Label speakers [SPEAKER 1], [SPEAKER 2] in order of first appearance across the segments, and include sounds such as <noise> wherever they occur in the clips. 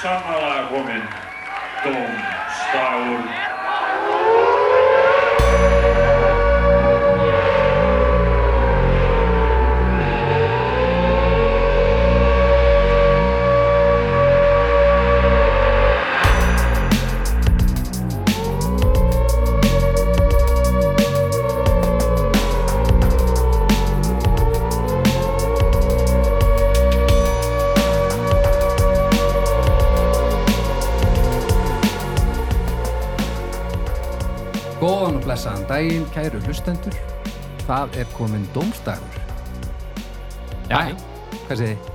[SPEAKER 1] sannarlega kominn Dómstagur
[SPEAKER 2] Góðan og blessaðan daginn, kæru hlustendur. Það er kominn dómstagur.
[SPEAKER 3] Já, já.
[SPEAKER 2] Hvað segir þið?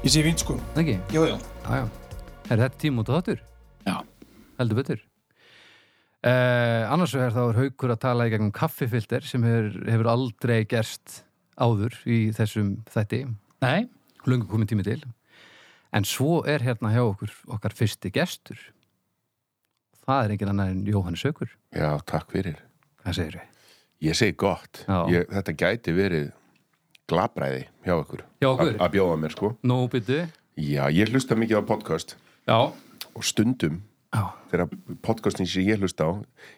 [SPEAKER 4] Ég sé fínt sko
[SPEAKER 2] Það ekki?
[SPEAKER 4] Jú, jú
[SPEAKER 2] Já, já. Er þetta tíma út á þáttur?
[SPEAKER 3] Já.
[SPEAKER 2] Heldur betur. Uh, annars vegar þá er haukur að tala í gegnum kaffifilter sem hefur, hefur aldrei gerst áður í þessum þætti.
[SPEAKER 3] Nei,
[SPEAKER 2] Lungu komið tími til. En svo er hérna hjá okkur okkar fyrsti gestur. Það er engin annar en Jóhannes Haukur.
[SPEAKER 5] Já, takk fyrir.
[SPEAKER 2] Hvað segir þið?
[SPEAKER 5] Ég segi gott.
[SPEAKER 2] Já.
[SPEAKER 5] Ég, þetta gæti verið glabræði hjá okkur.
[SPEAKER 2] Hjá okkur?
[SPEAKER 5] Að- Að bjóða mér, sko.
[SPEAKER 2] Nó, byttu.
[SPEAKER 5] Já, ég hlusta mikið á podcast
[SPEAKER 2] Já.
[SPEAKER 5] og stundum
[SPEAKER 2] Já.
[SPEAKER 5] þegar podcastin sem ég hlusta á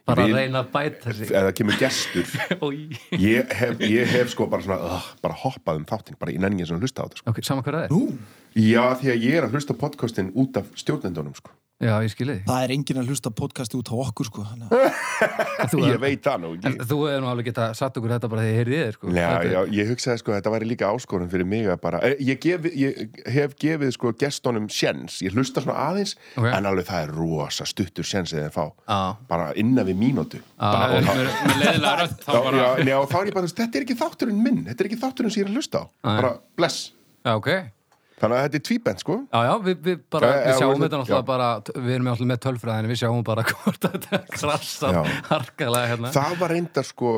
[SPEAKER 2] Bara
[SPEAKER 5] vil-
[SPEAKER 2] að reyna að bæta sig.
[SPEAKER 5] eða kemur gestur
[SPEAKER 2] <laughs> Ói.
[SPEAKER 5] ég hef, ég hef sko bara svona uh, bara hoppað um þáttinn, bara í nenningin sem hlusta á þetta sko.
[SPEAKER 2] Ok, sama hvað það er?
[SPEAKER 5] já, því að ég er að hlusta á podcastin út af stjórnendunum sko.
[SPEAKER 2] Já, ég skilði því.
[SPEAKER 4] Það er enginn að hlusta á podcasti út á okkur sko þannig að-
[SPEAKER 2] En Þú
[SPEAKER 5] ég veit það nú
[SPEAKER 2] En
[SPEAKER 5] ekki
[SPEAKER 2] þú hefur nú alveg geta satt okkur þetta bara þegar ég heyrði þér, sko.
[SPEAKER 5] Já,
[SPEAKER 2] Þetta er-
[SPEAKER 5] já, ég hugsaði sko að þetta væri líka áskorun fyrir mig að bara, Eh, ég, gef, ég hef gefið sko gestunum sjens, ég hlusta svona aðeins
[SPEAKER 2] Ok.
[SPEAKER 5] en alveg það er rosa stuttur sjens eða fá,
[SPEAKER 2] Já.
[SPEAKER 5] bara innan við mínútu
[SPEAKER 2] Já,
[SPEAKER 5] bara, og
[SPEAKER 3] með,
[SPEAKER 5] þá-
[SPEAKER 3] með leiðilega rödd þá
[SPEAKER 5] þá-
[SPEAKER 3] bara,
[SPEAKER 5] já, já, og þá er ég bara, þú veist, þetta er ekki þátturinn minn þetta er ekki þátturinn sem ég er að hlusta á,
[SPEAKER 2] já.
[SPEAKER 5] bara bless
[SPEAKER 2] Já, ok.
[SPEAKER 5] þannig að þetta er tvíbent sko
[SPEAKER 2] Já, já, við, við bara,
[SPEAKER 5] Já, já,
[SPEAKER 2] við sjáum
[SPEAKER 5] voru-
[SPEAKER 2] þetta náttúrulega
[SPEAKER 5] já.
[SPEAKER 2] bara, við erum alltaf með tölfræðinu, við sjáum bara <laughs> hvort þetta krassar
[SPEAKER 5] Já.
[SPEAKER 2] harkalega hérna.
[SPEAKER 5] það var reyndar sko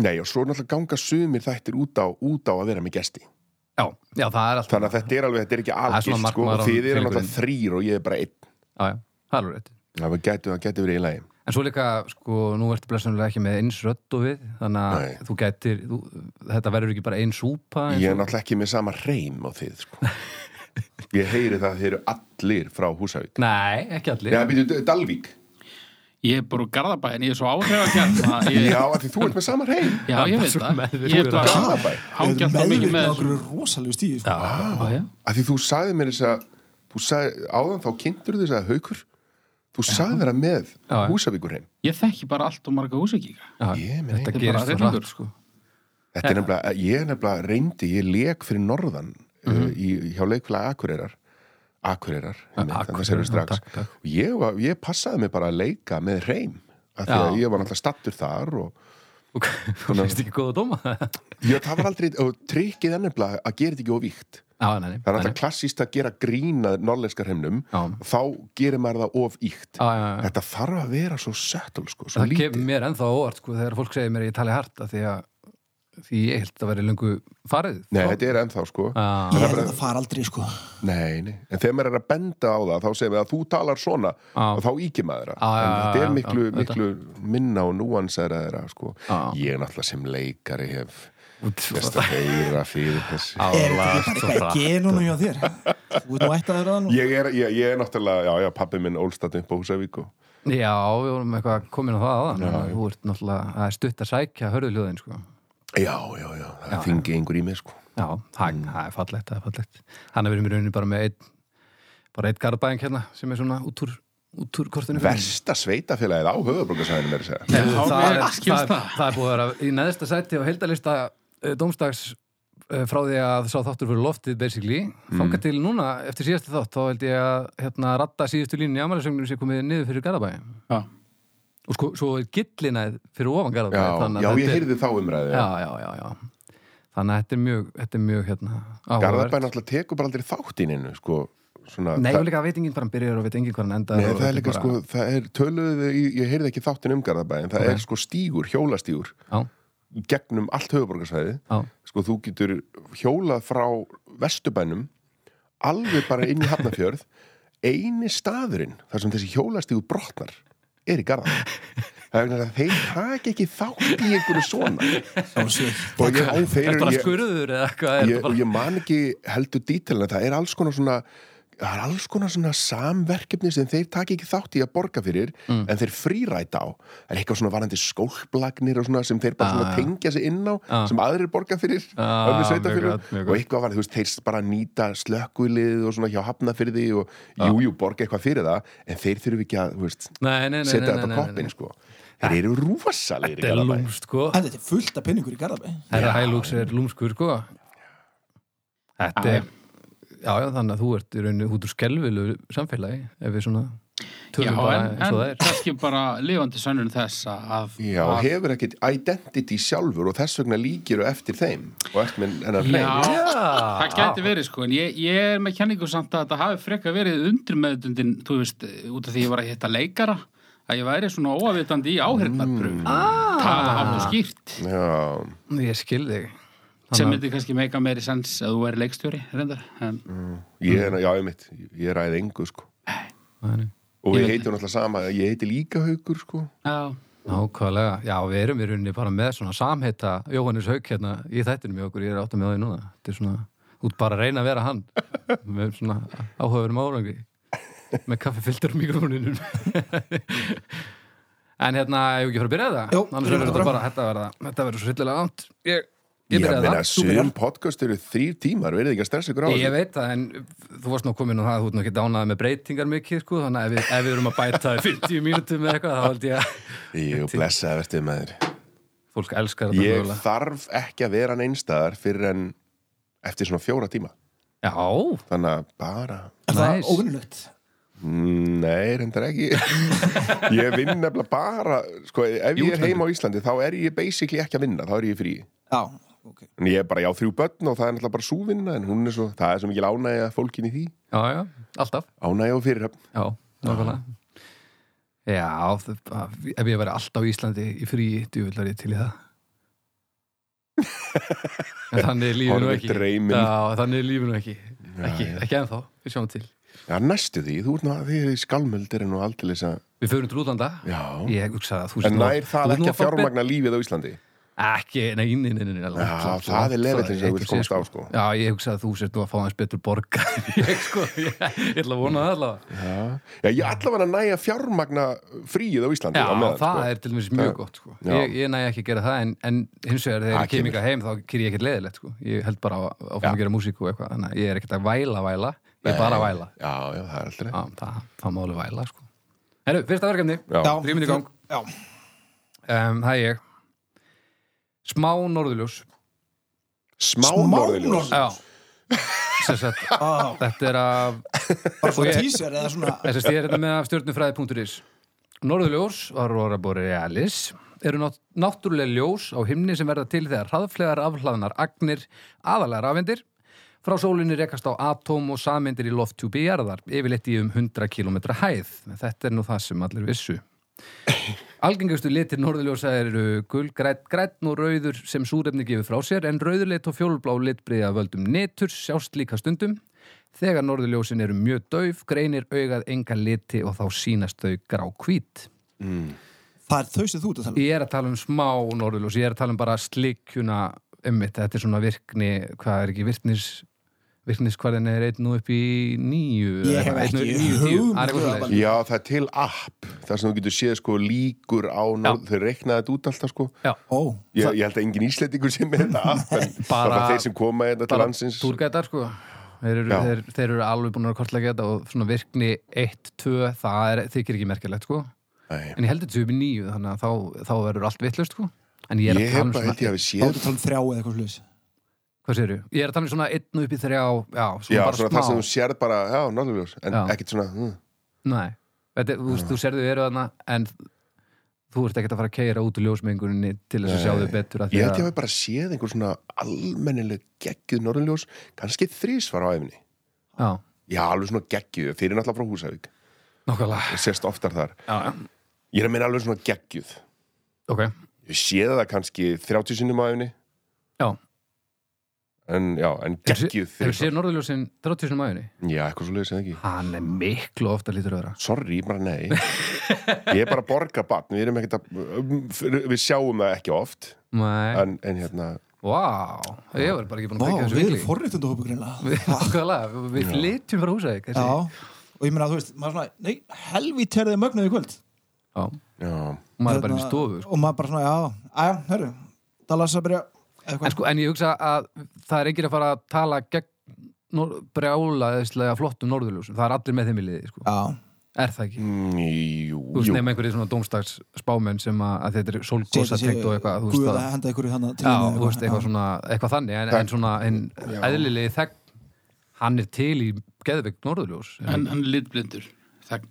[SPEAKER 5] nei, og svo náttúrulega ganga sumir þættir út á, út á að vera með gesti
[SPEAKER 2] Já, já, það er alltaf,
[SPEAKER 5] þannig að þetta er alveg, þetta er ekki
[SPEAKER 2] er svona
[SPEAKER 5] algilt sko,
[SPEAKER 2] markmaður á
[SPEAKER 5] og þið eru
[SPEAKER 2] fylgurinn.
[SPEAKER 5] náttúrulega þrýr og ég er bara einn
[SPEAKER 2] já, já, það er alveg rétt.
[SPEAKER 5] það gæti, það gæti verið í lagi
[SPEAKER 2] En svo líka, sko, nú ertu blessunulega ekki með eins rödd og við, þannig að
[SPEAKER 5] Nei.
[SPEAKER 2] þú gætir, þú, þetta verður ekki bara ein súpa. eins
[SPEAKER 5] Ég er
[SPEAKER 2] og-
[SPEAKER 5] náttúrulega ekki með sama reym á þið
[SPEAKER 2] <laughs>
[SPEAKER 5] sko. Ég heyri það að þið eru allir frá Húsavík
[SPEAKER 2] Nei, ekki allir.
[SPEAKER 5] Nei, býtu, Dalvík
[SPEAKER 3] ég er bara úr Garðabæðin, ég er svo áhrifakjarn ég,
[SPEAKER 5] Já, af því þú ert með sama reym
[SPEAKER 3] já, ég veit
[SPEAKER 2] Svo
[SPEAKER 3] það
[SPEAKER 2] meðvirkur
[SPEAKER 3] Ég er bara
[SPEAKER 2] að-
[SPEAKER 5] Garðabæ.
[SPEAKER 3] hangjart
[SPEAKER 4] Við
[SPEAKER 3] það
[SPEAKER 4] erum
[SPEAKER 3] mikið
[SPEAKER 4] meðvirkni
[SPEAKER 3] með
[SPEAKER 4] á
[SPEAKER 3] þessu.
[SPEAKER 4] okkur rosalegu stíði sko.
[SPEAKER 2] Já,
[SPEAKER 3] Já, já.
[SPEAKER 5] Af því þú sagði mér þess að þú sagði, áðan þá kynntur þess að haukur þú sagði þeirra með
[SPEAKER 2] Já.
[SPEAKER 5] Húsavíkur reym
[SPEAKER 3] Ég þekki bara allt og marga húsakíka
[SPEAKER 2] já,
[SPEAKER 5] Ég meina,
[SPEAKER 2] þetta
[SPEAKER 3] þetta er
[SPEAKER 2] gerist
[SPEAKER 3] bara
[SPEAKER 2] svo rætt,
[SPEAKER 3] hryllingur.
[SPEAKER 2] sko.
[SPEAKER 5] Þetta er nefnilega, eh, ég er nefnilega reyndi ég leik fyrir norðan mm
[SPEAKER 2] Mhm.
[SPEAKER 5] í, hjá leikfélag Akureyrar Akureyrar,
[SPEAKER 2] Akureyrar,
[SPEAKER 5] þannig að sérum við strax
[SPEAKER 2] takk, takk.
[SPEAKER 5] og ég, var, ég passaði mig bara að leika með reym af því að
[SPEAKER 2] Já.
[SPEAKER 5] ég var náttúrulega stattur þar og
[SPEAKER 2] Og <laughs> þú finnst ekki góða dóma?
[SPEAKER 5] Já, það var aldrei, og trikkið er nefnilega að gera þetta ekki óvíkt.
[SPEAKER 2] Já, nei, nei. nei,
[SPEAKER 5] Það er
[SPEAKER 2] nei.
[SPEAKER 5] alltaf klassíst að gera grína norðleinskar hemnum,
[SPEAKER 2] Já.
[SPEAKER 5] þá gerir maður það of íkt.
[SPEAKER 2] Já, já, já.
[SPEAKER 5] Þetta þarf að vera svo settul, sko, svo
[SPEAKER 2] það
[SPEAKER 5] lítið.
[SPEAKER 2] kemur mér ennþá á óvart sko, þegar fólk segir mér að ég tali hart af því að því ég held að vera lengu farið
[SPEAKER 5] Nei, þetta er ennþá, sko.
[SPEAKER 2] ah,
[SPEAKER 4] Ég held að það fara aldrei sko
[SPEAKER 5] Nei, nei. En þegar maður er að benda á það, þá segir maður að þú talar svona
[SPEAKER 2] Já.
[SPEAKER 5] og þá íkir maður það.
[SPEAKER 2] Já, já,
[SPEAKER 5] En
[SPEAKER 2] já,
[SPEAKER 5] þetta
[SPEAKER 2] já,
[SPEAKER 5] er miklu,
[SPEAKER 2] já,
[SPEAKER 5] miklu minna og núansæra þeirra, sko.
[SPEAKER 2] Já.
[SPEAKER 5] Ég er náttúrulega sem leikari hef
[SPEAKER 2] út sko.
[SPEAKER 5] mest að heyra fyrir þessi.
[SPEAKER 2] álast og
[SPEAKER 4] Hvað er
[SPEAKER 2] hratt
[SPEAKER 4] genunum hjá þér? Þú ert nú ætt að þeirra það nú
[SPEAKER 5] Ég er, ég, ég er náttúrulega, já, já, pappi minn ólstaði upp á Húsavík og
[SPEAKER 2] Já, við vorum eitthvað komin á það aðan þannig að þú ert náttúrulega það er stutt að sækja hörðuljóðin sko.
[SPEAKER 5] Já, já, já, það þingi einhver í mig sko
[SPEAKER 2] Já, það það er fallegt, það er fallegt Hann er verið mér rauninni bara með einn bara einn garðbæðing hérna sem er svona út úr, út úr kortinu
[SPEAKER 5] Versta sveitafélagið á höfuðbrókarsæðinu mér að segja
[SPEAKER 2] það,
[SPEAKER 3] Já,
[SPEAKER 2] það,
[SPEAKER 5] Ah,
[SPEAKER 3] mér
[SPEAKER 2] er-
[SPEAKER 3] skilst
[SPEAKER 2] það, er-
[SPEAKER 3] það.
[SPEAKER 2] það er búið að vera í neðsta sæti og heildalista domstags eh, frá því að sá þáttur fyrir loftið basically,
[SPEAKER 5] Mm.
[SPEAKER 2] þangað til núna eftir síðasti þátt, þá held ég að hérna, ratta síðustu línu í amælisögnum sem komið niður fyrir Garðabæi
[SPEAKER 3] Já.
[SPEAKER 2] og sko, svo er gillinæð fyrir ofan Garðabæi
[SPEAKER 5] Já,
[SPEAKER 2] þannig að
[SPEAKER 5] já, ég
[SPEAKER 2] þetta er-
[SPEAKER 5] heyrði þá umræði
[SPEAKER 2] já, já, já, já þannig að þetta er mjög, þetta er mjög hérna, áhugavert.
[SPEAKER 5] Garðabæn náttúrulega tekur bara aldrei þáttininu sko svona,
[SPEAKER 2] Nei,
[SPEAKER 5] það-
[SPEAKER 2] og líka að veit enginn hvað hann byrjar og veit enginn hvað hann endar
[SPEAKER 5] Nei,
[SPEAKER 2] og
[SPEAKER 5] það
[SPEAKER 2] þetta
[SPEAKER 5] er líka
[SPEAKER 2] bara-
[SPEAKER 5] sko, það er töluðu, ég, ég heyrði ekki þáttin um Garðabæn það
[SPEAKER 2] Ok.
[SPEAKER 5] er sko stígur, hjólastígur
[SPEAKER 2] Já,
[SPEAKER 5] gegnum allt höfuðbrókarsæði
[SPEAKER 2] já,
[SPEAKER 5] sko þú getur hjólað frá vestubænum alveg bara inn í Hafnarfjörð eini staðurinn þar sem þessi hjólastígu brotnar er í Garðabæn Það er vegna þess að þeir taka ekki þátt í einhverju svona
[SPEAKER 4] Það var sér
[SPEAKER 5] og ég, þeir,
[SPEAKER 2] er bara
[SPEAKER 5] ég,
[SPEAKER 2] skurður eða eitthvað er
[SPEAKER 5] ég,
[SPEAKER 2] þetta bara...
[SPEAKER 5] ég man ekki heldur dítilina það er alls konar svona það er alls konar svona samverkefni sem þeir taki ekki þátt í að borga fyrir
[SPEAKER 2] Mm.
[SPEAKER 5] en þeir fríræta á það er eitthvað svona varandi skólplagnir og svona sem þeir bara svona
[SPEAKER 2] Ah.
[SPEAKER 5] tengja sig inn á
[SPEAKER 2] Ah.
[SPEAKER 5] sem aðrir borga fyrir
[SPEAKER 2] Ah,
[SPEAKER 5] önnur
[SPEAKER 2] mjög
[SPEAKER 5] sveitarfélög.
[SPEAKER 2] gott, mjög
[SPEAKER 5] og
[SPEAKER 2] gott.
[SPEAKER 5] eitthvað var, þú veist, þeir bara nýta slökkulið og svona hjá hafnafyrði og
[SPEAKER 2] Ah.
[SPEAKER 5] jújú, jú, borga eitthvað fyrir það en þeir þurfi ekki að, þú veist,
[SPEAKER 2] Nei, nei, nei,
[SPEAKER 5] setja
[SPEAKER 2] nei,
[SPEAKER 5] þetta
[SPEAKER 2] nei,
[SPEAKER 5] á
[SPEAKER 2] nei,
[SPEAKER 5] koppin
[SPEAKER 2] nei.
[SPEAKER 5] sko. þeir eru rúfasalegir í
[SPEAKER 2] Þetta er
[SPEAKER 5] Garðabæ.
[SPEAKER 2] lúmst, sko.
[SPEAKER 4] En þetta er fullt af penningur í Garðabæ
[SPEAKER 2] Herra Hælúks er lúmskur, sko. Þetta er, já, já, þannig að þú ert í rauninu út úr skelvilu samfélagi, ef við svona
[SPEAKER 3] Já,
[SPEAKER 2] tölum bara
[SPEAKER 3] en,
[SPEAKER 2] eins og
[SPEAKER 3] en
[SPEAKER 2] það er.
[SPEAKER 3] kannski bara lifandi sönnun þess að
[SPEAKER 5] Já,
[SPEAKER 3] að,
[SPEAKER 5] hefur ekkert identity sjálfur og þess vegna líkir og eftir þeim og ert með hennar
[SPEAKER 3] já,
[SPEAKER 5] hrein
[SPEAKER 2] Já,
[SPEAKER 3] það gæti verið sko en ég, ég er með kenningu samt að þetta hafi frekka verið undir meðutundin, þú veist, út af því ég var að hitta leikara að ég væri svona óavitandi í áhrifnarbrug mm. ah. það áttu skýrt
[SPEAKER 5] Já,
[SPEAKER 2] Ég skil þig.
[SPEAKER 3] sem
[SPEAKER 2] Þannig
[SPEAKER 3] myndi kannski meika meiri sens að þú er leikstjóri reyndar, en
[SPEAKER 5] ég er, já, ég mitt, ég ræði engu sko
[SPEAKER 2] að- nei, nei.
[SPEAKER 5] og
[SPEAKER 3] Ég
[SPEAKER 5] ég
[SPEAKER 3] veit
[SPEAKER 5] heiti hún alltaf sama, ég heiti líka haugur sko
[SPEAKER 3] já,
[SPEAKER 2] Nákvæmlega. Já, við erum í rauninni bara með svona samheita Jóhannes Haug hérna í þættinum í okkur, ég er átt að með það í núna. Þetta er svona, þú ert bara að reyna að vera hann <laughs> með svona áhugaverum árangri með kaffifiltur og mikrofóninum. <laughs> en hérna, ég ekki að fara að byrja það?
[SPEAKER 4] Jú,
[SPEAKER 2] Annars
[SPEAKER 4] byrjum
[SPEAKER 2] verður
[SPEAKER 4] bara.
[SPEAKER 2] þetta bara, þetta verður það, þetta verður svo sillilega langt. Ég, ég
[SPEAKER 5] Ég
[SPEAKER 2] byrjaði
[SPEAKER 5] meina,
[SPEAKER 2] það. Þú byrjar.
[SPEAKER 5] sum podcast eru þrýr tímar, verðið ekki að stressa ykkur á
[SPEAKER 2] Ég
[SPEAKER 5] þessu
[SPEAKER 2] veit það, en þú varst nú komin og það, þú ert nú ekki dánað með breytingar mikið, sko, þannig að ef við, ef við erum að bæta 50 mínútum eða eitthvað, þá held ég að
[SPEAKER 5] Jú, blessaði verðið með þér
[SPEAKER 2] fólk elskar þetta
[SPEAKER 5] Ég
[SPEAKER 2] mögulega.
[SPEAKER 5] þarf ekki að vera neinstæðar fyrir en eftir svona fjóra tíma
[SPEAKER 2] Já,
[SPEAKER 5] þannig að bara
[SPEAKER 4] Er það
[SPEAKER 2] Nice.
[SPEAKER 4] óvinnulegt?
[SPEAKER 5] Mm, Nei, reyndar ekki <laughs> Ég vinn nefnilega bara sko, ef ég er heima á Íslandi þá er ég basically ekki að vinna, þá er ég í frí
[SPEAKER 4] Já, ok
[SPEAKER 5] en ég er bara, já, þrjú börn og það er náttúrulega bara súvinna en hún er svo, það er svo mikil ánægja fólkin í því
[SPEAKER 2] já, já, alltaf.
[SPEAKER 5] ánægja og fyrirhöfn
[SPEAKER 2] Já, nákvæmlega. Já, það- það- ef ég væri alltaf í Íslandi í frí, djúvillari til í það.
[SPEAKER 5] <laughs>
[SPEAKER 2] En þannig er lífinu
[SPEAKER 5] Horfir
[SPEAKER 2] ekki.
[SPEAKER 5] dreyminn.
[SPEAKER 2] Já, þannig er lífinu ekki. Ekki, ekki ennþá, við sjáum til.
[SPEAKER 5] Já, næstu því, þú ert náttúrulega, þið er skalmöldir en og aldrei að,
[SPEAKER 2] Við förum til útlanda.
[SPEAKER 5] já
[SPEAKER 2] Ég hugsa að þú
[SPEAKER 5] En
[SPEAKER 2] nú- þú
[SPEAKER 5] nær það
[SPEAKER 2] ert nú
[SPEAKER 5] ekki
[SPEAKER 2] fá
[SPEAKER 5] að
[SPEAKER 2] bet-
[SPEAKER 5] fjármagna lífið á Íslandi?
[SPEAKER 2] Ekki, nei, nei, nei, nei, nei
[SPEAKER 5] Já, það er lefillinn sem þú vilt komast á, sko.
[SPEAKER 2] Já, ég hugsa að þú sért nú að fá hans betur borga <laughs> Ég, sko, ég, ég ætla að vona það allavega
[SPEAKER 5] Já, já ég allavega næja fjármagna fríið á Íslandi
[SPEAKER 2] Já,
[SPEAKER 5] á meðan,
[SPEAKER 2] það
[SPEAKER 5] sko.
[SPEAKER 2] er til dæmis mjög gott, sko
[SPEAKER 5] Já.
[SPEAKER 2] Ég, ég næ ekki að gera það, en, en hins vegar þegar
[SPEAKER 5] Það
[SPEAKER 2] ég kem
[SPEAKER 5] kemur.
[SPEAKER 2] ykkar heim, þá kyrir ég ekkert leðilegt, sko Ég held bara á, á að gera músík og eitthvað Þannig að ég er ekkert að væla, væla Ég er bara að væla
[SPEAKER 5] Já, já, það er aldrei
[SPEAKER 2] Já, það, það máli væla, sko Herru, fyrsta verkefni
[SPEAKER 5] Já,
[SPEAKER 2] Drífum í gang.
[SPEAKER 4] Já,
[SPEAKER 2] um, Það er ég Smá norðurljós
[SPEAKER 5] smá norðurljós
[SPEAKER 4] Smánorðljós.
[SPEAKER 2] Já Sem sagt,
[SPEAKER 4] Á,
[SPEAKER 2] Þetta er af
[SPEAKER 4] Ah, bara svona
[SPEAKER 2] ég-
[SPEAKER 4] tísir eða svona
[SPEAKER 2] Þess að ég er þetta með af stjórnufræði.is Norðurljós, Aurora Borealis eru nátt, náttúrulega ljós á himni sem verða til þegar hraðflegar afhlaðnar agnir aðalega rafindir Frá sólinni rekast á atóm og samindir í lofttjúpi jarðar, yfirleitt í um 100 km hæð. En Þetta er nú það sem allir vissu. Algengustu litir norðurljósa eru gul, grætt, grættn og rauður sem súrefni gefur frá sér en rauðurlit og fjólblá litbriði af völdum neturs sjást líka stundum. Þegar norðurljósin eru mjög dauf, greinir augað enga liti og þá sínast þau grá hvít.
[SPEAKER 4] Það er þau sem þú ert að tala um.
[SPEAKER 2] Ég er að tala um smá norðurljós, ég er að tala um bara slikjuna ummitt, þetta er svona virkni, hvað er ekki, virknis, virkniskvarðin er einn og upp í nýju.
[SPEAKER 4] Ég
[SPEAKER 2] eða
[SPEAKER 4] hef
[SPEAKER 2] eitthvað, einn og
[SPEAKER 4] ekki
[SPEAKER 2] upp í níu, tíu, það
[SPEAKER 4] hugmynd
[SPEAKER 2] er eitthvað
[SPEAKER 4] um
[SPEAKER 2] svoleiðis.
[SPEAKER 4] það.
[SPEAKER 5] Já, það er til app þar sem þú getur séð sko líkur á norð, þau reiknaði þetta út alltaf sko
[SPEAKER 4] Ó,
[SPEAKER 5] ég, ég held að engin íslendingur sé með þetta app en
[SPEAKER 2] <laughs>
[SPEAKER 5] bara,
[SPEAKER 2] Bara-
[SPEAKER 5] þeir sem koma hérna til
[SPEAKER 2] bara
[SPEAKER 5] landsins
[SPEAKER 2] túrgætar sko þeir eru,
[SPEAKER 5] Já.
[SPEAKER 2] þeir, þeir eru alveg búin að kortlega þetta og svona virkni 1, 2 það er, þykir ekki merkilegt sko
[SPEAKER 5] Nei.
[SPEAKER 2] en ég heldur þetta upp í nýju þannig að þá, þá verður allt vittlust sko en ég er
[SPEAKER 5] Ég
[SPEAKER 2] að
[SPEAKER 5] hef
[SPEAKER 2] tala um
[SPEAKER 5] bara held ég
[SPEAKER 2] svona
[SPEAKER 5] að
[SPEAKER 4] þá ertu að tala um
[SPEAKER 5] við séð
[SPEAKER 4] þrjá eða eitthvað slúðis
[SPEAKER 2] hvað séru? ég er að tala um svona 1 upp í 3 já, svona
[SPEAKER 5] Já,
[SPEAKER 2] um bara
[SPEAKER 5] svona
[SPEAKER 2] smá
[SPEAKER 5] það sem þú sérð bara, já, náttúrulega en
[SPEAKER 2] Já.
[SPEAKER 5] ekkert svona, hm,
[SPEAKER 2] Nei, Þetta, þú, veist, þú serðu eru þarna en þú ert ekkert að fara að keira út úr ljósmenguninni til þess að sjá þau betur af því
[SPEAKER 5] ég held ég að við bara séð einhver svona almennileg geggjuð norðljós, kannski þrísvar á efni
[SPEAKER 2] já,
[SPEAKER 5] Já, alveg svona geggjuð, þeir eru náttúrulega frá Húsavík
[SPEAKER 2] nokkulega
[SPEAKER 5] og sérst oftar þar
[SPEAKER 2] já, já.
[SPEAKER 5] Ég er að meina alveg svona geggjuð
[SPEAKER 2] ok,
[SPEAKER 5] Ég séð það kannski 30 sinnum á efni
[SPEAKER 2] já
[SPEAKER 5] en já, en geggjuð
[SPEAKER 2] þegar séu
[SPEAKER 5] þrisvar.
[SPEAKER 2] norðurljósin 30 sinum aðunni
[SPEAKER 5] Já, eitthvað svo leiðis eða ekki
[SPEAKER 2] hann er miklu ofta lítur öðra
[SPEAKER 5] Sorry, bara nei Ég er bara um, að borga batn, við erum ekkert að Við sjáum það ekki oft
[SPEAKER 2] Nei.
[SPEAKER 5] en, en hérna,
[SPEAKER 2] Vá, ég var bara ekki búin
[SPEAKER 4] Vá,
[SPEAKER 2] að tekja þessu
[SPEAKER 4] við erum
[SPEAKER 2] viðli.
[SPEAKER 4] forréttundahópu greinlega.
[SPEAKER 2] <laughs> Nákvæmlega, <laughs> við- Við flytjum frá húsæk
[SPEAKER 4] Já, og ég meina, þú veist, maður svona, nei, helvít er þið mögnuð í kvöld.
[SPEAKER 2] Já,
[SPEAKER 5] Já,
[SPEAKER 2] maður er bara inn í
[SPEAKER 4] Þarna-
[SPEAKER 2] stofu sko.
[SPEAKER 4] Hérna, Og maður bara svona, já, aðja, hörru, Dallas að byrja,
[SPEAKER 2] en,
[SPEAKER 4] eitthvað.
[SPEAKER 2] sko, en ég hugsa að það er enginn að fara að tala gegn nor- brjálaðislega flottum norðurljósum það er allir með þeim í liði sko.
[SPEAKER 4] Já,
[SPEAKER 2] er það ekki?
[SPEAKER 5] Mm, jú,
[SPEAKER 2] Þú veist,
[SPEAKER 5] jú.
[SPEAKER 2] nema einhverjir svona domstags spámenn sem að, að þetta er sólkosa tekt og eitthvað, þú veist
[SPEAKER 4] Guð
[SPEAKER 2] það
[SPEAKER 4] að henda ykkur hérna í hann að
[SPEAKER 2] Já, þú veist, eitthvað svona, eitthvað þannig en,
[SPEAKER 5] Það-
[SPEAKER 2] en svona, en eðlilegi þegn hann er til í geðveik norðurljós en,
[SPEAKER 3] en, en litblindur það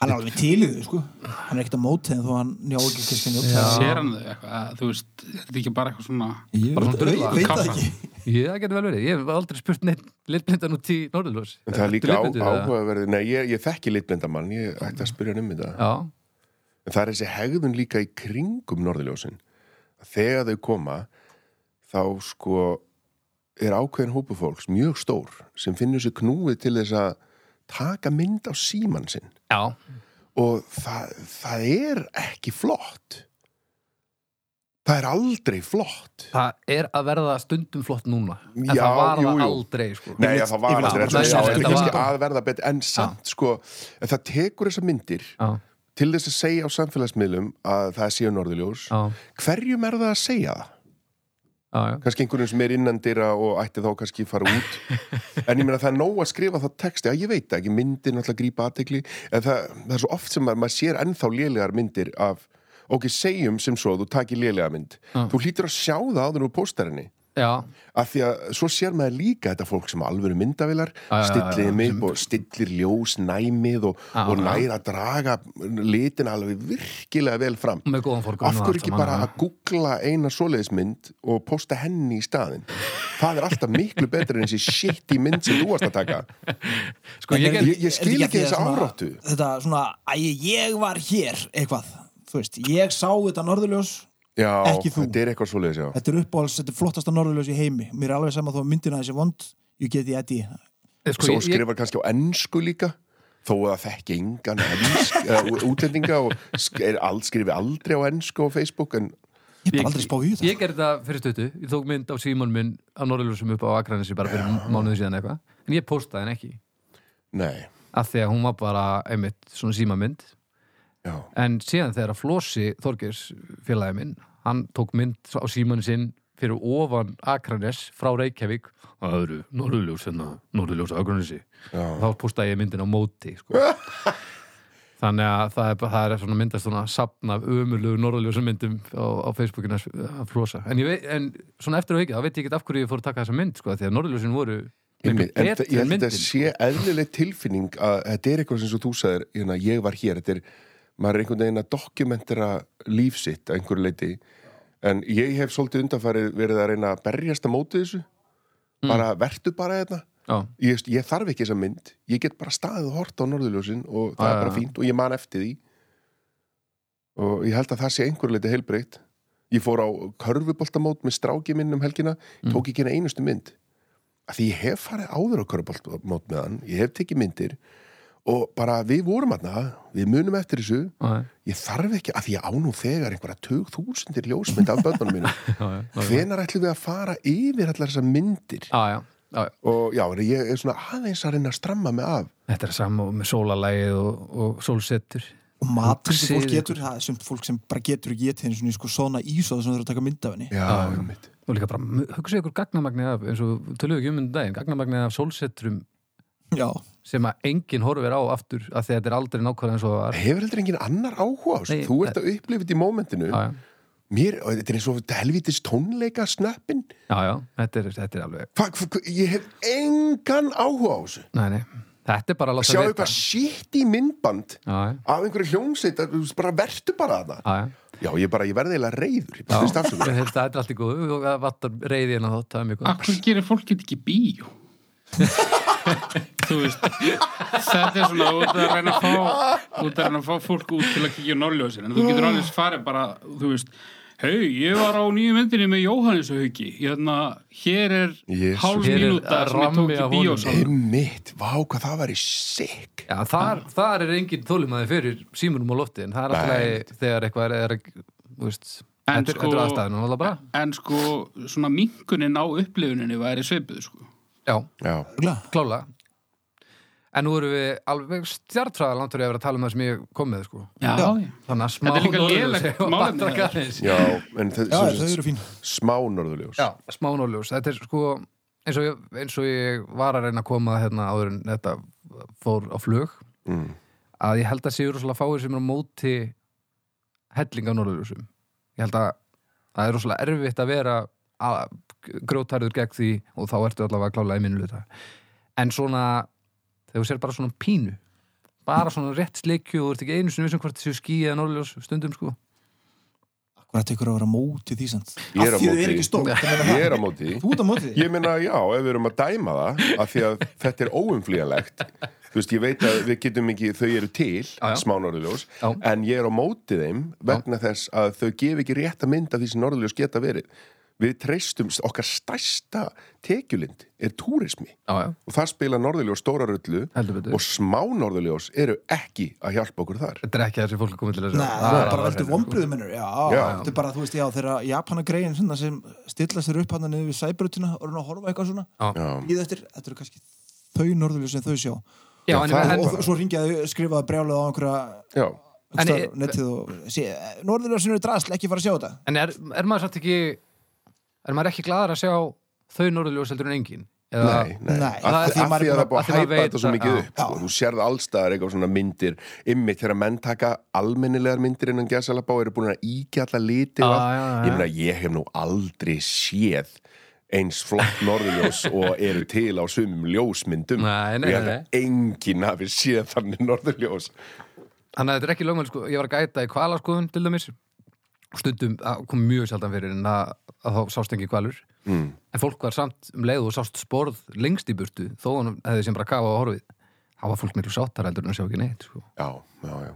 [SPEAKER 4] Hann er alveg til í þau, sko. Hann er ekkert að móti þeim þó hann njá ekki kristin njótt.
[SPEAKER 3] sér hann þau eitthvað að, þú veist, er þetta ekki bara eitthvað svona
[SPEAKER 4] Ég
[SPEAKER 2] Bara
[SPEAKER 4] veit
[SPEAKER 2] svona drulla.
[SPEAKER 4] veit það
[SPEAKER 3] Kaffa.
[SPEAKER 2] ég,
[SPEAKER 4] ekki.
[SPEAKER 2] það getur vel verið, ég hef aldrei spurt neitt litblindan út í norðurljós
[SPEAKER 5] En það er
[SPEAKER 2] Ertu
[SPEAKER 5] líka á,
[SPEAKER 2] litblindur eða?
[SPEAKER 5] áhugaverði, nei, ég, ég þekki litblindamann, ég ætti að spyrja hann um þetta.
[SPEAKER 2] Já,
[SPEAKER 5] En það er þessi hegðun líka í kringum norðurljósin. Þegar þau koma, þá sko er ákveðin hópu fólks mjög stór sem finnur sér knúið til þess að taka mynd á símann sinn.
[SPEAKER 2] já,
[SPEAKER 5] Og það, það er ekki flott. Það er aldrei flott.
[SPEAKER 2] það er að verða stundum flott núna en
[SPEAKER 5] Já,
[SPEAKER 2] það var
[SPEAKER 5] jú,
[SPEAKER 2] það
[SPEAKER 5] jú.
[SPEAKER 2] aldrei sko.
[SPEAKER 5] Nei, já, það var
[SPEAKER 4] yfirleitt-
[SPEAKER 2] Nei,
[SPEAKER 5] aldrei, já,
[SPEAKER 2] nei,
[SPEAKER 5] þetta er
[SPEAKER 2] þetta
[SPEAKER 5] kannski
[SPEAKER 2] var-
[SPEAKER 5] að verða betur, en samt, sko, en það tekur þessar myndir
[SPEAKER 2] Já,
[SPEAKER 5] til þess að segja á samfélagsmiðlum að það séu norðurljós.
[SPEAKER 2] já,
[SPEAKER 5] Hverjum er það að segja það?
[SPEAKER 2] já, já.
[SPEAKER 5] kannski einhvern sem er innandira og ætti þá kannski að fara
[SPEAKER 2] <laughs>
[SPEAKER 5] út en ég meina það er nóg að skrifa þá texti að ég veit það ekki, myndir náttúrulega grípa aðtegli en það, það er svo oft sem maður, maður sér ennþá lélegar myndir af ok, segjum sem svo, að þú takir lélega mynd þú hlýtur að sjá það áður úr póstarinni
[SPEAKER 2] já.
[SPEAKER 5] af því að svo sér maður líka þetta fólk sem alvöru myndavilar
[SPEAKER 2] já, já,
[SPEAKER 5] stillir
[SPEAKER 2] já,
[SPEAKER 5] þeim upp og stillir ljós næmið og,
[SPEAKER 2] Já,
[SPEAKER 5] og
[SPEAKER 2] já.
[SPEAKER 5] næra að draga litin alveg virkilega vel fram
[SPEAKER 2] með góðan fórgrunn
[SPEAKER 5] Af
[SPEAKER 2] og
[SPEAKER 5] hverju
[SPEAKER 2] allt
[SPEAKER 5] ekki
[SPEAKER 2] saman,
[SPEAKER 5] bara
[SPEAKER 2] já.
[SPEAKER 5] að googla eina svoleiðismynd og posta henni í staðin? Það er alltaf miklu betur en þessi shit í mynd sem þú varst að taka.
[SPEAKER 2] Sko, ég,
[SPEAKER 5] Ég,
[SPEAKER 2] ég,
[SPEAKER 5] ég skil
[SPEAKER 4] Er þetta
[SPEAKER 5] ekki
[SPEAKER 4] að
[SPEAKER 5] þessa
[SPEAKER 4] svona-
[SPEAKER 5] áráttu.
[SPEAKER 4] Þetta svona, æ, ég var hér, eitthvað. Þú veist, ég sá þetta norðurljós,
[SPEAKER 5] Já,
[SPEAKER 4] Ekki þú.
[SPEAKER 5] þetta er eitthvað svoleiðis, já.
[SPEAKER 4] þetta er uppáhalds, þetta er flottasta norðurljós í heimi. Mér er alveg sama þó að myndina þessi vond, ég geti þetta í.
[SPEAKER 2] sko,
[SPEAKER 5] Svo
[SPEAKER 2] ég, ég,
[SPEAKER 5] skrifar kannski á ennsku líka, þó að það þekki engan ennsk, uh, útlendinga og sk- er all, skrifi aldrei á ennsku á Facebook, en
[SPEAKER 4] Ég er bara aldrei spáð í þetta.
[SPEAKER 2] Ég gerði það fyrir stötu, ég tók mynd af símón minn á Norðurljósum upp á Akranesi bara fyrir mánuðu síðan eitthvað, en ég postaði henn ekki
[SPEAKER 5] nei,
[SPEAKER 2] af því að hún var bara einmitt svona símamynd
[SPEAKER 5] já.
[SPEAKER 2] en síðan þegar að Flossi Þorgeirs félagi minn, hann tók mynd á símanu sinn fyrir ofan Akranes frá Reykjavík og það eru Norðurljós hérna, Norðurljós á Akranesi
[SPEAKER 5] Já.
[SPEAKER 2] og þá postaði ég myndin á móti <laughs> sko. þannig að það er, bara- það er svona myndast svona sapna af ömulegu Norðurljósa myndum á, á Facebookinu hans- af Flossa en, ég veit, en svona eftir á ekki, þá veit ég ekki af hverju ég fór að taka þessa mynd sko, af því að Norðurljósin voru
[SPEAKER 5] En
[SPEAKER 2] miklu
[SPEAKER 5] ég held
[SPEAKER 2] betri en
[SPEAKER 5] að þetta
[SPEAKER 2] myndin sko.
[SPEAKER 5] sé eðlileg tilfinning að þetta er eitthvað sem svo þú sagðir, hérna, ég var hér, þetta er, maður er einhvern veginn að dokumentera líf sitt að einhverju leiti, en ég hef svolítið undanfarið verið að reyna að berjast að móti þessu,
[SPEAKER 2] Mm.
[SPEAKER 5] bara vertu bara hérna." þetta,
[SPEAKER 2] Já.
[SPEAKER 5] ég, ég þarf ekki þessa mynd, ég get bara staðið og hort á norðurljósin og það
[SPEAKER 2] Já,
[SPEAKER 5] er
[SPEAKER 2] já,
[SPEAKER 5] bara
[SPEAKER 2] já.
[SPEAKER 5] fínt og ég man eftir því og ég held að það sé einhverju leiti heilbreytt. Ég fór á körfuboltamót með stráki minn um helgina,
[SPEAKER 2] Mm.
[SPEAKER 5] tók ekki eina einustu mynd að því ég hef farið áður á körfuboltamót með hann, ég hef tekið myndir og bara við vorum aðna, við munum eftir þessu,
[SPEAKER 2] Já,
[SPEAKER 5] ég þarf ekki að því ég á nú þegar einhverja tug þúsundir ljósmynd af börnunum
[SPEAKER 2] <laughs>
[SPEAKER 5] mínum.
[SPEAKER 2] já, já, já, já.
[SPEAKER 5] Hvenar ætlum við að fara yfir allar þessar myndir?
[SPEAKER 2] Já, já, já, já.
[SPEAKER 5] og já, en ég er svona aðeins að reyna að stramma mig af
[SPEAKER 2] Þetta er sama og með sólalægið og, og sólsettur.
[SPEAKER 4] og matur sem fólk
[SPEAKER 2] Sigur.
[SPEAKER 4] getur það er sumt fólk sem bara getur ekki getið eins og sko svona ís og það sem þurfa að taka mynd af
[SPEAKER 5] <laughs>
[SPEAKER 4] henni
[SPEAKER 5] já, einmitt.
[SPEAKER 2] Og líka bara, mu- hugsið ykkur gagnamagnið af, eins og tölum við ekki um undir daginn, gagnamagnið af sólsetturum
[SPEAKER 4] já,
[SPEAKER 2] sem að enginn horfir á aftur af því að þetta er aldrei nákvæmlega eins og það var.
[SPEAKER 5] hefur heldur engin annar áhuga á þessu
[SPEAKER 2] Nei,
[SPEAKER 5] þú ert að upplifa þetta í mómentinu
[SPEAKER 2] Já, já,
[SPEAKER 5] mér, og þetta er eins og helvitis tónleika snöppin,
[SPEAKER 2] já, já þetta, er, þetta er alveg,
[SPEAKER 5] hva, hva, hva, ég hef engan áhuga á þessu
[SPEAKER 2] nei, nei, þetta er bara að láta
[SPEAKER 5] sjá eitthvað shit í myndband
[SPEAKER 2] Já, já,
[SPEAKER 5] af einhverju hljómsveit, að þú veist, bara vertu bara að það
[SPEAKER 2] já, já.
[SPEAKER 5] já, ég bara, ég verði eiginlega reyður
[SPEAKER 2] Já,
[SPEAKER 5] ég bara finnst
[SPEAKER 2] <laughs>
[SPEAKER 5] afsökunar.
[SPEAKER 2] þetta þetta er allt í góðu og það vatnar reyði hérna þótt, það er mjög góð.
[SPEAKER 3] Akkur gerir fólk þetta ekki í
[SPEAKER 2] <laughs>
[SPEAKER 3] bíó? Þú veist, þetta er svona út að reyna að fá, út að reyna að fá fólk út til að kíkja á norðljósin, en þú getur alveg farið bara, þú veist, hei, ég var á nýju myndinni með Jóhannes Hauki, hérna, hér er
[SPEAKER 5] Jesús.
[SPEAKER 3] hálf
[SPEAKER 2] Hér er
[SPEAKER 3] mínúta sem ég tók
[SPEAKER 2] rammi
[SPEAKER 3] í
[SPEAKER 2] af honum.
[SPEAKER 3] bíó
[SPEAKER 5] einmitt, vá, hvað það væri sick
[SPEAKER 2] Já,
[SPEAKER 3] Ah.
[SPEAKER 2] þar, þar er enginn þólimaði fyrir símunum á lofti en það er
[SPEAKER 5] Nei.
[SPEAKER 2] alltaf þegar eitthvað er, er þú veist,
[SPEAKER 3] En sko-
[SPEAKER 2] Þetta er- þetta er aðstæðan, hún var bara
[SPEAKER 3] en sko, svona minkunin á upplifuninni væri svipuð, sko.
[SPEAKER 2] Já,
[SPEAKER 5] já,
[SPEAKER 4] Örugglega.
[SPEAKER 2] klálega En nú erum við alveg stjartræða langt fyrir að vera að tala um það sem ég kom með sko.
[SPEAKER 3] Já, já.
[SPEAKER 2] Þannig að smá
[SPEAKER 3] Þetta er líka
[SPEAKER 2] norðurljós
[SPEAKER 3] <laughs> lélegt
[SPEAKER 2] og
[SPEAKER 3] málefni
[SPEAKER 2] bandrakka
[SPEAKER 3] þar.
[SPEAKER 2] aðeins.
[SPEAKER 5] já en þess,
[SPEAKER 4] Já,
[SPEAKER 5] já,
[SPEAKER 4] þau eru fín
[SPEAKER 5] smá norðurljós
[SPEAKER 2] Já, smá norðurljós Þetta er sko eins og, ég, eins og ég var að reyna að koma hérna áður en þetta fór á flug
[SPEAKER 5] mm.
[SPEAKER 2] að ég held að séu rosalega fáir sem er á móti helling af norðurljósum Ég held að það er rosalega erfitt að vera að grjótarður gegn því og þá ertu allavega að klála í minnu luta en svona, þegar þú sér bara svona pínu bara svona rétt sleikju og þú ert ekki einu sinni vissum hvort þessu skí eða norðurljós stundum sko
[SPEAKER 4] Hvað tekur að vera á móti því sant?
[SPEAKER 5] Ég er á
[SPEAKER 4] Af því þau
[SPEAKER 5] móti.
[SPEAKER 4] eru ekki stór
[SPEAKER 5] ég er á móti
[SPEAKER 4] Þú ert á móti því?
[SPEAKER 5] Ég meina, já, ef við erum að dæma það af því að þetta er óumflýjanlegt þú veist, ég veit að við getum ekki þau eru til,
[SPEAKER 2] já.
[SPEAKER 5] smá norðurljós
[SPEAKER 2] Já.
[SPEAKER 5] en ég er á móti þeim vegna þess að þau gef ekki rétt að mynda því sem norðurljós geta verið við treystum, okkar stærsta tekjulind er túrismi
[SPEAKER 2] Já, já,
[SPEAKER 5] og það spila norðurljós stóra rullu
[SPEAKER 2] heldur betur
[SPEAKER 5] og smá norðurljós eru ekki að hjálpa okkur þar
[SPEAKER 2] Þetta er ekki það sem fólk er komið til að
[SPEAKER 4] Nei, það
[SPEAKER 2] Það
[SPEAKER 4] er bara
[SPEAKER 2] alveg
[SPEAKER 4] veldur
[SPEAKER 2] hreinu,
[SPEAKER 4] vombriðum hennur Já,
[SPEAKER 5] Já.
[SPEAKER 4] þetta er bara, þú veist, já, þegar Japanagreyin svona sem stilla sér upp hann niður við sæbrautina og reyna að horfa eitthvað svona
[SPEAKER 5] Já,
[SPEAKER 4] Íða eftir, þetta eru kannski þau norðurljós sem þau sjá
[SPEAKER 2] sko. Já,
[SPEAKER 5] Já,
[SPEAKER 2] en,
[SPEAKER 5] það er
[SPEAKER 2] en,
[SPEAKER 4] og svo ringjaðu, skrifaðu brjálað á einhverja
[SPEAKER 5] já,
[SPEAKER 2] En
[SPEAKER 4] einhvers staðar
[SPEAKER 2] ég-
[SPEAKER 4] á netið og sé, norðurljósin eru drasl, ekki fara að sjá þetta
[SPEAKER 2] en er, er maður satt ekki er maður ekki gladur að sjá þau norðurljós heldur en engin? Eða,
[SPEAKER 5] nei, nei,
[SPEAKER 4] Nei,
[SPEAKER 5] Af,
[SPEAKER 4] það er
[SPEAKER 5] af
[SPEAKER 4] því
[SPEAKER 5] því
[SPEAKER 4] maður
[SPEAKER 5] að
[SPEAKER 4] er
[SPEAKER 5] það er
[SPEAKER 4] búinn
[SPEAKER 2] að-
[SPEAKER 5] búið að
[SPEAKER 2] af því maður
[SPEAKER 5] hæpa
[SPEAKER 2] veit
[SPEAKER 5] þetta svo
[SPEAKER 2] að-
[SPEAKER 5] mikið
[SPEAKER 2] já.
[SPEAKER 5] upp sko. þú sérð allstaðar eitthvað svona myndir ymmið þegar menn taka almennilegar myndir innan gæsalabá eru búin að íkja alla liti og
[SPEAKER 2] Já,
[SPEAKER 5] allt.
[SPEAKER 2] já, já.
[SPEAKER 5] ég meina ég hef nú aldrei séð eins flott norðurljós og eru til á sumum ljósmyndum
[SPEAKER 2] Nei, nei,
[SPEAKER 5] ég held
[SPEAKER 2] nei,
[SPEAKER 5] að enginn hafi séð þannig norðurljós
[SPEAKER 2] Þannig að þetta er ekki lögmæl sko, ég var að gæta í kvalaskoðun til dæmis og stundum það kom mjög sjaldan fyrir en að, að þá sást ekki kvalur
[SPEAKER 5] mm.
[SPEAKER 2] en fólk var samt um leið og sást sporð lengst í burtu þó hann hefði sem bara kafa á horfið þá var fólk miklu sáttar heldur en að sjá ekki neitt sko.
[SPEAKER 5] já, já, já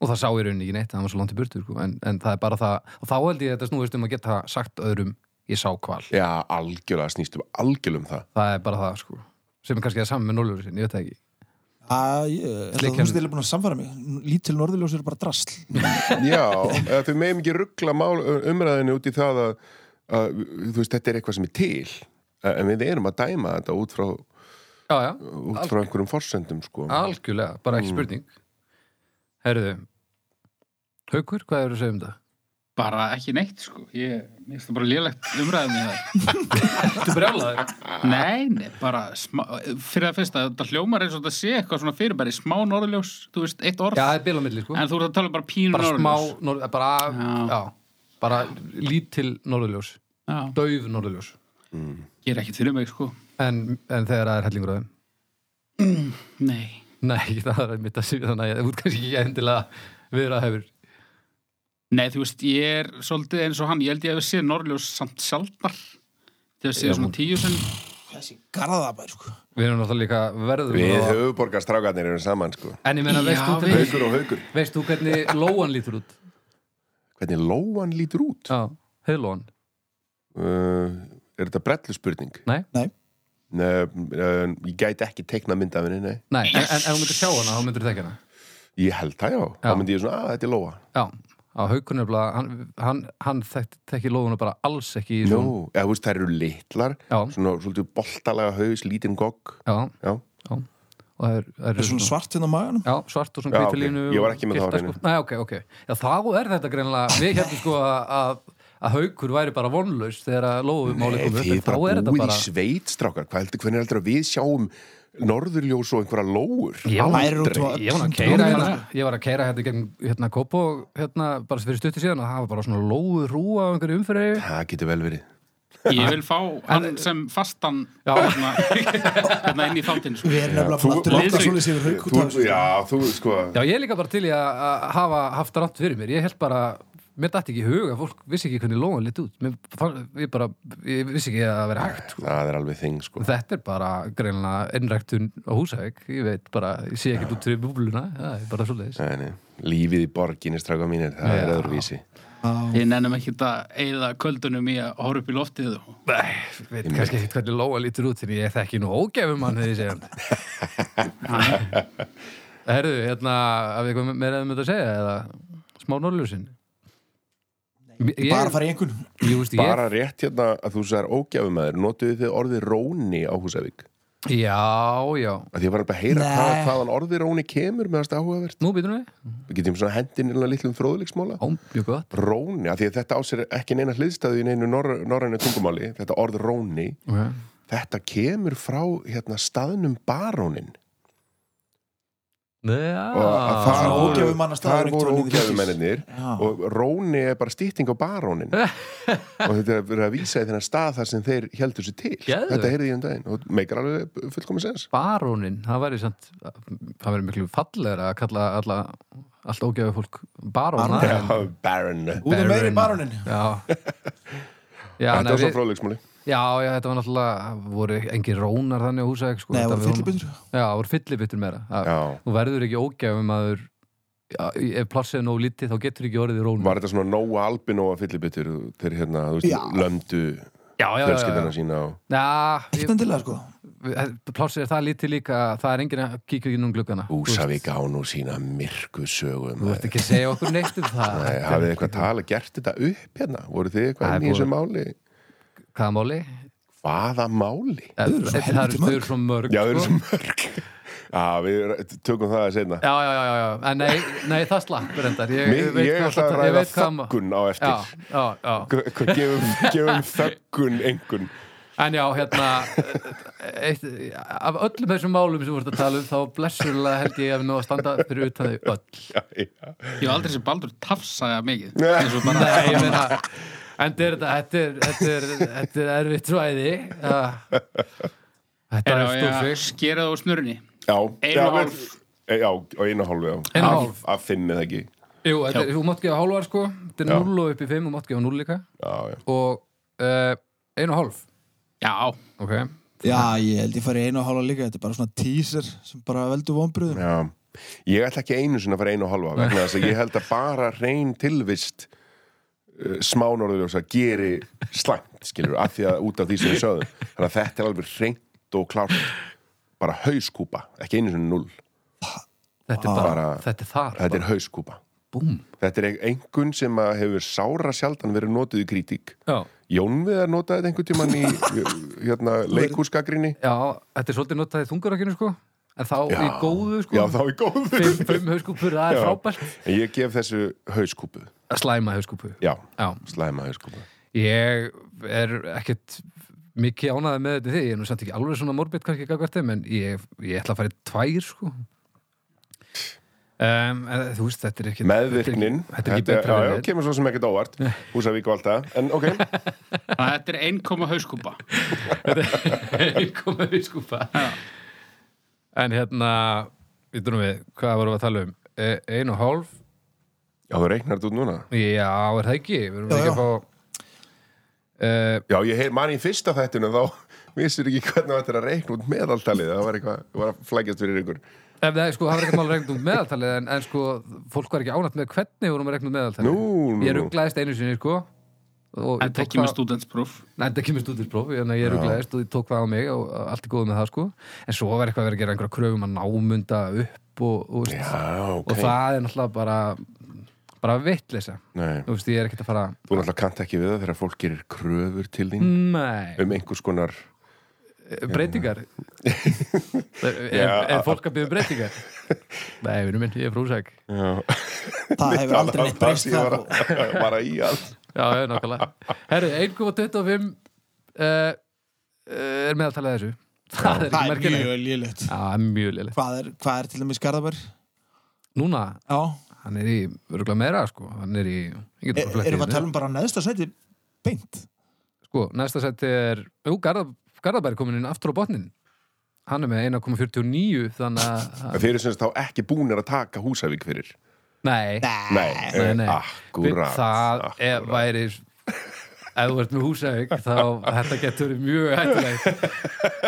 [SPEAKER 2] og það sá í rauninni ekki neitt það var svo langt í burtu sko. en, en það er bara það og þá held ég að þetta snúist um að geta sagt öðrum ég sá kval
[SPEAKER 5] já, algjörlega snýstum algjörlega um það
[SPEAKER 2] það er bara það sko sem er kannski það saman með norðurljósin, ég veit það ekki
[SPEAKER 4] að ég-
[SPEAKER 2] Slikjan.
[SPEAKER 4] þú veist, þeir eru búin að samfara mig lítil norðurljós eru bara drasl
[SPEAKER 5] Já, eða þau meðum ekki ruggla mál, umræðinu út í það að, að þú veist, þetta er eitthvað sem er til en við erum að dæma þetta út frá,
[SPEAKER 2] já, já,
[SPEAKER 5] út frá einhverjum forsendum sko.
[SPEAKER 2] algjörlega, bara ekki spurning herðu haukur, hvað eru að segja um það?
[SPEAKER 3] Bara ekki neitt, sko. Ég, mér finnst það bara lélegt umræðum í það.
[SPEAKER 2] Þetta er brjálaður
[SPEAKER 3] Nei, nei, bara smá, fyrir að fyrsta, þetta hljómar eins og þetta sé eitthvað svona fyrirbæri, smá norðljós, þú veist, eitt
[SPEAKER 2] Já,
[SPEAKER 3] orð,
[SPEAKER 2] það er bilamilli sko
[SPEAKER 3] en þú ert að tala um bara pínu
[SPEAKER 2] bara smá,
[SPEAKER 3] norðljós.
[SPEAKER 2] norð, bara,
[SPEAKER 3] Já.
[SPEAKER 2] já. bara lítil norðurljós
[SPEAKER 3] Já,
[SPEAKER 2] dauf norðurljós
[SPEAKER 3] ég er ekkert fyrir mig, sko.
[SPEAKER 2] en, en þegar það er hellingur á þeim
[SPEAKER 3] Nei.
[SPEAKER 2] nei, <laughs> það er mitt að sýða þannig að þú ert kannski ekki endilega vera hefur
[SPEAKER 3] Nei, þú veist, ég er svolítið eins og hann, ég held ég hef séð norðljós samt sjaldnar, þegar séð
[SPEAKER 2] Já,
[SPEAKER 3] svona
[SPEAKER 2] hún-
[SPEAKER 3] tíu sem,
[SPEAKER 4] þessi garðabær sko
[SPEAKER 2] við erum náttúrulega líka verður
[SPEAKER 5] Við höfuborgarstrákarnir erum saman sko.
[SPEAKER 2] en ég meina, veist
[SPEAKER 3] Já,
[SPEAKER 2] þú til
[SPEAKER 3] við-
[SPEAKER 2] dæmis-
[SPEAKER 5] Haukur og haukur
[SPEAKER 2] veist þú hvernig lóan lítur út?
[SPEAKER 5] Hvernig lóan lítur út?
[SPEAKER 2] já, höflóan
[SPEAKER 5] Uh, er þetta brellu spurning?
[SPEAKER 2] Nei.
[SPEAKER 4] Nei.
[SPEAKER 5] Nei, uh, ég gæti ekki teikna mynd af henni, nei.
[SPEAKER 2] Nei, en, en ef þú myndir sjá hana, þá myndir þú þekka hana
[SPEAKER 5] Ég held það, já.
[SPEAKER 2] Já.
[SPEAKER 5] Þá myndi ég svona, að þetta er lóa.
[SPEAKER 2] Já, á haukunni er bara hann, hann, hann þekkt, þekki lóðuna bara alls ekki í
[SPEAKER 5] Nú,
[SPEAKER 2] svona-
[SPEAKER 5] eða þú veist, þær eru litlar,
[SPEAKER 2] Já,
[SPEAKER 5] svona svolítið boltalega haus, lítinn gogg.
[SPEAKER 2] já,
[SPEAKER 5] Já.
[SPEAKER 2] já og það er, það
[SPEAKER 4] það er svona svart hérna á maganum
[SPEAKER 2] Já, svart og svona
[SPEAKER 5] Já,
[SPEAKER 2] hvítu
[SPEAKER 5] ok.
[SPEAKER 2] línu
[SPEAKER 5] Ég var
[SPEAKER 2] og
[SPEAKER 5] ekki með það á
[SPEAKER 2] gylltar,
[SPEAKER 5] hreinu.
[SPEAKER 2] sko. Nei, ok, ok Já, þá er þetta greinlega Við heldum sko að, að haukur væri bara vonlaus þegar að lóðumáli
[SPEAKER 5] Nei,
[SPEAKER 2] kom upp
[SPEAKER 5] þið
[SPEAKER 2] en þá
[SPEAKER 5] bara
[SPEAKER 2] er þetta
[SPEAKER 5] búið
[SPEAKER 2] bara
[SPEAKER 5] í sveit, strákar. Hvað heldur, hvernig heldur að við sjáum norðurljós og einhverja lóur?
[SPEAKER 2] Ég var-
[SPEAKER 4] Værir út á-
[SPEAKER 2] Ég var að keira hérna, ég var að keira hérna gegn hérna Kopo hérna bara fyrir stutti síðan og það var bara svona lóðu rúa á einhverju umfyrir
[SPEAKER 5] Það getur vel verið.
[SPEAKER 3] ég vil fá hann sem fastan,
[SPEAKER 2] Já.
[SPEAKER 3] hérna, hérna inn í þáttinn, sko.
[SPEAKER 4] við erum nefnilega búin aftur
[SPEAKER 5] þú-
[SPEAKER 4] langt að
[SPEAKER 3] Liðsauki.
[SPEAKER 4] svolítið yfir hauk út
[SPEAKER 5] Þú,
[SPEAKER 4] af þessu.
[SPEAKER 5] já, þú, sko,
[SPEAKER 2] Já, ég er líka bara til í að að hafa haft rátt fyrir mér. Ég held bara, mér dætti ekki í hug að fólk vissi ekki hvernig lóan lit út. Mér, fann- ég bara, ég vissi ekki að það veri hægt. Sko.
[SPEAKER 5] það er alveg þing, sko.
[SPEAKER 2] Þetta er bara greinlega innræktun á Húsavík. Ég veit bara, ég sé ekki út fyrir búbluna. Það er bara svoleiðis.
[SPEAKER 5] Nei, nei. Lífið í borginni, strákar mínir, það er
[SPEAKER 2] Já.
[SPEAKER 5] öðruvísi.
[SPEAKER 4] Já.
[SPEAKER 3] Þið nennum ekki að eigða kvöldunum í að horfa upp í loftið og
[SPEAKER 2] Nei, ég veit kannski ekki hvernig lóan lítur út, en ég þekki nú ógefum hann þegar ég segja hann. Herðu, hérna, hafið eitthvað meira um þetta að segja eða smá norðljósin? Ég,
[SPEAKER 4] bara fara í einhvern
[SPEAKER 2] Jú, veist, ég,
[SPEAKER 5] Bara rétt hérna að þú sagðir ógjafumæður, notuðu þið orðið róni á Húsavík?
[SPEAKER 2] já, já.
[SPEAKER 5] Að því ég var alveg að heyra
[SPEAKER 4] Nei.
[SPEAKER 5] hvað, hvaðan orðið róni kemur með það áhugavert.
[SPEAKER 2] Nú býtum við.
[SPEAKER 5] Við getum svona hendin í litlum fróðleiksmóla.
[SPEAKER 2] Ó, mjög gott.
[SPEAKER 5] Róni, að því að þetta á sér ekki neina hliðstæðu í neinu norr, norrænu tungumáli, þetta orð róni,
[SPEAKER 2] Okay.
[SPEAKER 5] þetta kemur frá hérna staðnum barónin.
[SPEAKER 2] Ah.
[SPEAKER 5] Og að
[SPEAKER 2] Já.
[SPEAKER 5] það
[SPEAKER 4] Svona
[SPEAKER 5] voru-
[SPEAKER 4] ógæfumannastaður
[SPEAKER 5] þar voru
[SPEAKER 4] einhvern veginn í
[SPEAKER 5] ógæfumennir
[SPEAKER 4] Já.
[SPEAKER 2] Ah.
[SPEAKER 5] og róni er bara stýtting á
[SPEAKER 2] <laughs>
[SPEAKER 5] barónin og þetta er að vera að vísa í þennan stað þar sem þeir heldur sér til
[SPEAKER 2] Geðveikt.
[SPEAKER 5] þetta heyrði ég um daginn og meikar alveg fullkomis sens
[SPEAKER 2] Barónin, það væri samt, það væri miklu fallegra að kalla alla, allt ógæðu fólk baróna.
[SPEAKER 5] Já, Baron
[SPEAKER 4] út af meiri
[SPEAKER 5] hérna.
[SPEAKER 2] Baron.
[SPEAKER 4] baronin
[SPEAKER 2] Já. Já,
[SPEAKER 5] Þetta
[SPEAKER 2] nei,
[SPEAKER 5] var svo
[SPEAKER 2] við,
[SPEAKER 5] fróðleiksmáli
[SPEAKER 2] já, já, þetta var náttúrulega, voru engin rónar þannig á húsæk, sko.
[SPEAKER 4] Nei,
[SPEAKER 2] Þetta
[SPEAKER 4] voru
[SPEAKER 2] við-
[SPEAKER 4] fyllibittur.
[SPEAKER 2] Já, voru fyllibittur meira. Að-
[SPEAKER 5] Já.
[SPEAKER 2] Þú verður ekki ógæfum aður, ef plássið er nóg lítið, þá getur ekki orðið rónar.
[SPEAKER 5] Var þetta svona Nóa Albino að fyllibittur þeir hérna, þú
[SPEAKER 4] Já.
[SPEAKER 5] veist, löndu
[SPEAKER 2] Já, já, já, já.
[SPEAKER 5] fjölskyldana sína og
[SPEAKER 2] Já, ég-
[SPEAKER 4] ekkert endilega sko
[SPEAKER 2] plássið er það lítið líka það er enginn að kíkja ekki núm gluggana Þú veist,
[SPEAKER 5] Húsavík á nú sína myrku sögum
[SPEAKER 2] þú ert ekki að segja okkur neitt um það
[SPEAKER 5] Nei, Hafið þið eitthvað tala gert þetta upp hérna? Voru þið
[SPEAKER 2] Nei,
[SPEAKER 5] eitthvað inn í
[SPEAKER 2] voru-
[SPEAKER 5] þessu máli?
[SPEAKER 2] hvaða máli?
[SPEAKER 5] Hvaða máli?
[SPEAKER 2] Eh,
[SPEAKER 4] eru svo
[SPEAKER 2] eh,
[SPEAKER 4] helviti
[SPEAKER 2] það eru- þau eru svo mörg
[SPEAKER 5] Já, þau eru
[SPEAKER 2] sko.
[SPEAKER 5] svo mörg Já, við tökum það að segna
[SPEAKER 2] já, já, já, já, já. En nei, nei, það slapp reyndar ég,
[SPEAKER 5] Mér,
[SPEAKER 2] veit
[SPEAKER 5] Ég
[SPEAKER 2] hvað
[SPEAKER 5] ætla að
[SPEAKER 2] það- ég
[SPEAKER 5] ræða
[SPEAKER 2] veit hvað ma-
[SPEAKER 5] þöggun á
[SPEAKER 2] já,
[SPEAKER 5] eftir
[SPEAKER 2] já, já.
[SPEAKER 5] Hva- hvað Gefum, <laughs> gefum þöggun engun
[SPEAKER 2] en já, hérna eitt, af öllum þessum málum sem voru að tala um þá blessurlega held ég að við nú að standa fyrir utan þau öll
[SPEAKER 5] Já, já
[SPEAKER 3] Ég hef aldrei sem Baldur tafsaði að mikið
[SPEAKER 5] Nei.
[SPEAKER 3] eins og bara
[SPEAKER 2] Nei, ég meina En þetta er- þetta er, þetta er, þetta er erfitt svæði Ah. Þetta er
[SPEAKER 3] er að
[SPEAKER 2] stúfið
[SPEAKER 3] skera það úr snurni
[SPEAKER 5] Já,
[SPEAKER 3] Einu
[SPEAKER 5] já,
[SPEAKER 3] og
[SPEAKER 5] við-
[SPEAKER 3] hálf.
[SPEAKER 5] Já, og einu og hálf, já
[SPEAKER 2] Einu og
[SPEAKER 5] Af-
[SPEAKER 2] hálf.
[SPEAKER 5] Af fimm eða ekki
[SPEAKER 2] Jú, þetta, er- þú mátt gefa hálfar sko Þetta er
[SPEAKER 5] Já.
[SPEAKER 2] 0 og upp í 5, þú mátt gefa 0 líka
[SPEAKER 5] Já, já
[SPEAKER 2] Og uh, 1,5
[SPEAKER 3] Já,
[SPEAKER 2] Ok
[SPEAKER 4] já, ég held ég fari einu og hálfa líka þetta er bara svona teaser sem bara veldur vonbröðum
[SPEAKER 5] Já, Um, ég ætla ekki einu sinna að fara einu og halva vegna þess að ég held að bara reyn tilvist uh, smánorðurljósa geri slæmt, skilur, af því að út af því sem við sögðum þannig að þetta er alveg reynt og klárt bara hauskúpa, ekki einu sinni null
[SPEAKER 2] Þetta er bara,
[SPEAKER 5] Bara-
[SPEAKER 2] þetta er þar
[SPEAKER 5] þetta er hauskúpa
[SPEAKER 2] Búm
[SPEAKER 5] þetta er einhvern sem að hefur sára sjaldan verið notið í kritík
[SPEAKER 2] Já,
[SPEAKER 5] Jónviðar notaði þetta einhvern tímann í hérna, leikúskagrínni
[SPEAKER 2] já, þetta er svolítið notað í þungarakinu sko En þá í góðu sko
[SPEAKER 5] Já, þá í góðu
[SPEAKER 2] Fimm, fimm hauskúpur, það er
[SPEAKER 5] Já.
[SPEAKER 2] frábært
[SPEAKER 5] En ég gef þessu hauskúpu
[SPEAKER 2] Slæma hauskúpu
[SPEAKER 5] Já,
[SPEAKER 2] Já,
[SPEAKER 5] slæma hauskúpu
[SPEAKER 2] ég er ekkert mikið ánaði með þetta í því Ég er nú samt ekki alveg svona morbid kannski gagvart þeim En ég, ég ætla að fara í tvær sko Um, en þú veist, þetta er ekki
[SPEAKER 5] meðvirknin
[SPEAKER 2] Þetta er ekki betra
[SPEAKER 5] já,
[SPEAKER 2] en
[SPEAKER 5] já,
[SPEAKER 2] þetta
[SPEAKER 5] kemur svo sem ekkert óvart Húsavík valda, en
[SPEAKER 2] <laughs>
[SPEAKER 5] ok
[SPEAKER 3] þetta er einnkomu hauskúpa
[SPEAKER 2] koma við skúpa En hérna, við durum við, hvað vorum við að tala um? E, ein og hálf,
[SPEAKER 5] já, þú reiknar þetta út núna
[SPEAKER 2] já, er það ekki? Við erum
[SPEAKER 4] Já,
[SPEAKER 2] ekki
[SPEAKER 4] já.
[SPEAKER 2] að fá Uh,
[SPEAKER 5] já, ég heyr mann í fyrsta þættinu þá <laughs> vissir ekki hvernig þetta er að reikna út meðaltalið það var eitthvað, það var að flækjast fyrir ykkur
[SPEAKER 2] ef það er sko, það var ekkert mál regnum meðaltalið en, en sko, fólk var ekki ánætt með hvernig vorum við regnum meðaltalið
[SPEAKER 5] Nú, nú,
[SPEAKER 2] Ég
[SPEAKER 5] nú.
[SPEAKER 2] rugglaðist einu sinni, sko og ég
[SPEAKER 3] Þetta
[SPEAKER 2] tók
[SPEAKER 3] ekki með
[SPEAKER 2] það-
[SPEAKER 3] stúdentspróf
[SPEAKER 2] Nei, þetta kemur stúdinspróf, ég, ég rugglaðist og ég tók það á mig og allt er góð með það sko en svo var eitthvað að vera að gera einhverja kröfum að námunda upp og, og,
[SPEAKER 5] já,
[SPEAKER 2] veist,
[SPEAKER 5] ok
[SPEAKER 2] og það er náttúrulega bara bara vitleisa
[SPEAKER 5] Nei.
[SPEAKER 2] þú veist, ég er ekkert að fara
[SPEAKER 5] þú náttúrulega kannt ekki við það þegar fólk gerir kröfur til
[SPEAKER 2] Mm.
[SPEAKER 5] þín
[SPEAKER 2] Nei,
[SPEAKER 5] um einhvers konar
[SPEAKER 2] Eh,
[SPEAKER 4] <laughs>
[SPEAKER 2] breytingar er, er, er fólk að byrja breytingar? Nei, vinur minn, ég er frúsæk
[SPEAKER 5] <laughs> já,
[SPEAKER 4] það hefur aldrei neitt breyst
[SPEAKER 5] það
[SPEAKER 4] það
[SPEAKER 5] var að- <laughs> bara í að
[SPEAKER 2] Já, já, nákvæmlega Herru, 1,25 uh, eh, er meðaltalið þessu Það er ekki
[SPEAKER 4] það er
[SPEAKER 2] merkilegt
[SPEAKER 4] mjög lélegt
[SPEAKER 2] Já, það er mjög lélegt
[SPEAKER 4] hvað er, hvað er til dæmis Garðabær?
[SPEAKER 2] Núna,
[SPEAKER 4] já,
[SPEAKER 2] hann er í örgulega meira, sko Hann er í, ég
[SPEAKER 4] E-
[SPEAKER 2] getur bara
[SPEAKER 4] erum við að
[SPEAKER 2] flettið
[SPEAKER 4] tala um bara neðsta sæti beint
[SPEAKER 2] Sko, næsta seti er Jú, Garða, Garðabæri komin inn aftur á botnin Hann er með 1,49 Þannig að,
[SPEAKER 5] þeir eru sem sagt þá ekki búnir að taka Húsavík fyrir
[SPEAKER 2] nei
[SPEAKER 5] nei,
[SPEAKER 2] Nei, nei.
[SPEAKER 5] Eh, akkurat
[SPEAKER 2] það er, væri ef þú ert með húsæk þá þetta getur verið mjög hættulegt
[SPEAKER 5] <laughs>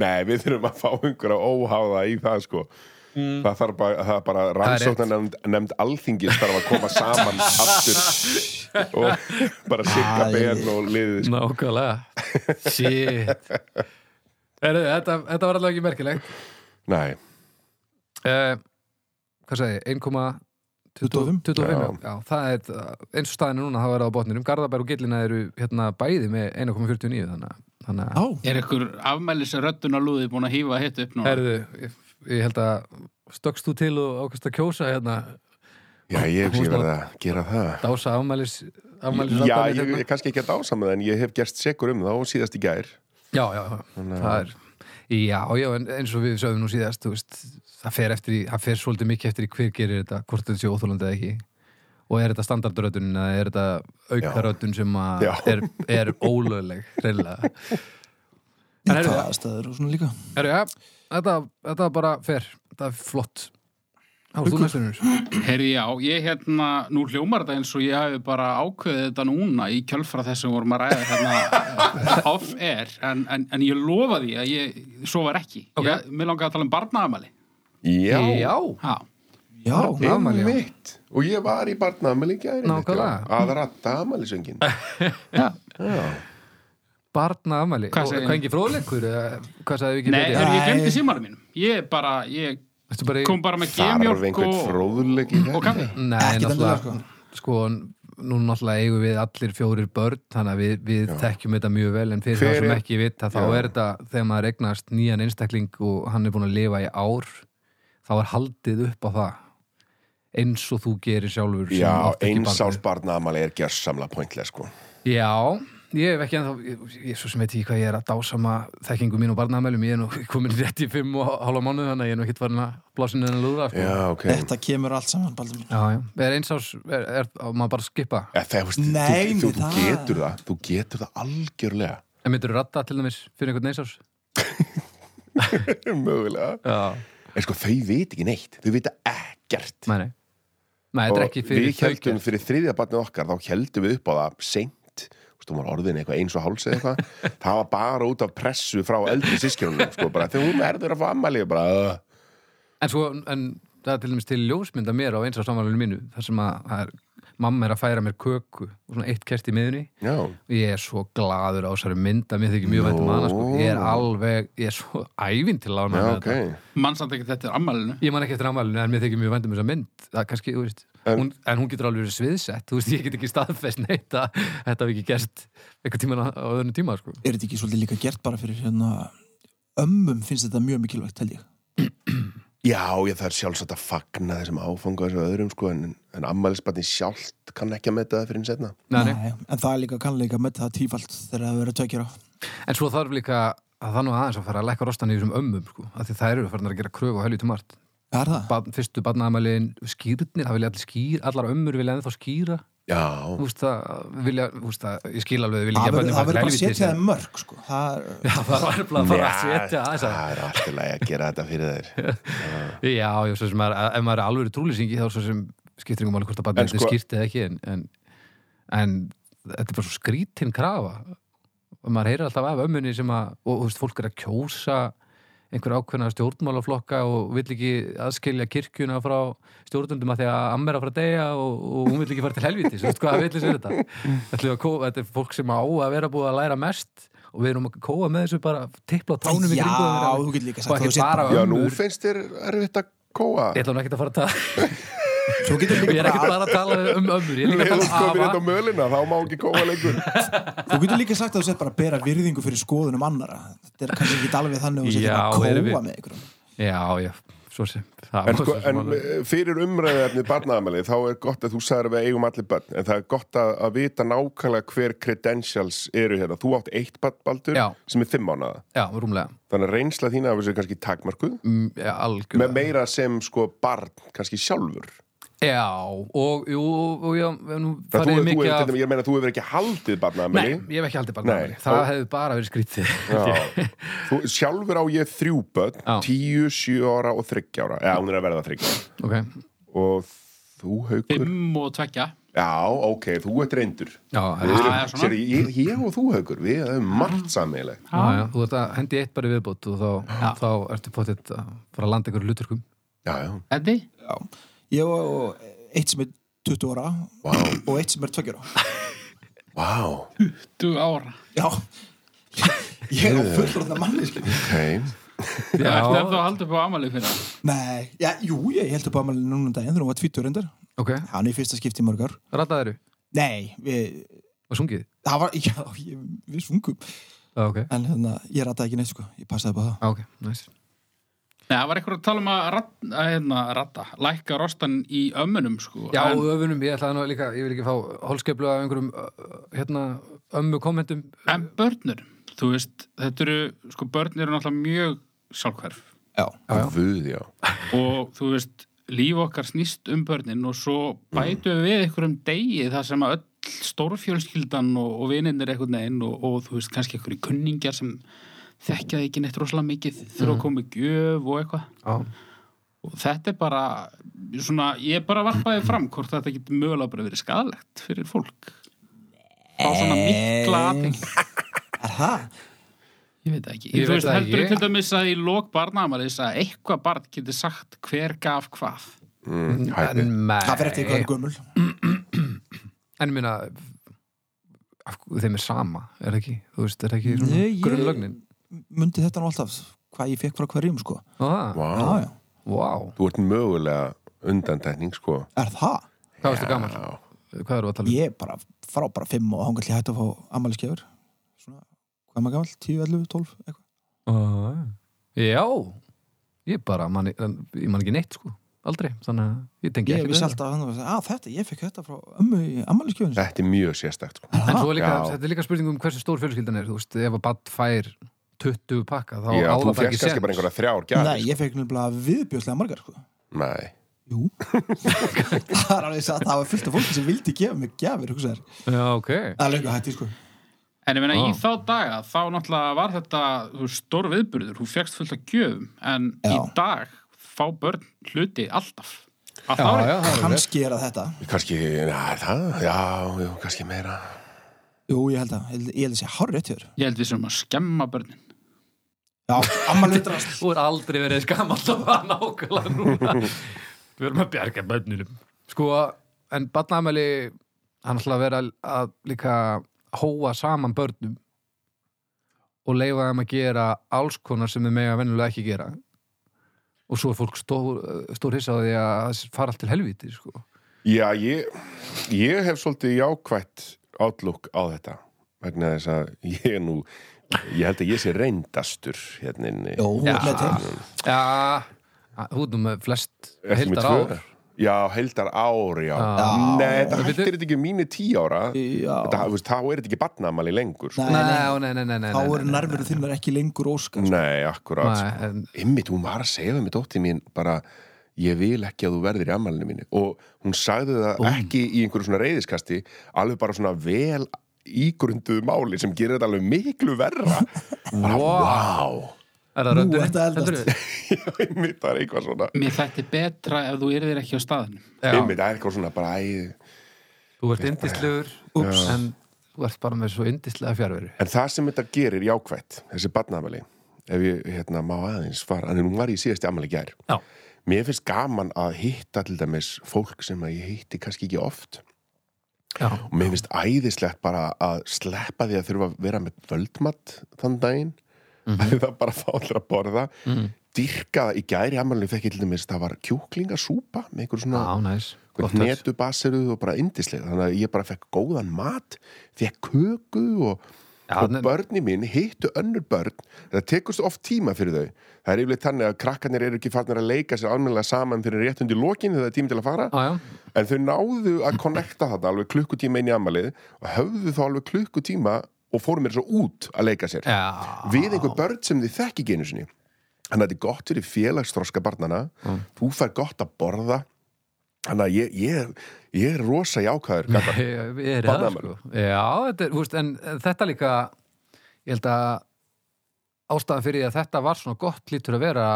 [SPEAKER 5] Nei, við þurfum að fá einhverja óháða í það sko Það þarf bara, það er bara rannsóknar nefnd, nefnd alþingis þarf að koma saman aftur og bara sikka
[SPEAKER 4] Æ.
[SPEAKER 5] ben og liðið sko.
[SPEAKER 2] nákvæmlega shit Heru, þetta, þetta var allavega ekki merkilegt
[SPEAKER 5] Nei,
[SPEAKER 2] uh, hvað sagði, ég, 1,25
[SPEAKER 4] 25.
[SPEAKER 2] 25, já. já, það er uh, eins og staðinu núna, þá er það á botninum Garðabær og Gillina eru hérna bæði með 1,49 þannig, að- þannig
[SPEAKER 4] Á,
[SPEAKER 2] að
[SPEAKER 3] Er ykkur afmælis röddunarlúði búin að hýfa hitt upp nú?
[SPEAKER 2] Herðu, ég, ég held að stökkst þú til og ákast að kjósa hérna,
[SPEAKER 5] Já, ég hef verið að gera það
[SPEAKER 2] dása afmælis afmælis
[SPEAKER 5] Já,
[SPEAKER 2] raddanir
[SPEAKER 5] ég
[SPEAKER 2] hérna.
[SPEAKER 5] er kannski ekki að dása með það en ég hef gerst sekur um það og síðast í gær
[SPEAKER 2] Já, já, já, það er Já, já, en eins og við sögum nú síðast þú veist, það fer eftir í, það fer svolítið mikið eftir í hver gerir þetta, hvort þetta sé óþólandi eða ekki og er þetta standardröddun eða er þetta aukaröddun sem að
[SPEAKER 5] Já.
[SPEAKER 2] er, er ólögleg
[SPEAKER 5] <laughs>
[SPEAKER 2] reyðlega
[SPEAKER 4] í
[SPEAKER 2] En heyrðu-
[SPEAKER 4] hvaða aðstæður og svona líka
[SPEAKER 2] Herru, já, þetta, þetta er bara fer þetta er flott Þá varst þú næstunur
[SPEAKER 3] Herri, já, ég hérna, nú hljómar þetta eins og ég hafi bara ákveðið þetta núna í kjölfra þess að vorum að ræða hérna off-air, en, en, en ég lofa því að ég, svo var ekki.
[SPEAKER 2] Ok.
[SPEAKER 3] Ég, mér langaði að tala um barnaðamæli.
[SPEAKER 5] Já,
[SPEAKER 2] Já,
[SPEAKER 3] Já,
[SPEAKER 4] Já,
[SPEAKER 2] afmæli, já.
[SPEAKER 5] einmitt Og ég var í barnaamæli í gær einmitt,
[SPEAKER 2] Nákvæmlega.
[SPEAKER 5] já. Að ratta amælisöngin
[SPEAKER 2] barna afmæli
[SPEAKER 3] Hvað
[SPEAKER 2] Og
[SPEAKER 3] segir-
[SPEAKER 2] Hvað engi fróðleikur? eða Hvað sagði við ekki
[SPEAKER 3] nei,
[SPEAKER 2] betri?
[SPEAKER 3] herri, ég
[SPEAKER 4] Nei.
[SPEAKER 3] glemdi símanum mínum. Ég bara, ég
[SPEAKER 2] Ertu bara í-
[SPEAKER 3] kom bara með
[SPEAKER 5] Þarf
[SPEAKER 3] gemjörg
[SPEAKER 5] einhvern
[SPEAKER 3] og,
[SPEAKER 5] fróðuleik í
[SPEAKER 3] og kaffi.
[SPEAKER 2] Nei,
[SPEAKER 4] Ekkert
[SPEAKER 2] náttúrulega sko, nú náttúrulega eigum við allir fjórir börn þannig að við, við tekjum þetta mjög vel en fyrir
[SPEAKER 5] Hver
[SPEAKER 2] það sem
[SPEAKER 5] er-
[SPEAKER 2] ekki vita þá
[SPEAKER 5] Já.
[SPEAKER 2] er þetta þegar maður eignast nýjan einstakling og hann er búin að lifa í ár þá er haldið upp á það eins og þú gerir sjálfur sem
[SPEAKER 5] Já,
[SPEAKER 2] átt ekki
[SPEAKER 5] eins
[SPEAKER 2] barnið.
[SPEAKER 5] árs barnaamæli er gjörsamla pointlega sko
[SPEAKER 2] Já, ég hef ekki ennþá, ég, ég svo sem veit ekki hvað ég er að dásama þekkingu mín og barnaðamælum, ég er nú <laughs> komin rétt í fimm og hálfa mánuð þannig að ég er nú ekkert farin að blásinu þennan lúða. sko.
[SPEAKER 5] Já, ok
[SPEAKER 4] þetta kemur allt saman, Baldur minn
[SPEAKER 2] Já, já, er eins ás, er, er, á maður bara að skipa?
[SPEAKER 5] Ja, Það, þú,
[SPEAKER 4] Nei,
[SPEAKER 5] þú,
[SPEAKER 4] það-
[SPEAKER 5] þú, þú getur það, þú getur það algjörlega
[SPEAKER 2] En myndir þú ratta til dæmis fyrir einhvern eins ás?
[SPEAKER 5] Mögulega
[SPEAKER 2] Já.
[SPEAKER 5] En sko, þau veit ekki neitt, þau vita ekkert
[SPEAKER 2] Nei, nei. Nei, þetta er ekki fyrir
[SPEAKER 5] Við heldum
[SPEAKER 2] þau.
[SPEAKER 5] fyrir þriðja barnið okkar þá heldum við upp á það seint Þú veist, hún var orðin eitthvað eins og háls eða eitthvað
[SPEAKER 2] <laughs>
[SPEAKER 5] Það var bara út af pressu frá eldri sískjörunum sko, bara, Þegar hún verður að fá ammæli og bara, "Ugh."
[SPEAKER 2] En svo, en það er til dæmis til ljósmynda mér á eins ás samanlunum mínu, þar sem að, að er, mamma er að færa mér köku og svona eitt kerti í miðunni.
[SPEAKER 5] Já,
[SPEAKER 2] Ég er svo gladur á þessari mynda, mér þykir mjög vænt um hana, sko. Ég er alveg, ég er svo ævinn til lána
[SPEAKER 5] já, ok
[SPEAKER 3] Mannsand ekki þetta er ammælinu.
[SPEAKER 2] Ég man ekki eftir ammælinu, en mér þykir mjög vænt um þessa mynd. Það kannski, þú veist,
[SPEAKER 5] En-
[SPEAKER 2] hún, en hún getur alveg verið sviðsett, þú veist, ég get ekki staðfest neitt að þetta hef ekki gerst eitthvað tíma á, á öðnum tíma, sko.
[SPEAKER 4] Er þetta ekki svolítið líka gert bara fyrir hérna ömmum finnst þetta mjög mikilvægt, held ég
[SPEAKER 5] Já, ég þarf sjálfsagt að fagna þessum áfanga þessu öðrum sko, en, en ammælisbarni sjálft kann ekki að meta það fyrir hinn setna
[SPEAKER 2] Nei, nei.
[SPEAKER 4] en það er líka kannleika með það tífalt þegar það verður tökjara
[SPEAKER 2] En svo þarf líka að það nú aðeins að fara að lækka rostan í þessum ömmum sko, af því það eru farin að gera kröfu og hölju til margt.
[SPEAKER 4] Er það?
[SPEAKER 2] Ba fyrstu barnaðamælin skýrnir, það vilja allir skýra, allar ömmur vilja ennþá skýra,
[SPEAKER 5] Já,
[SPEAKER 2] þú veist það, vilja, þú veist það, ég skil alveg, vilja ekki
[SPEAKER 4] Það
[SPEAKER 2] að
[SPEAKER 4] verður
[SPEAKER 2] bönnum
[SPEAKER 4] það
[SPEAKER 2] fara
[SPEAKER 4] verður bara að
[SPEAKER 2] helviti
[SPEAKER 4] setja
[SPEAKER 2] sér.
[SPEAKER 4] það mörg sko. það er
[SPEAKER 2] <laughs> Já, það var bara að fara að
[SPEAKER 5] Nei,
[SPEAKER 2] setja aðeins að,
[SPEAKER 5] Það er allt í lagi að gera þetta fyrir
[SPEAKER 2] <laughs>
[SPEAKER 5] þeir
[SPEAKER 2] já, já, svo sem að, ef maður er alveg trúlýsingi þá svo sem skiptir ykkur máli hvort að
[SPEAKER 5] En
[SPEAKER 2] barnaðamælin
[SPEAKER 5] sko-
[SPEAKER 2] skýrt eða ekki, en, en, en þetta er bara svo skrítin krafa og maður heyrir alltaf af ömmunni sem að, og þú veist, fólk er að kjósa einhver ákveðna stjórnmálaflokka og vill ekki aðskilja kirkjuna frá stjórnundum að því að amma er að fara að deyja og, og hún vill ekki fara til helviti þú veist hvað villis er þetta Ætlum við að kóa, þetta er fólk sem á að vera búið að læra mest og við erum að kóa með þessu bara tipla á tánum í
[SPEAKER 4] Já,
[SPEAKER 2] kringu þeirra.
[SPEAKER 4] þú getur líka
[SPEAKER 2] og
[SPEAKER 4] sagt að þú
[SPEAKER 2] ekki
[SPEAKER 4] sért
[SPEAKER 2] bara
[SPEAKER 5] Já, nú
[SPEAKER 2] ömmur
[SPEAKER 5] finnst þér erfitt að kóa
[SPEAKER 2] ég ætlum ekki að fara að tala <laughs>
[SPEAKER 4] Svo getur
[SPEAKER 2] ég er
[SPEAKER 4] líka,
[SPEAKER 2] ekki bara að tala um ömmur ég er líka
[SPEAKER 5] Leðum
[SPEAKER 2] að tala um
[SPEAKER 5] komin þetta
[SPEAKER 2] afa
[SPEAKER 5] hérna á mölina, þá má ekki kóa
[SPEAKER 2] <laughs>
[SPEAKER 5] lengur
[SPEAKER 4] þú getur líka sagt að þú sett bara að bera virðingu fyrir skoðunum annara Þetta er kannski ekki alveg þannig að þú sett
[SPEAKER 2] Já,
[SPEAKER 4] að kóa
[SPEAKER 2] erum við-
[SPEAKER 4] með ykkur
[SPEAKER 2] já, já, svo sem það
[SPEAKER 5] En,
[SPEAKER 2] var
[SPEAKER 5] sko,
[SPEAKER 2] svo sem
[SPEAKER 5] en
[SPEAKER 2] alveg-
[SPEAKER 5] fyrir umræðefni barnaðamæli þá er gott að þú sagðir að við eigum allir barn en það er gott að, að vita nákvæmlega hver credentials eru hérna Þú átt eitt barn, Baldur,
[SPEAKER 2] Já.
[SPEAKER 5] sem er fimm mánaða
[SPEAKER 2] já, rúmlega
[SPEAKER 5] Þannig að reynsla þín af þessu er kannski takmarkuð
[SPEAKER 2] Mm, já, algjörlega
[SPEAKER 5] með meira sem sko barn, kannski sjálfur
[SPEAKER 2] Já, og, jú, og já, við nú
[SPEAKER 5] Það þú,
[SPEAKER 2] farið
[SPEAKER 5] þú,
[SPEAKER 2] mikið
[SPEAKER 5] af...
[SPEAKER 2] af...
[SPEAKER 5] Ég meina þú hefur ekki haldið
[SPEAKER 2] Nei,
[SPEAKER 5] barnaðamæli
[SPEAKER 2] ég hef ekki haldið
[SPEAKER 5] Nei,
[SPEAKER 2] barnaðamæli. Það
[SPEAKER 5] og-
[SPEAKER 2] hefði bara verið skrítið. <laughs>
[SPEAKER 5] Já. Þú, sjálfur á ég þrjú börn,
[SPEAKER 2] Já.
[SPEAKER 5] tíu, sjö ára og þryggja ára. Já, hún er að verða þryggja. ára.
[SPEAKER 2] ok,
[SPEAKER 5] Og þú haukur?
[SPEAKER 3] Fimm og tvekja.
[SPEAKER 5] Já, ok, þú ert reyndur.
[SPEAKER 2] já,
[SPEAKER 5] Við
[SPEAKER 2] já,
[SPEAKER 5] erum-
[SPEAKER 3] já, svona.
[SPEAKER 5] sérðu, ég, ég og þú haukur, við erum margt sammeilegt.
[SPEAKER 2] já, já, þú ert að hendi eitt bara í viðbót og þá, þá ertu potið að fara að landa ykkur lúturkum.
[SPEAKER 5] Já, já,
[SPEAKER 3] Eddi?
[SPEAKER 4] Já. Ég og- og eitt sem er 20 ára
[SPEAKER 5] vá,
[SPEAKER 4] og eitt sem er tökjara
[SPEAKER 5] vá,
[SPEAKER 3] 20 ára.
[SPEAKER 4] Já <laughs> Ég er fullróðna manni sko.
[SPEAKER 5] ok.
[SPEAKER 3] Já.
[SPEAKER 2] Já.
[SPEAKER 3] Ertu eftir að halda upp á amalið fyrir það?
[SPEAKER 4] Nei, já, jú, ég held upp á amalinn núna um daginn þegar hún var tvítur reyndar
[SPEAKER 2] ok,
[SPEAKER 4] hann er í fyrsta skipti í mörgar
[SPEAKER 2] rattaði eru
[SPEAKER 4] nei, við,
[SPEAKER 2] og sungið
[SPEAKER 4] það var, <laughs> já, ég, við sungum
[SPEAKER 2] ah, ok,
[SPEAKER 4] en hérna, ég rataði ekki neitt sko ég passaði bara það
[SPEAKER 2] ah, ok, nice
[SPEAKER 3] Nei, það var eitthvað að tala um að ratta, að, hérna, ratta lækka rostan í ömmunum sko.
[SPEAKER 2] Já,
[SPEAKER 3] en,
[SPEAKER 2] öfunum, ég ætlaði nú líka, ég vil ekki fá holskeplu af einhverjum, uh, hérna, ömmu kommentum.
[SPEAKER 3] en börnur, þú veist, þetta eru sko, börn eru náttúrulega mjög sálkverf
[SPEAKER 4] já,
[SPEAKER 2] já.
[SPEAKER 5] Guð, já.
[SPEAKER 3] og þú veist, líf okkar snýst um börnin og svo bætum við einhverjum degi þar sem að öll stórfjölskyldan og, og vininir einhvern veginn og, og þú veist, kannski einhverju kunningjar sem þekkjaði ekki neitt rosalega mikið þurfa að koma í gjöf og eitthvað
[SPEAKER 2] Já.
[SPEAKER 3] og þetta er bara svona, ég bara varpaði fram hvort þetta getur mögulega bara verið skadalegt fyrir fólk á svona mikla aðting
[SPEAKER 4] er það?
[SPEAKER 3] ég veit það ekki,
[SPEAKER 2] Ég
[SPEAKER 3] þú
[SPEAKER 2] veit
[SPEAKER 3] veist,
[SPEAKER 2] það
[SPEAKER 3] heldur
[SPEAKER 2] ekki.
[SPEAKER 3] til dæmis að í lok barnaamalis að eitthvað barn getur sagt hver gaf hvað
[SPEAKER 5] Mm, hæpi.
[SPEAKER 2] En
[SPEAKER 4] það fyrir eftir
[SPEAKER 2] mei,
[SPEAKER 4] eitthvað gömul
[SPEAKER 2] en ég minna, af, hverju- þeim er sama, er það ekki, þú veist, er það ekki svona
[SPEAKER 4] Nei, ég-
[SPEAKER 2] grunnlögnin?
[SPEAKER 4] mundi þetta nú alltaf, hvað ég fekk frá hverjum sko
[SPEAKER 2] Á, það?
[SPEAKER 5] Vá.
[SPEAKER 4] já, já,
[SPEAKER 2] Vá,
[SPEAKER 5] Þú ert mögulega undantekning, sko.
[SPEAKER 4] er það?
[SPEAKER 2] hvað varstu gammal?
[SPEAKER 5] Já.
[SPEAKER 2] Hvað eru að tala um?
[SPEAKER 4] ég bara frá bara 5 og hangall ég hætti að fá ammæliskefur svona, hvað er maður gammal, 10, 11, 12 eitthvað.
[SPEAKER 2] Á, Já, ég bara, man, en ég man ekki neitt, sko, aldrei, þannig að ég tengi
[SPEAKER 4] ég
[SPEAKER 2] ekki
[SPEAKER 4] vissi alltaf að, að þetta, ég fekk þetta frá ömmu í ammæliskefun
[SPEAKER 5] Þetta er mjög sérstakt, sko.
[SPEAKER 2] En svo er líka,
[SPEAKER 5] Já.
[SPEAKER 2] þetta er líka spurning um hversu stór fjölskyldan er, þú veist, ef að badd fær 20 pakka, þá
[SPEAKER 5] Já,
[SPEAKER 2] áða
[SPEAKER 5] þú
[SPEAKER 2] bara
[SPEAKER 5] fekk
[SPEAKER 2] ekki
[SPEAKER 5] kannski bara
[SPEAKER 2] séns.
[SPEAKER 5] einhverja þrjár
[SPEAKER 4] nei,
[SPEAKER 5] gæði.
[SPEAKER 4] ég fekk nefnilega viðbjörslega margar sko
[SPEAKER 5] Nei.
[SPEAKER 4] Jú Það er alveg satt, það var fullt af fólki sem vildi gefa mig gefir hugsaðar.
[SPEAKER 2] Já, ok.
[SPEAKER 4] Það er lengur hætti sko
[SPEAKER 3] en ég meina
[SPEAKER 2] Ó.
[SPEAKER 3] í þá daga þá náttúrulega var þetta þú veist, stór viðburður, hún fegst fullt af gjöfum en í
[SPEAKER 4] Já.
[SPEAKER 3] dag fá börn hluti alltaf
[SPEAKER 2] Já,
[SPEAKER 3] að það
[SPEAKER 2] já, það er rétt.
[SPEAKER 4] Kannski er að þetta
[SPEAKER 5] Kannski, já, það, já, já, kannski meira.
[SPEAKER 4] Jú, ég held að, ég held- ég held að sé hár rétt hér
[SPEAKER 3] ég held við sem að skemma börnin
[SPEAKER 4] Já, ammali drast
[SPEAKER 2] Þú er aldrei verið skamall að það nákvæmlega <laughs> núna Við erum að bjarga bönnurum Sko, en barnaðamæli hann ætla að vera að líka hóa saman börnum og leifa þeim að gera alls konar sem þeim mega venjulega ekki gera og svo er fólk stór, stór hissa á því að það fara allt til helvíti sko.
[SPEAKER 5] Já, ég, ég hef svolítið jákvætt átlúk á þetta vegna þess að ég er nú ég held að ég sé reyndastur hérna inni
[SPEAKER 4] Jú,
[SPEAKER 2] Já.
[SPEAKER 4] með til
[SPEAKER 2] Já, þú erum með flest
[SPEAKER 5] Ertu með
[SPEAKER 2] heildar
[SPEAKER 5] tvö?
[SPEAKER 2] ár
[SPEAKER 5] Já, heildar ár, já
[SPEAKER 2] Já.
[SPEAKER 5] Nei, þetta
[SPEAKER 2] En
[SPEAKER 5] hættir
[SPEAKER 2] bíddu-
[SPEAKER 5] þetta ekki mínu tí ára
[SPEAKER 4] Já.
[SPEAKER 5] þetta, þú veist, Þá er þetta ekki barnamali lengur sko.
[SPEAKER 4] Nei,
[SPEAKER 2] Nei,
[SPEAKER 4] nei,
[SPEAKER 2] nei, nei, nei, nei,
[SPEAKER 4] þá
[SPEAKER 2] nei,
[SPEAKER 4] eru
[SPEAKER 2] nei,
[SPEAKER 4] nærveru þinnar ekki lengur óskar
[SPEAKER 5] Nei, akkurat
[SPEAKER 2] nei,
[SPEAKER 5] sko.
[SPEAKER 2] en,
[SPEAKER 5] Ymmit, hún var að segja við með dóttir mín bara, ég vil ekki að þú verðir í ammælinu mínu og hún sagði það ekki í einhverju svona reyðiskasti alveg bara svona vel ígrunduðu máli sem gerir þetta alveg miklu verra
[SPEAKER 2] <laughs>
[SPEAKER 5] bara, wow <laughs>
[SPEAKER 2] Er það
[SPEAKER 4] Nú
[SPEAKER 2] röndurinn?
[SPEAKER 4] ertu að eldast.
[SPEAKER 2] Heldurðu?
[SPEAKER 5] Ymmit, það er eitthvað svona
[SPEAKER 3] mér þætti betra ef þú yrðir ekki á staðinu
[SPEAKER 2] Já.
[SPEAKER 5] Ymmit, það er eitthvað svona bara æ,
[SPEAKER 2] Þú ert indislegur
[SPEAKER 4] Úps.
[SPEAKER 2] en þú ert bara með svo indislega fjárveru
[SPEAKER 5] En það sem þetta gerir jákvætt þessi barnaafmæli ef ég hérna, má aðeins fara, en hún var í síðasti ammæli í gær
[SPEAKER 2] Já,
[SPEAKER 5] Mér finnst gaman að hitta til dæmis fólk sem að ég hitti kannski ekki oft
[SPEAKER 2] já,
[SPEAKER 5] og mér finnst æðislegt bara að sleppa því að þurfa að vera með völdmatt þann daginn
[SPEAKER 2] Mhm.
[SPEAKER 5] mm það er bara fálir að borða mm -hmm. dyrka það í gæri amalinu fekk ég til dæmis það var kjúklingasúpa með einhver
[SPEAKER 2] já,
[SPEAKER 5] svona
[SPEAKER 2] næs touch.
[SPEAKER 5] hnetu baseruð og bara indislega þannig að ég bara fekk góðan mat fekk köku og,
[SPEAKER 2] Já,
[SPEAKER 5] og
[SPEAKER 2] ne-
[SPEAKER 5] börni mín hittu önnur börn það tekust oft tíma fyrir þau það er yfirleitt þannig að krakkanir eru ekki farnir að leika sér almennilega saman fyrir réttundi lokin þegar það er tími til að fara
[SPEAKER 2] Já, já,
[SPEAKER 5] En þau náðu að connecta þetta alveg klukkutíma inn í ammalið og höfðu þá alveg klukkutíma og fóru mér svo út að leika sér.
[SPEAKER 2] já
[SPEAKER 5] Við einhver börn sem þið þekki ekki einu sinni. Þannig að þetta er gott fyrir félagsþroska barnana. Þú fær gott að borða. Þannig að ég, ég, ég er rosa jákvæður. gagnvart-
[SPEAKER 2] Ég er það sko
[SPEAKER 5] Barnaafmæli.
[SPEAKER 2] Já, þetta er, húst, en en þetta líka ég held að ástæðan fyrir því að þetta var svona gott lítur að vera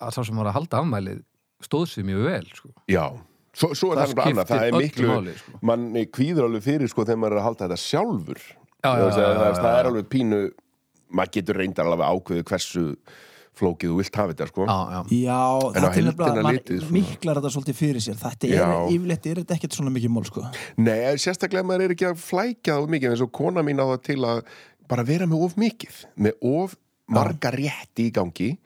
[SPEAKER 2] að sá sem var að halda afmælið stóð sér mjög vel sko.
[SPEAKER 5] Já. Svo, svo er
[SPEAKER 2] Það
[SPEAKER 5] það, það annað. Það
[SPEAKER 2] skiptir
[SPEAKER 5] er
[SPEAKER 2] öllu
[SPEAKER 5] miklu,
[SPEAKER 2] máli, sko.
[SPEAKER 5] manni kvíður alveg fyrir sko þegar maður er að halda þetta sjálfur.
[SPEAKER 2] Já,
[SPEAKER 5] Þú
[SPEAKER 2] já,
[SPEAKER 5] veist,
[SPEAKER 2] já,
[SPEAKER 5] það-
[SPEAKER 2] já,
[SPEAKER 5] það er alveg pínu, maður getur reyndar alveg ákveðu hversu flókið þú vilt hafa þetta sko.
[SPEAKER 2] Já, já,
[SPEAKER 4] Já, þetta er
[SPEAKER 5] heildina
[SPEAKER 4] nefnilega,
[SPEAKER 5] litið,
[SPEAKER 2] sko.
[SPEAKER 4] maður
[SPEAKER 5] svona.
[SPEAKER 4] miklar þetta svolítið fyrir sér Þetta er,
[SPEAKER 5] Já.
[SPEAKER 4] yfirleitt er þetta ekkert svona mikið mál sko
[SPEAKER 5] Nei, en sérstaklega maður er ekki að flækja það of mikið eins og kona mín á það til að bara vera með of mikið, með of marga rétti í gangi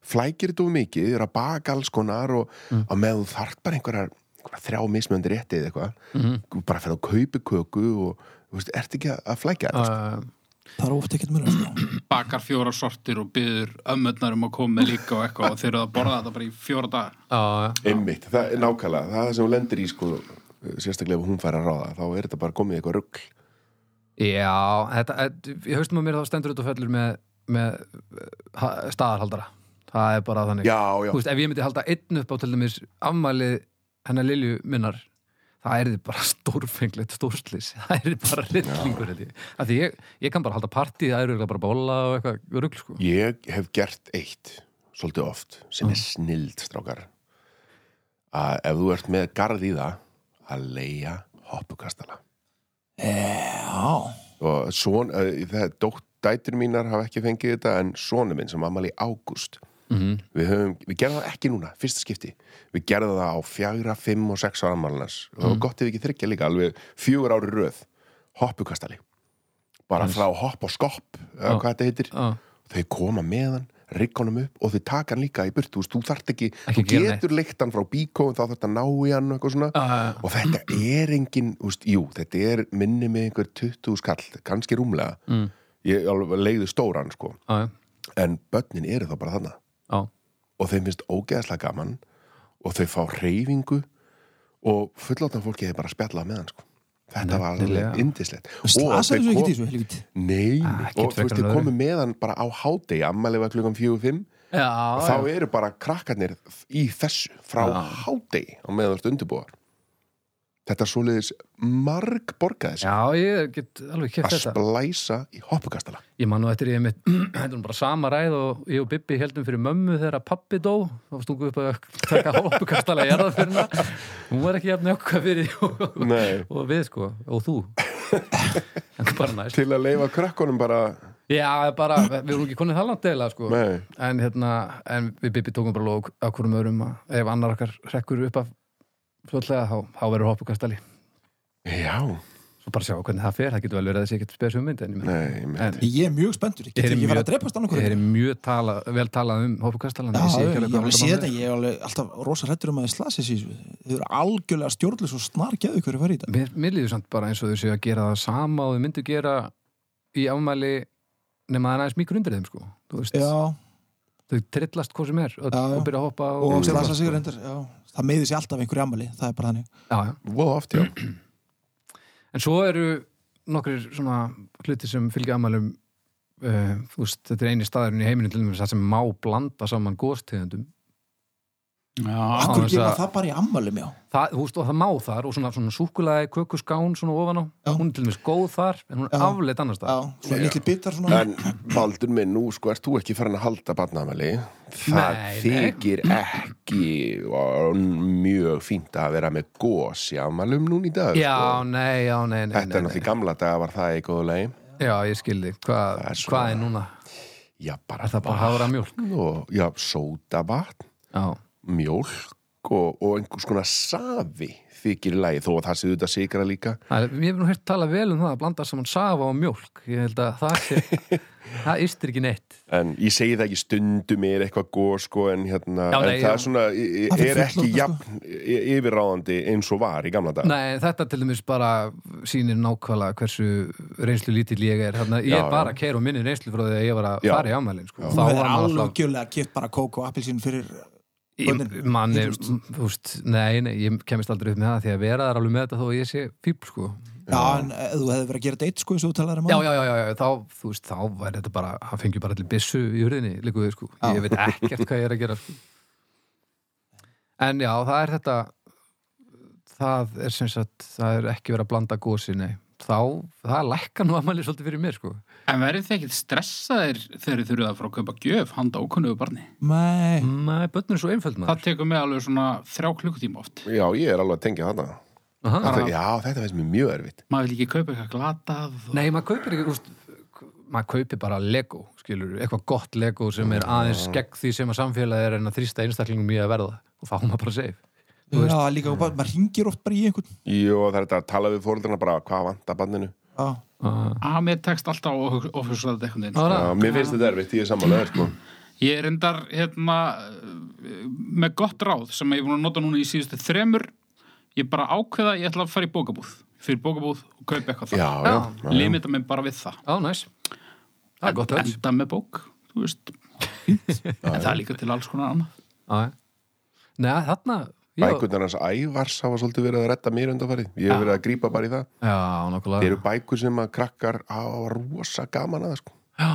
[SPEAKER 5] flækir þetta of mikið, er að baka alls konar og mm. að með þú þart bara einhverjar einhver eitthvað, þrjá mismöndir rétti eða eitthvað bara fyrir að kaupi köku og þú veist, ert ekki að- að flækja þetta sko.
[SPEAKER 2] Uh,
[SPEAKER 4] það er oft ekkert munur sko.
[SPEAKER 3] bakar fjóra sortir og byður ömmurnar um að koma með líka og eitthvað og þeir eru að borða þetta bara í fjóra dagar
[SPEAKER 2] já,
[SPEAKER 5] einmitt, það er nákvæmlega, það er það sem hún lendir í sko, sérstaklega ef hún fær að ráða þá er þetta bara komið í eitthvað rugg
[SPEAKER 2] já, þetta, þetta, ég haustum að mér þá stendur út og fellur með, með eh, ha- staðarhaldara. Það er bara þannig.
[SPEAKER 5] já, já,
[SPEAKER 2] Þú veist, ef ég myndi halda einn upp á til dæmis afmælið hennar Lilju minnar, það er þið bara <laughs> stórfenglegt stórslis. Það er þið bara rillingur, held ég. Af því ég, ég kann bara halda partí, það er örugglega bara bóla og eitthvað rugl, sko.
[SPEAKER 5] Ég hef gert eitt svolítið oft sem er snild strákar að ef þú ert með garð í það að leia hoppukastala
[SPEAKER 4] já,
[SPEAKER 5] og svon, eh, það, dótt, dætur mínar hafa ekki fengið þetta en sonu minn sem ammali í ágúst
[SPEAKER 2] Mhm.
[SPEAKER 5] við, höfum, við gerðum það ekki núna, fyrsta skipti við gerðum það á fjagra, fimm og sex ára ammalinas og það var gott ef ekki þryggja líka alveg fjögur ári röð hoppukastali bara frá hopp og skopp eða
[SPEAKER 2] Já.
[SPEAKER 5] hvað þetta heitir
[SPEAKER 2] Já.
[SPEAKER 5] þau koma með hann, rigga honum upp og þau taka hann líka í burtu, þú veist, þú þarft ekki,
[SPEAKER 2] Ekki
[SPEAKER 5] þú
[SPEAKER 2] gera neitt.
[SPEAKER 5] getur leikt hann frá bíkó en þá þarft að ná í hann og eitthvað svona
[SPEAKER 2] Já, já, já.
[SPEAKER 5] og þetta er engin, þú veist, jú þetta er minni með einhver 20 skall kannski rúmlega, mm. ég alveg leiði stóran sko,
[SPEAKER 2] Já, já,
[SPEAKER 5] en börnin eru þá bara þarna
[SPEAKER 2] já.
[SPEAKER 5] og þeim finnst ógeðslega gaman og þau fá reyfingu og fulláttan fólki er bara að spjalla með hann sko. þetta var
[SPEAKER 2] Nefnilega.
[SPEAKER 5] alveg indislegt
[SPEAKER 4] slasaðu
[SPEAKER 5] þau
[SPEAKER 4] svo
[SPEAKER 5] kom-
[SPEAKER 4] ekki sko, í þessu helvít
[SPEAKER 5] Nei,
[SPEAKER 2] Ah, ekki
[SPEAKER 5] og þú
[SPEAKER 2] frekar
[SPEAKER 5] veist,
[SPEAKER 2] en
[SPEAKER 5] þið
[SPEAKER 2] öðru.
[SPEAKER 5] komum með hann bara á hádegi, ammæli var klukkan 4-5
[SPEAKER 2] Já,
[SPEAKER 5] þá eru bara krakkarnir í þessu frá
[SPEAKER 2] Já.
[SPEAKER 5] hádegi á meðan þú ert undirbúar Þetta er svoleiðis marg borgaðis
[SPEAKER 2] já, ég get alveg kæft
[SPEAKER 5] að
[SPEAKER 2] þetta.
[SPEAKER 5] splæsa í hoppukastala
[SPEAKER 2] Ég man nú eftir ég mitt, <clears throat> þetta er bara sama ræð og ég og Bibbi heldum fyrir mömmu þegar að pappi dó, þá stungum við upp að taka <laughs> hoppukastala í jarðafyrna. Hún var ekki jafn okkar fyrir því og,
[SPEAKER 5] Nei.
[SPEAKER 2] og við sko, og
[SPEAKER 5] <laughs>
[SPEAKER 2] þú. En það er bara næst.
[SPEAKER 5] til að leifa krökkunum bara
[SPEAKER 2] Já, bara, við vorum ekki konið það langt deila sko.
[SPEAKER 5] Nei.
[SPEAKER 2] En hérna, en við Bibbi tókum bara lók að hverjum örum að ef annar okkar rekkur upp af fljótlega, þá, þá verður hoppukastali.
[SPEAKER 5] Já,
[SPEAKER 2] Svo bara sjá hvernig það fer, það getur vel verið að þessi ekkert spes hugmynd en ég meina-
[SPEAKER 5] nei,
[SPEAKER 2] En-
[SPEAKER 5] mitt
[SPEAKER 4] ég er mjög spenntur, ég
[SPEAKER 2] Ég
[SPEAKER 4] get
[SPEAKER 2] er
[SPEAKER 4] ekki verið
[SPEAKER 2] mjög-
[SPEAKER 4] að drepast annað
[SPEAKER 2] Ég
[SPEAKER 4] hverju
[SPEAKER 2] er mjög tala, vel talað um hópukastalan
[SPEAKER 4] Já, ég hef alveg séð þetta, ég hef alveg alltaf rosa hrættur um að þið slasi sér Þau eru algjörlega stjórnlega svo snargeðu hverju fær í þetta
[SPEAKER 2] Mér, mér líður samt bara eins og þau séu að gera það sama og þau myndu gera í afmæli nema það er aðeins mikið undir þeim sko Þú veist,
[SPEAKER 4] Já,
[SPEAKER 2] þau trillast hvað sem er öll,
[SPEAKER 4] Já, já.
[SPEAKER 2] og byrja að hoppa og,
[SPEAKER 4] og slasa sig reyndar já. Það meði sér alltaf einhverju ammali, það er bara þannig
[SPEAKER 2] Já, já.
[SPEAKER 5] Voða oft, já
[SPEAKER 2] En svo eru nokkrir svona hluti sem fylgja afmælum uh, þú veist, þetta er eini staðurinn í heiminu til þess að sem má blanda saman góðstegundum
[SPEAKER 3] Já,
[SPEAKER 4] Akkur
[SPEAKER 2] þess
[SPEAKER 4] gefa
[SPEAKER 2] að-
[SPEAKER 4] það bara í ammali mjá
[SPEAKER 2] það, þú veist, og það má þar og svona, svona súkulaði kökuskán svona ofan á
[SPEAKER 4] Já.
[SPEAKER 2] hún er til dæmis góð þar en hún er
[SPEAKER 4] Já.
[SPEAKER 2] afleitt annars
[SPEAKER 4] Já,
[SPEAKER 2] þar
[SPEAKER 4] svona litli bitar svona
[SPEAKER 5] En Baldur minn, nú sko, ert þú ekki farin að halda barnaðamæli? Það
[SPEAKER 2] Nei, nei.
[SPEAKER 5] þykir ekki og, mjög fínt að vera með gós í afmælum núna í dag.
[SPEAKER 2] Já,
[SPEAKER 5] sko.
[SPEAKER 2] nei, já, nei, nei,
[SPEAKER 5] Þetta er
[SPEAKER 2] nei,
[SPEAKER 5] náttúrulega í gamla daga var það í góðu lagi.
[SPEAKER 2] nei. Já, ég skildi, hvað
[SPEAKER 5] Það er svona-
[SPEAKER 2] hva er núna?
[SPEAKER 5] Já, bara
[SPEAKER 2] Er það bara hára mjólk?
[SPEAKER 5] vatn og, já, sódavatn,
[SPEAKER 2] Já,
[SPEAKER 5] mjólk og, og einhvers konar safi þykir í lagi, þó að það séu þetta sigra líka.
[SPEAKER 2] það er, ég hef nú hert tala vel um það að blanda saman safa og mjólk ég held að það
[SPEAKER 5] <laughs>
[SPEAKER 2] sé það ystir ekki neitt
[SPEAKER 5] En ég segi það ekki stundum er eitthvað góð sko en hérna,
[SPEAKER 2] Já,
[SPEAKER 5] en
[SPEAKER 2] nei,
[SPEAKER 5] það
[SPEAKER 2] já.
[SPEAKER 5] er svona, í- í-
[SPEAKER 4] Það er
[SPEAKER 5] er ekki
[SPEAKER 4] fullorðið, sko.
[SPEAKER 5] jafn y- yfirráðandi eins og var í gamla dag.
[SPEAKER 2] Nei, þetta til dæmis bara sýnir nákvæmlega hversu reynslu lítill ég er Þarna, ég
[SPEAKER 5] Já,
[SPEAKER 2] er bara að keira og minni reynslu frá því að ég var að
[SPEAKER 5] Já.
[SPEAKER 2] fara í ámælin sko.
[SPEAKER 4] Þá er
[SPEAKER 2] maður alltaf-
[SPEAKER 4] algjörlega kipt bara kók og appilsín fyrir
[SPEAKER 2] Ég-
[SPEAKER 4] börnin.
[SPEAKER 2] manni,
[SPEAKER 4] Þú veist.
[SPEAKER 2] þú veist, nei, nei, ég kemist aldrei upp með það því að vera þar alveg með þetta þó að ég sé fíbl sko.
[SPEAKER 4] Já, en eh, þú hefði verið að gera deitt sko eins og þú talaður um
[SPEAKER 2] já,
[SPEAKER 4] áðan.
[SPEAKER 2] já, já, já, já, þá, þú veist, þá var þetta bara, hann fengi bara allir byssu í hurðinni, líka við, sko,
[SPEAKER 4] Já.
[SPEAKER 2] ég veit ekkert hvað ég er að gera, sko. En já, það er þetta, það er sem sagt, það er ekki verið að blanda gósi, nei, þá, það lækka nú aðmæli svolítið fyrir mér, sko.
[SPEAKER 3] en verður þið ekkert stressaðir þegar þið þurfið að fara að kaupa gjöf handa ókunnugu barni?
[SPEAKER 4] Nei,
[SPEAKER 2] Mæ, börnur er svo einföld maður.
[SPEAKER 3] Það tekur mig alveg svona þrjá klukkutíma oft.
[SPEAKER 5] Já, ég er alveg að tengja þarna.
[SPEAKER 2] Aha.
[SPEAKER 5] Þetta, já, þetta finnst mér mjög erfitt.
[SPEAKER 3] Maður vil ekki kaupa eitthvað glatað og...
[SPEAKER 2] Nei, maður kaupir ekki, úst, maður kaupir bara Lego, skilur, eitthvað gott Lego sem er aðeins gegn því sem að samfélagi er en að þrýsta einstaklingum í að verða og þá er maður bara safe. Þú veist-
[SPEAKER 4] já, líka bara, maður ringir oft bara í einhvern
[SPEAKER 5] Jó, það er þetta að tala við fóreldrarna bara hvað vantar banninu.
[SPEAKER 4] Já,
[SPEAKER 2] Uh,
[SPEAKER 3] Að mér tekst alltaf of- ofhjúslega þetta einhvern veginn.
[SPEAKER 2] það
[SPEAKER 5] Já, mér finnst þetta erfitt, ég er samanlega, sko.
[SPEAKER 3] Ég er endar hérna, eh, með gott ráð sem ég er búin að nota núna í síðustu þremur ég bara ákveða að ég ætla að fara í bókabúð fyrir bókabúð og kaupa eitthvað
[SPEAKER 5] já,
[SPEAKER 3] það
[SPEAKER 5] já, já, já.
[SPEAKER 3] limita mig bara við það
[SPEAKER 2] Á, næs. Það er gott höll.
[SPEAKER 3] enda með bók, þú veist en það er líka til alls konar annað
[SPEAKER 2] Já, já. Nei, þarna... já.
[SPEAKER 5] Bækurnar hans ævars hafa svolítið verið að redda mér undanfarið. Ég hef verið að grípa bara í það.
[SPEAKER 2] Já,
[SPEAKER 5] Það eru
[SPEAKER 2] nokkulega.
[SPEAKER 5] bækur sem að krakkar hafa rosa gaman að það, sko.
[SPEAKER 2] Já,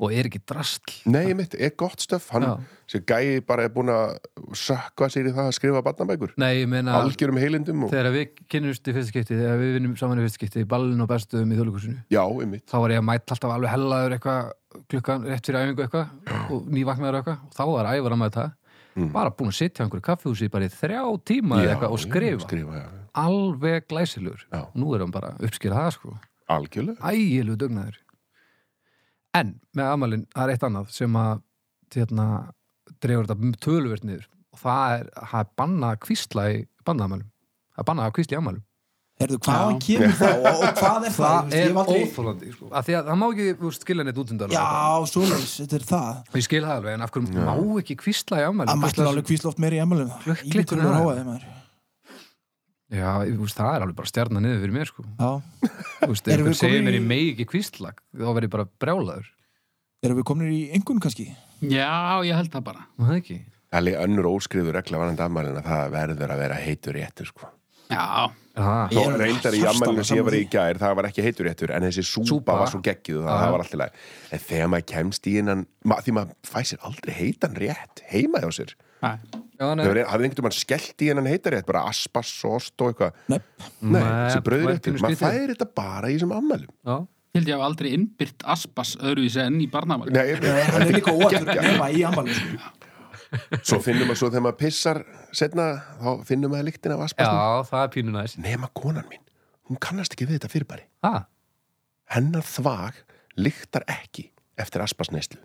[SPEAKER 2] og er ekki drastl.
[SPEAKER 5] Nei, ég mitt, er gott stöf. Hann
[SPEAKER 2] Já.
[SPEAKER 5] sem gæi bara er búin að sökva sér í það að skrifa barnabækur.
[SPEAKER 2] Nei, ég meina...
[SPEAKER 5] Algjörum heilindum og...
[SPEAKER 2] Þegar við kynnumst í fyrsta skipti, þegar við vinnum saman í fyrsta skipti, í ballinu og bestuðum í þjóðleikusinu,
[SPEAKER 5] Já, ég mitt.
[SPEAKER 2] þá var ég að mæta alltaf alveg hellaður eitthvað klukkan rétt fyrir æfingu eitthvað og nývaknaður eitthvað og þá var ævar að mæta það
[SPEAKER 5] Mm.
[SPEAKER 2] bara búin að sitja á einhverju kaffihúsi í bara í þrjá tíma eða eitthvað og skrifa,
[SPEAKER 5] Skrifa, já.
[SPEAKER 2] alveg glæsilegur
[SPEAKER 5] Já.
[SPEAKER 2] nú er hann bara að uppskýra það sko
[SPEAKER 5] Algjörlega.
[SPEAKER 2] ægilegu dugnaður en með amalinn, það er eitt annað sem að hérna, dregur þetta töluvert niður og það er, það er banna að kvísla í bannaðamælum það er banna að kvísla í amælum
[SPEAKER 4] Herðu, hvaðan kemur það og, og hvað er það?
[SPEAKER 2] það
[SPEAKER 4] Ég
[SPEAKER 2] er
[SPEAKER 4] hef aldrei-
[SPEAKER 2] óþólandi sko. af því að það má ekki þú veist, skilja neitt út undan
[SPEAKER 4] Já, svoleiðis, þetta er það
[SPEAKER 2] ég skil það alveg, en af hverju má ekki kvísla í
[SPEAKER 4] Það
[SPEAKER 2] amælum
[SPEAKER 4] mættir alveg kvísla oft meir í emmalum
[SPEAKER 2] Klukk-
[SPEAKER 4] Ímyndurinn
[SPEAKER 2] klikkun
[SPEAKER 4] er
[SPEAKER 2] er
[SPEAKER 4] háaði maður
[SPEAKER 2] já, þú veist, það er alveg bara stjarnan niður fyrir mér sko.
[SPEAKER 4] Já,
[SPEAKER 2] Þú veist, ef
[SPEAKER 4] Erum við
[SPEAKER 2] þú segir
[SPEAKER 4] komin
[SPEAKER 2] mér
[SPEAKER 4] í-
[SPEAKER 2] í megi ekki kvísla þá verð ég bara brjálaður
[SPEAKER 4] erum við komin í engun kannski?
[SPEAKER 3] já, ég held það bara
[SPEAKER 2] Má það ekki
[SPEAKER 5] Það er líka önnur óskriður regla varandi afmælinn að það verður að vera heitur réttur, sko.
[SPEAKER 3] já,
[SPEAKER 2] það,
[SPEAKER 5] Þó
[SPEAKER 4] Ég er
[SPEAKER 5] reyndar í
[SPEAKER 4] hjartanlega
[SPEAKER 5] ammælinu sem ég var í
[SPEAKER 4] sammála því.
[SPEAKER 5] gær, það var ekki heitur réttur en þessi súpa,
[SPEAKER 2] Súpa.
[SPEAKER 5] var svo geggjuð það,
[SPEAKER 2] Já.
[SPEAKER 5] það var alltaf læg. En þegar maður kemst í innan, ma, því maður fæ sér aldrei heitan rétt heima hjá sér.
[SPEAKER 3] Nei.
[SPEAKER 2] já, nei,
[SPEAKER 5] Það hafði einhvern veginn skellt í innan heitar rétt, bara aspas, sost og eitthvað.
[SPEAKER 4] Nei,
[SPEAKER 5] Nei,
[SPEAKER 2] Nei, það
[SPEAKER 5] þessi
[SPEAKER 2] er
[SPEAKER 5] bröðréttur,
[SPEAKER 2] pínu
[SPEAKER 5] maður
[SPEAKER 2] skrítið.
[SPEAKER 5] færi þetta bara í þessum ammælum.
[SPEAKER 2] já.
[SPEAKER 3] ég held ég hef aldrei innbyrt aspas öðruvísi enn í barnaðamæli
[SPEAKER 5] Nei, ég-
[SPEAKER 4] hann er líka óættur
[SPEAKER 5] Geggjað.
[SPEAKER 4] nema í ammalum sko.
[SPEAKER 5] Svo finnum maður svo þegar maður pissar setna, þá finnum maður líktin af
[SPEAKER 2] já,
[SPEAKER 5] aspasnum.
[SPEAKER 2] það er pínu næs
[SPEAKER 5] Nema konan mín, hún kannast ekki við þetta fyrirbæri.
[SPEAKER 2] það
[SPEAKER 5] Hennar þvag líktar ekki eftir aspasneyslu.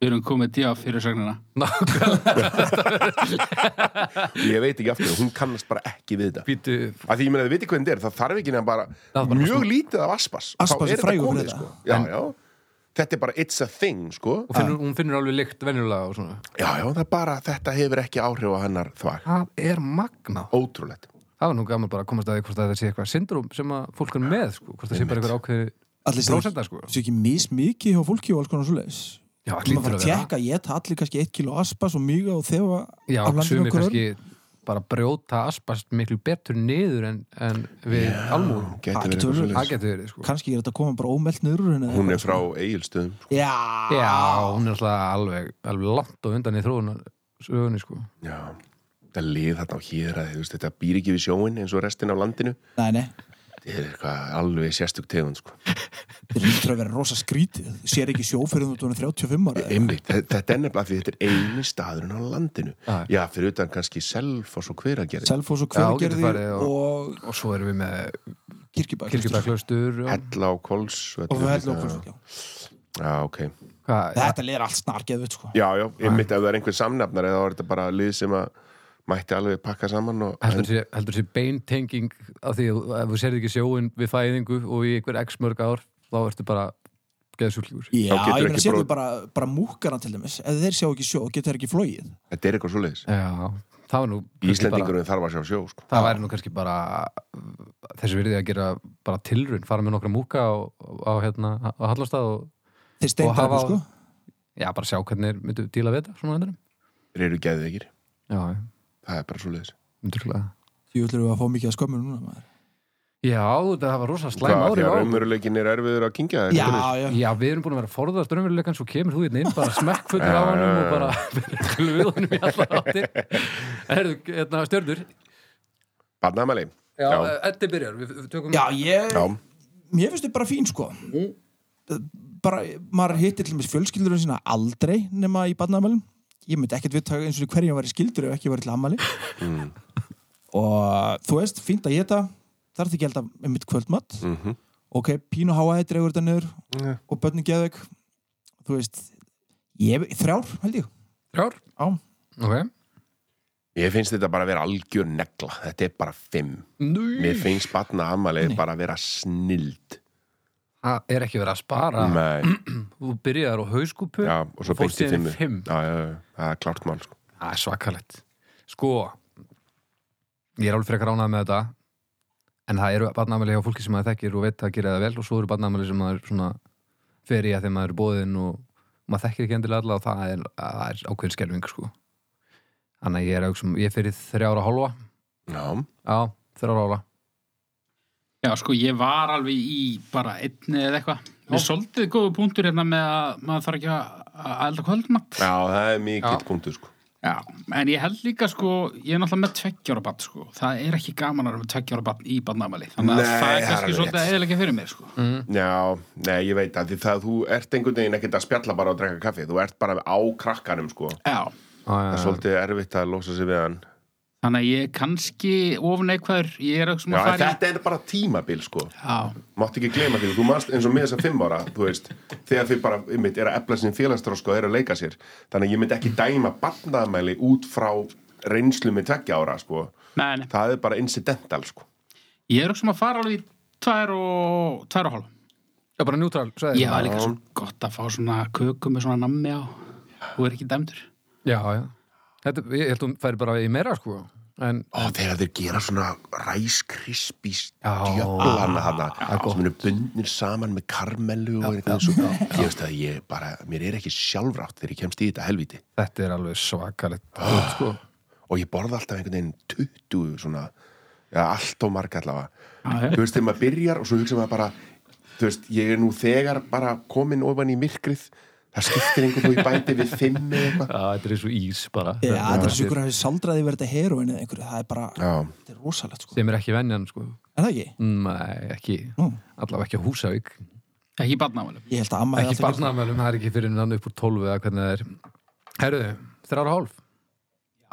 [SPEAKER 3] við erum komið díaf fyrir sögnina
[SPEAKER 5] Ég veit ekki aftur, hún kannast bara ekki við þetta.
[SPEAKER 2] býtu
[SPEAKER 5] Af því ég meina þið viti hvernig þetta er, það þarf ekki nefn bara
[SPEAKER 2] bara
[SPEAKER 5] mjög lítið af aspas. þá
[SPEAKER 4] Aspas
[SPEAKER 5] er
[SPEAKER 4] er
[SPEAKER 5] þetta
[SPEAKER 4] frægur
[SPEAKER 5] komið,
[SPEAKER 4] fyrir þetta.
[SPEAKER 5] Sko. Já, já. Þetta er bara it's a thing, sko.
[SPEAKER 2] og finnur, hún finnur alveg lykt venjulega og svona
[SPEAKER 5] Já, já, það er bara, þetta hefur ekki áhrif á hennar þvag.
[SPEAKER 2] það er magna
[SPEAKER 5] Ótrúlegt.
[SPEAKER 2] það var nú gaman bara að komast að því hvort að þetta sé eitthvað syndrom sem að fólk er með sko, hvort það sé bara eitthvað ákveði
[SPEAKER 4] Allir sér
[SPEAKER 2] prósenda sko
[SPEAKER 4] ekki mis mikið hjá fólki og alls konar svoleiðis
[SPEAKER 2] já,
[SPEAKER 4] Þú maður fara að tjekka, ég ætla allir kannski 1 kilo aspas og mýga og þefa
[SPEAKER 2] já,
[SPEAKER 4] af landinu
[SPEAKER 2] sumir
[SPEAKER 4] okkur öðrum.
[SPEAKER 2] kannski bara brjóta aspast miklu betur niður en, en við yeah. almúðum
[SPEAKER 5] Gæti
[SPEAKER 4] Það
[SPEAKER 5] verið
[SPEAKER 4] getur
[SPEAKER 5] eitthvað
[SPEAKER 4] verið.
[SPEAKER 5] svolítið.
[SPEAKER 2] það getur verið sko
[SPEAKER 4] kannski er þetta að koma bara ómelt niður úr henni eða
[SPEAKER 5] Hún
[SPEAKER 4] eitthvað,
[SPEAKER 5] er frá eigilstöðum.
[SPEAKER 4] sko. Já,
[SPEAKER 2] já, hún er alltaf alveg, alveg langt og undan í þróunar sögunni sko
[SPEAKER 5] Já, þetta lið þarna á hýðraði, þú veist, þetta býr ekki við sjóin eins og restin af landinu.
[SPEAKER 4] Nei, nei,
[SPEAKER 5] Þetta er eitthvað alveg sérstök tegund, sko.
[SPEAKER 4] þetta lítur að vera rosa skrítið Þú sér ekki sjó fyrir þú ert orðinn 35 ára eða?
[SPEAKER 5] Einmitt, þe- þetta er nefnilega af því þetta er eini staðurinn á landinu.
[SPEAKER 2] Já.
[SPEAKER 5] Já, fyrir utan kannski self og svo hveragerði.
[SPEAKER 4] Selfoss og
[SPEAKER 2] Já, hún
[SPEAKER 4] Hveragerði
[SPEAKER 2] getur farið
[SPEAKER 4] og
[SPEAKER 2] og svo erum við með
[SPEAKER 4] Kirkjubæk
[SPEAKER 2] kirkjubæklaustur og
[SPEAKER 5] Hella og Kols.
[SPEAKER 4] og Hellu og Kvölsvík, já.
[SPEAKER 5] Já, ok.
[SPEAKER 2] hvað
[SPEAKER 4] Þetta leir allt snargeðut sko
[SPEAKER 5] Já, já, ég myndi að það er einhver samnafnar eða var þetta bara lið sem að mætti alveg pakka saman og
[SPEAKER 2] heldur sé, heldur sé beintenging af því að ef þú serði ekki sjóin við fæðingu og í einhver x mörg ár þá ertu bara geðsjúklingur
[SPEAKER 4] Já,
[SPEAKER 5] Þá getur
[SPEAKER 4] ég meina
[SPEAKER 5] ekki
[SPEAKER 4] sér
[SPEAKER 5] brot-
[SPEAKER 4] við bara, bara múkana til dæmis ef þeir sjá ekki sjó, getur þeir ekki flóið
[SPEAKER 5] þetta er eitthvað svo leiðis.
[SPEAKER 2] Já, það var nú kannski bara,
[SPEAKER 5] Íslendingurinn þarf að sjá sjó, sko.
[SPEAKER 2] það væri nú kannski bara þessi virði að gera bara tilrun fara með nokkra múka á, á, hérna, á Hallastað og
[SPEAKER 4] Þeir
[SPEAKER 2] Og hafa
[SPEAKER 4] steindar
[SPEAKER 2] á-
[SPEAKER 4] sko
[SPEAKER 2] já, bara sjá hvernig þeir myndu díla við þetta svona á endanum
[SPEAKER 5] Þeir eru geðveikir.
[SPEAKER 2] Já, já,
[SPEAKER 5] Það er bara svo leiðis.
[SPEAKER 2] myndu klæða
[SPEAKER 4] Jú ætlum við að fá mikið að skömmu núna maður.
[SPEAKER 2] Já, þetta hafa rosa slæm
[SPEAKER 5] Hvað, því
[SPEAKER 2] árið á
[SPEAKER 5] að
[SPEAKER 2] okkur.
[SPEAKER 5] raumurleikin er erfiður að kingja
[SPEAKER 4] Já,
[SPEAKER 5] það?
[SPEAKER 4] já,
[SPEAKER 2] Já, við erum búin að vera að forðast raunveruleikann svo kemur þú hérna inn bara smekkfullur á
[SPEAKER 5] Já,
[SPEAKER 2] hann
[SPEAKER 5] já,
[SPEAKER 2] og
[SPEAKER 5] já.
[SPEAKER 2] bara <laughs> við honum í allar áttir Herðu, hérna stjörnur
[SPEAKER 5] Barnamæli.
[SPEAKER 2] Já, eh.
[SPEAKER 5] Já.
[SPEAKER 2] Eddi byrjar, við við tökum
[SPEAKER 4] já ég,
[SPEAKER 5] Já,
[SPEAKER 4] mér finnst þetta bara fín sko bara, maður hittir til dæmis fjölskyldurinn sína aldrei nema í barnaðamælum ég myndi ekkert viðtaka eins og hverjum var í skildur ef ekki var til ammæli
[SPEAKER 5] Mm.
[SPEAKER 4] og þú veist, fínt að geta þarf ekki held að með mitt kvöldmatt
[SPEAKER 5] Mhm.
[SPEAKER 4] ok, pínu háaði dregur þetta niður
[SPEAKER 5] Ja.
[SPEAKER 4] og börnin geðveik þú veist, ég, þrjár held ég,
[SPEAKER 2] Þrjár,
[SPEAKER 4] á
[SPEAKER 2] ok
[SPEAKER 5] Ég finnst þetta bara að vera algjör negla. Þetta er bara fimm.
[SPEAKER 2] Nú,
[SPEAKER 5] Mér finnst barnamæli bara að vera snild.
[SPEAKER 2] það er ekki verið að spara
[SPEAKER 5] Nei,
[SPEAKER 2] Þú byrjar á hauskúpu
[SPEAKER 5] já, og svo
[SPEAKER 2] og fórst síðan í
[SPEAKER 5] beinti fimmu.
[SPEAKER 2] fimm.
[SPEAKER 5] Já, já, já, það er klart mál, sko.
[SPEAKER 2] Það er svakalett Sko ég er alveg frekar ánað með þetta en það eru barnamæli hjá fólki sem maður þekkir og veit að gera það vel og svo eru barnamæli sem maður svona fer í að þegar maður er bóðin og maður þekkir ekki endilega alla og það er, það er ákveðin skelving sko þannig að ég er auksum, ég fyrir þrjára hálfa
[SPEAKER 5] Já,
[SPEAKER 2] já, þrjára hálfa
[SPEAKER 3] Já, sko, ég var alveg í bara einni eða eitthvað. Það er svolítið góðu punktur hérna með að maður þarf ekki að að elda kvöldmatt.
[SPEAKER 5] já það er mikill
[SPEAKER 2] Já.
[SPEAKER 5] punktur sko
[SPEAKER 3] Já, en ég held líka, sko, ég er náttúrulega með tveggjára barn, sko. Það er ekki gaman að vera með tveggjára barn í barnamæli. Þannig að
[SPEAKER 5] Nei,
[SPEAKER 3] það
[SPEAKER 5] það
[SPEAKER 3] er
[SPEAKER 5] er
[SPEAKER 3] kannski
[SPEAKER 5] alveg
[SPEAKER 3] svolítið
[SPEAKER 5] rétt. Mm.
[SPEAKER 3] að eðilega fyrir mér, sko.
[SPEAKER 2] Mm.
[SPEAKER 5] Já, nei, ég veit að því það þú ert einhvern veginn ekkert að spjalla bara og drekka kaffi þú ert bara á krakkanum sko
[SPEAKER 3] Já,
[SPEAKER 5] það er
[SPEAKER 2] Ah.
[SPEAKER 5] svolítið erfitt að losa sig við hann já,
[SPEAKER 3] þannig að ég er kannski ofn eitthvaður, ég er ekki sem
[SPEAKER 5] en
[SPEAKER 3] að fara í...
[SPEAKER 5] þetta er bara tímabil sko
[SPEAKER 3] Já,
[SPEAKER 5] mátt ekki gleyma því, þú manst eins og með þess að fimm ára þú veist, þegar þið bara einmitt, er að efla sinni félagstrósk og er að leika sér þannig að ég myndi ekki dæma barnaðamæli út frá reynslu með tveggja ára sko.
[SPEAKER 3] nei, nei.
[SPEAKER 5] það er bara incidental sko.
[SPEAKER 3] Ég er ekki sem að fara alveg í tvær og, tvær og hálf.
[SPEAKER 2] já, bara njútrál, sagði
[SPEAKER 3] Ég var líka svo gott að fá svona köku með svona nammi á. Þú er ekki dæmdur.
[SPEAKER 2] já, já þetta, ég held hún færi bara í meira sko en
[SPEAKER 5] Ó, þegar þeir gera svona ræskrispís
[SPEAKER 2] Já.
[SPEAKER 5] djöflana hana
[SPEAKER 2] er gott.
[SPEAKER 5] sem eru bundnir saman með karmelu og eitthvað svo ég veist að ég bara, mér er ekki sjálfrátt þegar ég kemst í þetta helviti
[SPEAKER 2] þetta er alveg svakalegt brot, sko.
[SPEAKER 5] og ég borða alltaf einhvern veginn 20 svona, ja, allt og marg allavega
[SPEAKER 3] já.
[SPEAKER 5] þú veist, þegar maður byrjar og svo hugsa maður bara þú veist, ég er nú þegar bara komin ofan í myrkrið það skiptir einhvern veginn bæti við fimm eða eitthvað
[SPEAKER 2] já, þetta er eins og ís bara
[SPEAKER 4] Já, þetta er svo ykkur að hafi saldraði verið þetta heroin eða einhverju, það er bara,
[SPEAKER 5] Já.
[SPEAKER 4] þetta er rosalegt sko.
[SPEAKER 2] sem er ekki venjan sko
[SPEAKER 4] Er það ekki?
[SPEAKER 2] Nei, ekki,
[SPEAKER 4] Nú.
[SPEAKER 2] allavega ekki á Húsavík
[SPEAKER 3] Ekki barnamæli.
[SPEAKER 4] Ég held að amma hefði
[SPEAKER 2] ekki
[SPEAKER 4] alltaf gert
[SPEAKER 2] barnaðmælum, það er ekki fyrir nann upp úr 12 eða hvernig það er Herðu, þrjára hálf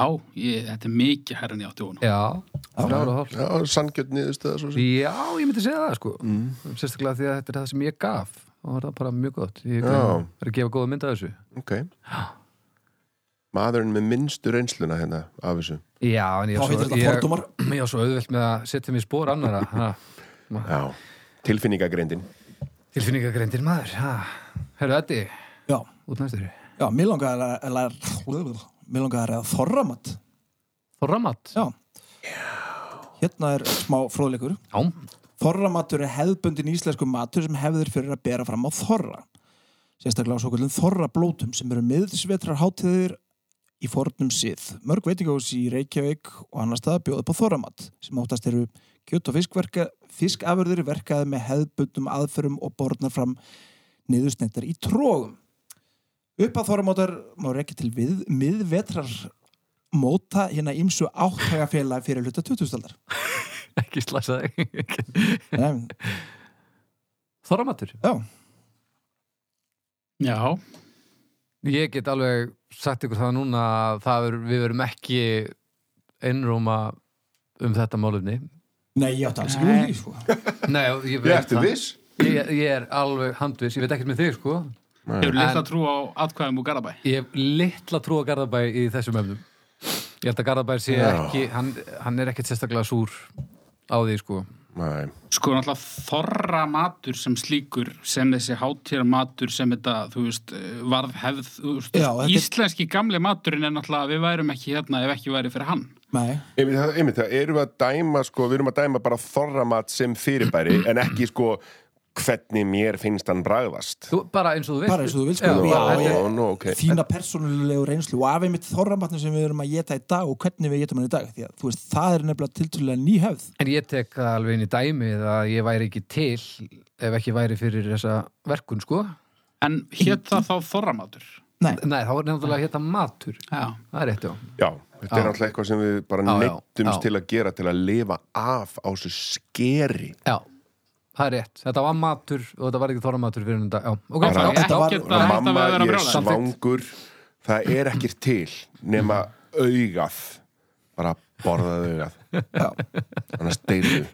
[SPEAKER 3] Já, ég, þetta er mikið herra en ég átti vona.
[SPEAKER 2] Já, þrjára hálf
[SPEAKER 5] já, sangjörn niðurstöða svo sem
[SPEAKER 2] Já, ég myndi segja það sko
[SPEAKER 4] Mm.
[SPEAKER 2] Sérstaklega því að þetta er það sem ég gaf og það er bara mjög gott Ég
[SPEAKER 5] Já.
[SPEAKER 2] er að gefa góða mynd af þessu
[SPEAKER 5] ok maðurinn með minnstu reynsluna hérna af þessu
[SPEAKER 2] Já, en ég er
[SPEAKER 4] Þá heitir
[SPEAKER 2] svo,
[SPEAKER 4] þetta
[SPEAKER 2] ég,
[SPEAKER 4] fordómar.
[SPEAKER 2] ég er svo auðvelt með að setja mig í spór
[SPEAKER 4] <laughs>
[SPEAKER 2] annara ha.
[SPEAKER 5] já. tilfinningagreindin
[SPEAKER 2] Tilfinningagreindir maður ha. Herðu, Eddi,
[SPEAKER 4] Já,
[SPEAKER 2] út næstur
[SPEAKER 4] já, mér langaði að, að, að, mér langaði að reyða þorramat.
[SPEAKER 2] Þorramat
[SPEAKER 4] Já. Hérna er smá fróðleikur.
[SPEAKER 2] Já, <laughs>
[SPEAKER 4] Þorramatur er hefðbundin íslensku matur sem hefðir fyrir að bera fram á þorra. Sérstaklega á svo kvöldin þorrablótum sem eru miðsvetrar hátíðir í fornum sið. Mörg veitingahús í Reykjavík og annar stað bjóða upp á þorramat sem áttast eru kjöt og fiskverka, fiskafurðir verkaði með hefðbundum aðferðum og borðnar fram niðursnettar í trógum. Upp að þorramátar má rekja til við, miðvetrar móta hérna ímsu áttægafélag fyrir hluta 2000-aldar.
[SPEAKER 2] ekki slasa þig
[SPEAKER 4] Nei,
[SPEAKER 2] Þorramatur
[SPEAKER 4] Já,
[SPEAKER 3] Já,
[SPEAKER 2] Ég get alveg sagt ykkur það núna að það er, við verum ekki einróma um þetta málumni.
[SPEAKER 4] Nei, ég átti alls ekki
[SPEAKER 3] Nei.
[SPEAKER 4] úr því, sko.
[SPEAKER 2] Nei, og ég
[SPEAKER 5] ég
[SPEAKER 2] veit
[SPEAKER 5] ertu viss
[SPEAKER 2] Ég, ég er alveg handvis, ég veit ekkert með þig sko.
[SPEAKER 3] ég hefur litla trú á atkvæðum úr Garabæ.
[SPEAKER 2] Ég hef litla trú á Garðabæ í þessum efnum. Ég held að Garðabæ sé
[SPEAKER 5] Já.
[SPEAKER 2] ekki, hann, hann er ekkert sérstaklega súr á því sko.
[SPEAKER 5] Nei.
[SPEAKER 3] Sko, náttúrulega þorra matur sem slíkur, sem þessi hátíra matur, sem þetta, þú veist, eh, varð hefð. þú Veist,
[SPEAKER 4] Já, þetta er-
[SPEAKER 3] íslenski gamli maturinn er náttúrulega að við værum ekki hérna ef ekki væri fyrir hann.
[SPEAKER 4] Nei,
[SPEAKER 5] Einmitt, það, einmitt, það erum við að dæma sko, við erum að dæma bara þorramat sem fyrirbæri en ekki sko hvernig mér finnst hann bragðast
[SPEAKER 2] Þú, bara eins og þú veist.
[SPEAKER 4] Bara eins og þú vilt, sko.
[SPEAKER 2] Já,
[SPEAKER 4] Já,
[SPEAKER 2] bara-
[SPEAKER 4] já.
[SPEAKER 5] ó, nú, ok.
[SPEAKER 4] þína persónulegu reynslu og af einmitt þorramatnum sem við erum að geta í dag og hvernig við getum hann í dag, því að þú veist, það er nefnilega tiltúrulega nýhefð.
[SPEAKER 2] En ég tek það alveg inn í dæmið að ég væri ekki til ef ekki væri fyrir þessa verkun sko.
[SPEAKER 3] En hétt það þá þorra matur.
[SPEAKER 4] Nei,
[SPEAKER 2] Nei, þá er nefnilega hérna matur.
[SPEAKER 3] Já.
[SPEAKER 2] Það er rétt, já.
[SPEAKER 5] já, þetta er náttúrulega eitthvað sem við bara
[SPEAKER 2] Já, já, já.
[SPEAKER 5] neittumst til að gera til að lifa af á þessu skeri
[SPEAKER 2] Já, það er rétt. Þetta var matur og þetta var ekki þorramatur fyrir en dag. Já, ok,
[SPEAKER 3] Það
[SPEAKER 5] Bara-
[SPEAKER 3] er
[SPEAKER 4] þetta
[SPEAKER 3] ekki
[SPEAKER 4] var-
[SPEAKER 3] að hætta við að
[SPEAKER 5] mamma,
[SPEAKER 3] vera
[SPEAKER 5] ég er
[SPEAKER 3] brjálæður.
[SPEAKER 5] svangur það er ekkir til nema augað bara borðað augað
[SPEAKER 4] já,
[SPEAKER 5] annars deyrðu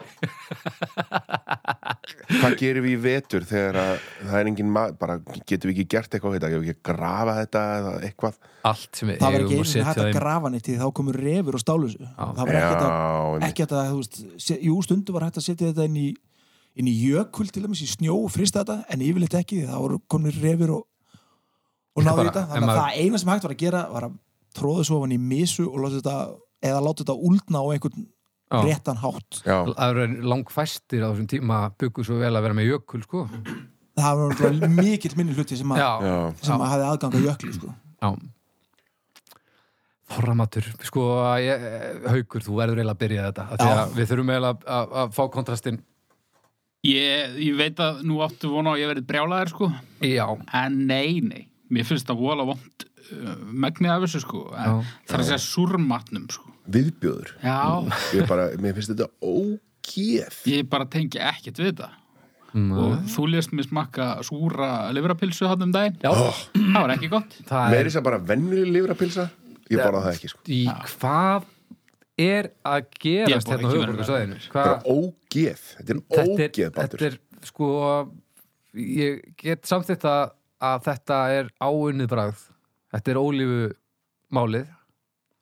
[SPEAKER 5] hvað gerum við í vetur þegar að það er engin maður bara getum við ekki gert eitthvað við þetta getum við ekki að grafa þetta eða eitthvað
[SPEAKER 2] allt sem við
[SPEAKER 4] það var
[SPEAKER 2] eigum
[SPEAKER 4] ekki
[SPEAKER 2] og
[SPEAKER 4] einu hægt
[SPEAKER 2] setja
[SPEAKER 4] að
[SPEAKER 2] þeim.
[SPEAKER 4] grafa neitt því þá komur refur og stálusu. Það var ekki þetta,
[SPEAKER 5] já, einmitt.
[SPEAKER 4] ekki þetta, þú veist, se- jú, stundu var hægt að setja þetta inn í, inn í jökul til dæmis í snjó og frista þetta, en yfirleitt ekki því það voru komnir refur og, og náðu
[SPEAKER 2] bara,
[SPEAKER 4] þetta.
[SPEAKER 2] ef
[SPEAKER 4] Þannig að
[SPEAKER 2] maður-
[SPEAKER 4] það eina sem hægt var að gera var að tróða svo hann í misu og láta þetta, eða láta þetta úldna á einhvern
[SPEAKER 2] Já.
[SPEAKER 4] réttan hátt
[SPEAKER 5] já,
[SPEAKER 2] Það eru langfæstir á þessum tíma byggu svo vel að vera með jökul, sko.
[SPEAKER 4] það var náttúrulega mikill minni hluti sem, að,
[SPEAKER 2] Já,
[SPEAKER 5] já,
[SPEAKER 4] sem að hafði aðgang að jökli <laughs> sko.
[SPEAKER 2] já. Þorramatur, sko, ég, haukur, þú verður eiginlega að byrja þetta. af Því
[SPEAKER 4] Já.
[SPEAKER 2] að við þurfum eiginlega að- að, að fá kontrastinn.
[SPEAKER 3] Ég, ég veit að nú áttu vona að ég verið brjálaðir sko
[SPEAKER 2] Já,
[SPEAKER 3] en nei, nei, mér finnst það vola vond uh, megnið af þessu sko en,
[SPEAKER 2] Já.
[SPEAKER 3] það er að segja súrmatnum sko
[SPEAKER 5] viðbjöður
[SPEAKER 3] já,
[SPEAKER 5] ég bara, mér finnst þetta ógeð
[SPEAKER 3] ég bara tengi ekkert við þetta
[SPEAKER 2] Nei.
[SPEAKER 3] og þú lést mér smakka súra livrapilsu hann um daginn
[SPEAKER 2] já
[SPEAKER 5] Oh.
[SPEAKER 3] það var ekki gott
[SPEAKER 2] það
[SPEAKER 5] meiri
[SPEAKER 2] er
[SPEAKER 5] sem bara vennileg livrapilsa ég borða það ekki, sko
[SPEAKER 2] í hvað er að
[SPEAKER 3] Ég
[SPEAKER 2] gerast
[SPEAKER 3] borða
[SPEAKER 2] hérna á
[SPEAKER 3] ekki
[SPEAKER 2] höfuborgarsvæðinu?
[SPEAKER 5] þetta er ógeð, þetta er
[SPEAKER 2] Ah. þetta
[SPEAKER 5] ógeð
[SPEAKER 2] er,
[SPEAKER 5] Baldur.
[SPEAKER 2] þetta er sko ég get samþýtt að, að þetta er áunnið bragð þetta er ólífu málið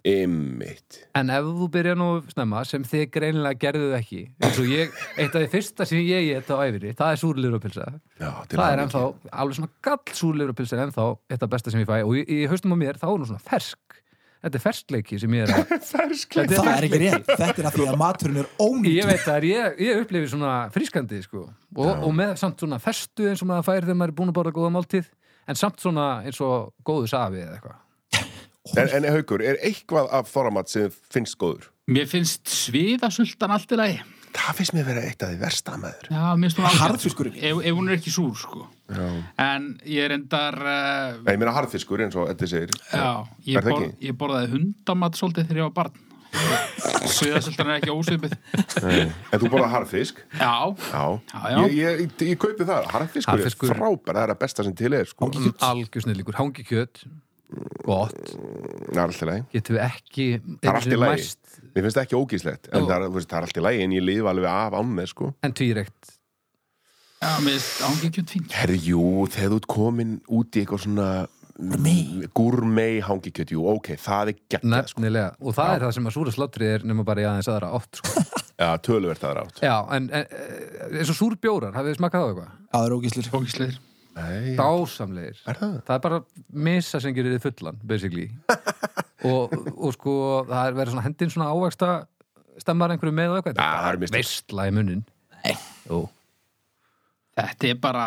[SPEAKER 5] Einmitt.
[SPEAKER 2] en ef þú byrja nú snemma sem þið greinilega gerðuð ekki eins og ég, eitt af því fyrsta sem ég get á æfiri, það er súrlirupilsa
[SPEAKER 5] Já, til
[SPEAKER 2] það er
[SPEAKER 5] hamingju.
[SPEAKER 2] ennþá, alveg svona gall súrlirupilsa er ennþá eitt af besta sem ég fæ og í, í haustum á mér þá er nú svona fersk þetta er ferskleiki sem ég er
[SPEAKER 5] <laughs>
[SPEAKER 2] að
[SPEAKER 5] Ferskleik.
[SPEAKER 2] Þetta
[SPEAKER 4] það er ekki rétt, þetta er að því að maturinn er
[SPEAKER 2] Ég
[SPEAKER 4] ónýtt
[SPEAKER 2] veit það, er, ég, ég upplifi svona frískandi sko. og, og með samt svona festu eins og maður fær þegar maður er búin að borða góða máltíð en samt svona eins og góðu safi eða eitthvað
[SPEAKER 5] En, en haukur, er eitthvað af þoramat sem finnst góður?
[SPEAKER 3] mér finnst sviðasultan allt í lagi
[SPEAKER 5] Það finnst mér vera eitt af því versta maður.
[SPEAKER 3] já, mér finnst hún ágæt,
[SPEAKER 4] Harðfiskur
[SPEAKER 3] sko,
[SPEAKER 4] ekki?
[SPEAKER 3] ef, ef hún er ekki súr sko
[SPEAKER 5] Já.
[SPEAKER 3] en ég er endar uh,
[SPEAKER 5] Nei, ég meina harðfiskur eins og Eddi segir.
[SPEAKER 3] Já,
[SPEAKER 5] Er
[SPEAKER 3] ég,
[SPEAKER 5] það
[SPEAKER 3] bor,
[SPEAKER 5] ekki?
[SPEAKER 3] ég borðaði hundamat svolítið þegar ég var barn Suðasöldan er ekki ósvipið
[SPEAKER 5] En þú borða harðfisk?
[SPEAKER 3] Já,
[SPEAKER 5] Já.
[SPEAKER 3] Já, já.
[SPEAKER 5] Ég, ég, ég, ég kaupi það. Harðfiskur,
[SPEAKER 2] Harðfiskur.
[SPEAKER 5] er frábær, það er að besta sem til er, sko.
[SPEAKER 2] Mm, Algjör snillíkur, hangi kjöt gott,
[SPEAKER 5] Það er alltaf læg.
[SPEAKER 2] getum við ekki
[SPEAKER 5] Það er
[SPEAKER 2] einu sinni
[SPEAKER 5] alltaf læg.
[SPEAKER 2] mæst
[SPEAKER 5] Mér finnst það ekki ógíslegt. En
[SPEAKER 2] Jú.
[SPEAKER 5] það er, þú veist, það er alltaf læg en ég lifa alveg af ámið, sko.
[SPEAKER 2] en tvíreikt
[SPEAKER 3] já mér finnst ángekjönd fínt
[SPEAKER 5] Herjú, þegar þú ert komin út í eitthvað svona...
[SPEAKER 4] Gourmet.
[SPEAKER 5] Gourmet hangikjöt, jú, ok, það er gegn sko.
[SPEAKER 2] nefnilega, og það er það sem að súra slotri er nema bara í aðeins aðra átt
[SPEAKER 5] <laughs>
[SPEAKER 2] sko.
[SPEAKER 5] Já, töluvert það er átt.
[SPEAKER 2] Já, en, en eh, eins og súrbjórar, hafið þið smakkað á eitthvað?
[SPEAKER 4] það er ógíslir
[SPEAKER 3] Ógisleir
[SPEAKER 5] Nei,
[SPEAKER 2] dásamlegir
[SPEAKER 5] er það?
[SPEAKER 2] það er bara missa sem gerir þið fullan <laughs> basically og, og sko það er verið svona hendin svona ávaksta stemmar einhverju með og eitthvað
[SPEAKER 5] Ja, það er mistök.
[SPEAKER 2] veistla í munnin Jú.
[SPEAKER 3] Þetta er bara,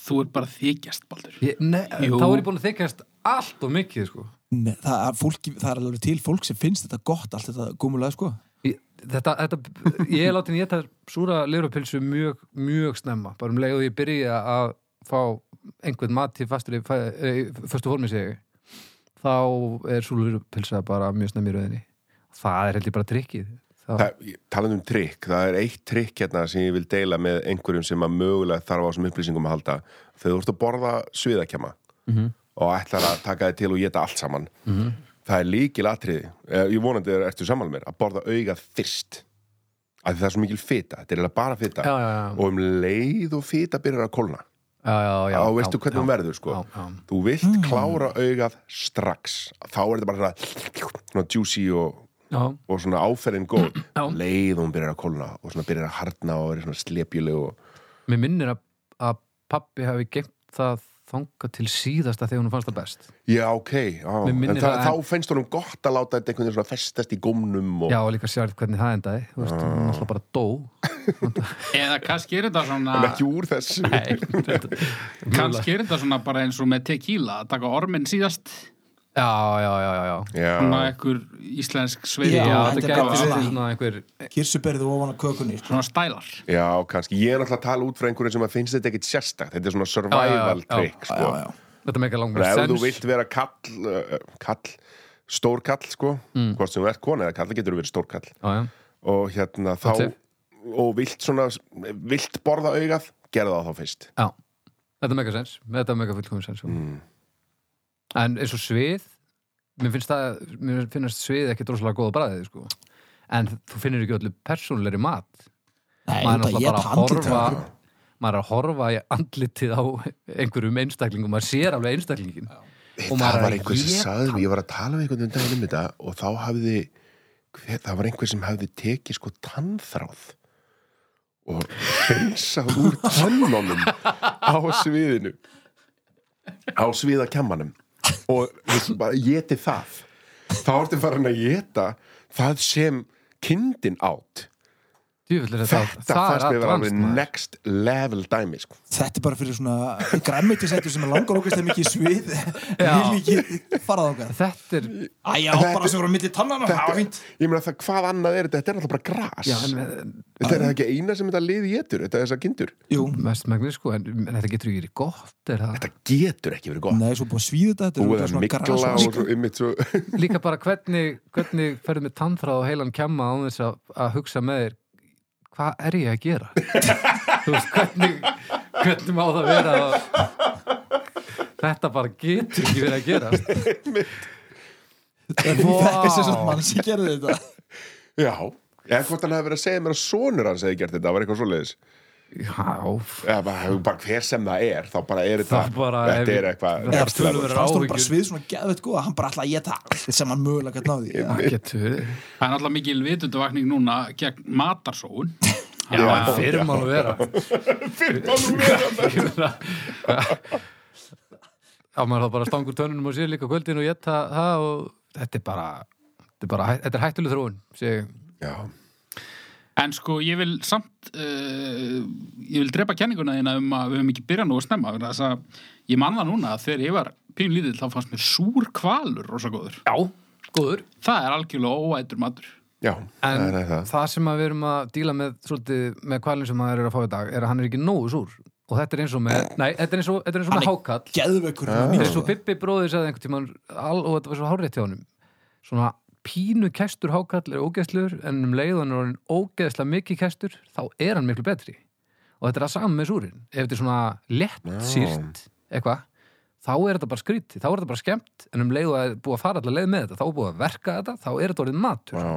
[SPEAKER 3] þú er bara þykjast, Baldur
[SPEAKER 2] Ég- nei,
[SPEAKER 3] Jú.
[SPEAKER 2] þá er ég búin að þykjast allt og mikið sko
[SPEAKER 4] Nei, það, er fólki, það er alveg til fólk sem finnst þetta gott allt þetta gumulega sko
[SPEAKER 2] ég, þetta, þetta, ég er látin ég þetta súra lirupilsu mjög, mjög snemma bara um leið og ég byrja að fá einhvern mat til fastur í fæ- eh, í föstu formi sig þá er súra lirupilsa bara mjög snemma í rauðinni það er heldur bara trikkið það,
[SPEAKER 5] talað um trikk, það er eitt trikk hérna sem ég vil deila með einhverjum sem að mögulega þarf á þessum upplýsingum að halda þegar þú ert að borða sviðakjama
[SPEAKER 2] Mhm.
[SPEAKER 5] og ætlar að taka þið til og geta allt saman það er líkil atriði Eh, ég vonandi er, ertu saman með mér að borða augað fyrst að það er svo mikil fita, þetta er eiginlega bara fita
[SPEAKER 2] Já, já, já.
[SPEAKER 5] og um leið og fita byrjar að kólna
[SPEAKER 2] já, já, já,
[SPEAKER 5] þá
[SPEAKER 2] já,
[SPEAKER 5] veistu hvernig
[SPEAKER 2] já,
[SPEAKER 5] hún verður sko.
[SPEAKER 2] já, já.
[SPEAKER 5] þú vilt
[SPEAKER 2] Hmm.
[SPEAKER 5] klára augað strax þá er þetta bara svona, svona juicy og,
[SPEAKER 2] Já,
[SPEAKER 5] og svona áferðin góð
[SPEAKER 2] Já.
[SPEAKER 5] leið og hún byrjar að kólna og svona byrjar að harna og verið svona slepjuleg og...
[SPEAKER 2] mér minnir að, að pappi hafi geimt það þangað til síðasta þegar hún fannst það best
[SPEAKER 5] já ok já.
[SPEAKER 2] Mér
[SPEAKER 5] en
[SPEAKER 2] minnir
[SPEAKER 5] það,
[SPEAKER 2] það-
[SPEAKER 5] þá finnst honum gott að láta þetta einhvern veginn svona festast í gómnum og Ah.
[SPEAKER 2] Já, og líka sérð hvernig það endaði Þú veist, hún alltaf bara dó
[SPEAKER 3] Eða kannski er þetta svona
[SPEAKER 5] en ekki úr þessu
[SPEAKER 2] <laughs>
[SPEAKER 3] Nei, kannski er þetta svona bara eins og með tequila að taka orminn síðast
[SPEAKER 2] Já, já, já, já, já
[SPEAKER 5] já,
[SPEAKER 3] svona ekkur íslensk sveið
[SPEAKER 4] Já,
[SPEAKER 2] Já,
[SPEAKER 4] þetta
[SPEAKER 2] þetta
[SPEAKER 4] er
[SPEAKER 2] gæti
[SPEAKER 4] bara
[SPEAKER 2] verið
[SPEAKER 4] svona-
[SPEAKER 2] svona einhver
[SPEAKER 4] kirsuberðu ofan á kökunni sko.
[SPEAKER 3] svona stælar
[SPEAKER 5] já kannski ég er náttúrulega að tala út frá einhverjum sem að finnst þetta ekkit sérstakt þetta er svona
[SPEAKER 2] Já,
[SPEAKER 5] survival
[SPEAKER 2] já, já.
[SPEAKER 5] trick
[SPEAKER 4] já,
[SPEAKER 5] sko.
[SPEAKER 4] já.
[SPEAKER 2] Þetta með ekki langar
[SPEAKER 5] ef þú
[SPEAKER 2] sens
[SPEAKER 5] vilt vera kall, uh, kall stór kall sko
[SPEAKER 2] Hmm.
[SPEAKER 5] hvort sem þú ert kona eða kall, það getur verið stór kall
[SPEAKER 2] Já, já,
[SPEAKER 5] og hérna þá
[SPEAKER 2] Gott
[SPEAKER 5] og vilt svona, vilt borða augað gera það þá fyrst
[SPEAKER 2] já Þetta með ekki sens, þetta með ekki fullkomin sens mm. En eins og svið Mér finnst það, mér finnst svið ekki droslega góða bræðið, sko En þú finnir ekki öllu persónulegri mat
[SPEAKER 4] Nei,
[SPEAKER 2] Maður er náttúrulega
[SPEAKER 4] þetta ég
[SPEAKER 2] bara
[SPEAKER 4] er
[SPEAKER 2] að
[SPEAKER 4] handlítið
[SPEAKER 2] horfa Maður er að horfa í andlitið á einhverjum einstaklingum Maður sér alveg einstaklingin Og maður er
[SPEAKER 5] það var
[SPEAKER 2] að
[SPEAKER 5] einhver sem
[SPEAKER 2] éta
[SPEAKER 5] sagði mér, ég var að tala við einhvern veginn um þetta og þá hafði hver, það var einhver sem hafði tekið sko tannþráð og hreinsað úr tannunum á sviðinu á sviðakemmanum og þú veist, bara geti það þá ertu farin að geta það sem kindin átt
[SPEAKER 2] Djúfull er þetta
[SPEAKER 5] þetta fannst mér vera alveg next level dæmi sko.
[SPEAKER 4] Þetta er bara fyrir svona græmmitisættur sem er langar okkar stemmi ekki í svið <laughs> vil ekki fara þákað
[SPEAKER 2] Þetta er,
[SPEAKER 4] Æja,
[SPEAKER 5] Þetta-
[SPEAKER 4] bara sem voru á milli tannana
[SPEAKER 5] þetta,
[SPEAKER 4] Það er fínt
[SPEAKER 5] ég meina það, hvað annað er þetta þetta er alltaf bara gras
[SPEAKER 2] já, en
[SPEAKER 5] þetta er ekki eina sem þetta liði getur þetta er þessar kindur,
[SPEAKER 4] Jú,
[SPEAKER 2] mest magnir sko, en, en þetta getur ekki verið gott er það.
[SPEAKER 5] þetta getur ekki verið gott
[SPEAKER 4] nei, svo búið að svíða þetta Þetta er
[SPEAKER 5] búið
[SPEAKER 4] örugglega
[SPEAKER 5] að
[SPEAKER 4] svona gras-
[SPEAKER 5] mikla og svo ymmit svo <laughs>
[SPEAKER 2] Líka bara hvernig, hvernig ferðu með tannþráð og heilan kemma án þess að, að hugsa með þér hvað er ég að gera? <laughs> Þú veist, hvernig, hvernig má það vera að Þetta bara getur ekki verið að gera
[SPEAKER 4] Þetta er þessi svona mann sem gerði þetta
[SPEAKER 5] já, eða hvort hann hefði verið að segja mér að sonur hans hefði gert þetta, það var eitthvað svoleiðis
[SPEAKER 2] Já,
[SPEAKER 5] eða bara, bara hver sem það er, þá bara er þetta
[SPEAKER 2] Það bara
[SPEAKER 5] þetta
[SPEAKER 2] er-
[SPEAKER 5] er eitthvað
[SPEAKER 2] Það er
[SPEAKER 5] next level.
[SPEAKER 2] töluverð-
[SPEAKER 4] Fannst hún bara
[SPEAKER 2] áhyggjur.
[SPEAKER 4] svið svona geðveitt góða Hann bara alltaf að geta allt sem hann mögulega gætt náði ja.
[SPEAKER 2] það getur verið
[SPEAKER 3] Það er alltaf mikil vitundavakning núna gegn matarsóun.
[SPEAKER 2] Já,
[SPEAKER 3] Þannig að-
[SPEAKER 2] fyrir má nú vera <laughs> Fyrir má nú vera Já, maður þá bara stangur tönnunum og sér líka á kvöldin og geta það og þetta er bara þetta er, bara, hæ- þetta er hættuleg þróun sé, ég.
[SPEAKER 5] já,
[SPEAKER 3] En sko, ég vil samt, uh, ég vil drepa kenninguna þína um að við höfum ekki byrjað nú að snemma. vegna Þess að ég man það núna að þegar ég var pínlítið þá fannst mér súr kvalur rosa góður.
[SPEAKER 2] Já, góður
[SPEAKER 3] Það er algjörlega óætur matur.
[SPEAKER 5] já,
[SPEAKER 2] En
[SPEAKER 5] það er
[SPEAKER 2] það.
[SPEAKER 5] það
[SPEAKER 2] sem að við erum að díla með svolítið með kvalin sem maður er að fá í dag er að hann er ekki nógu súr og þetta er eins og með, nei, þetta er eins og, þetta er eins og
[SPEAKER 4] Hann
[SPEAKER 2] með
[SPEAKER 4] er-
[SPEAKER 2] hákall
[SPEAKER 4] Geðveikur
[SPEAKER 5] Ah.
[SPEAKER 4] hann
[SPEAKER 2] Þetta
[SPEAKER 4] nýr,
[SPEAKER 2] er svo
[SPEAKER 4] sko.
[SPEAKER 2] Pippi bróðið sagði einhvern tímann al, og þetta var svo hárétt hjá honum svona pínu kestur hákall er ógeðsluður en um leiðan er hann ógeðsla mikið kestur þá er hann miklu betri og þetta er að saman með súrin ef þetta er svona lett
[SPEAKER 5] Já.
[SPEAKER 2] sýrt eitthvað, þá er þetta bara skrítið þá er þetta bara skemmt en um leiðu að búa að fara allar leið með þetta, þá er búið að verka þetta þá er þetta orðið matur
[SPEAKER 5] já,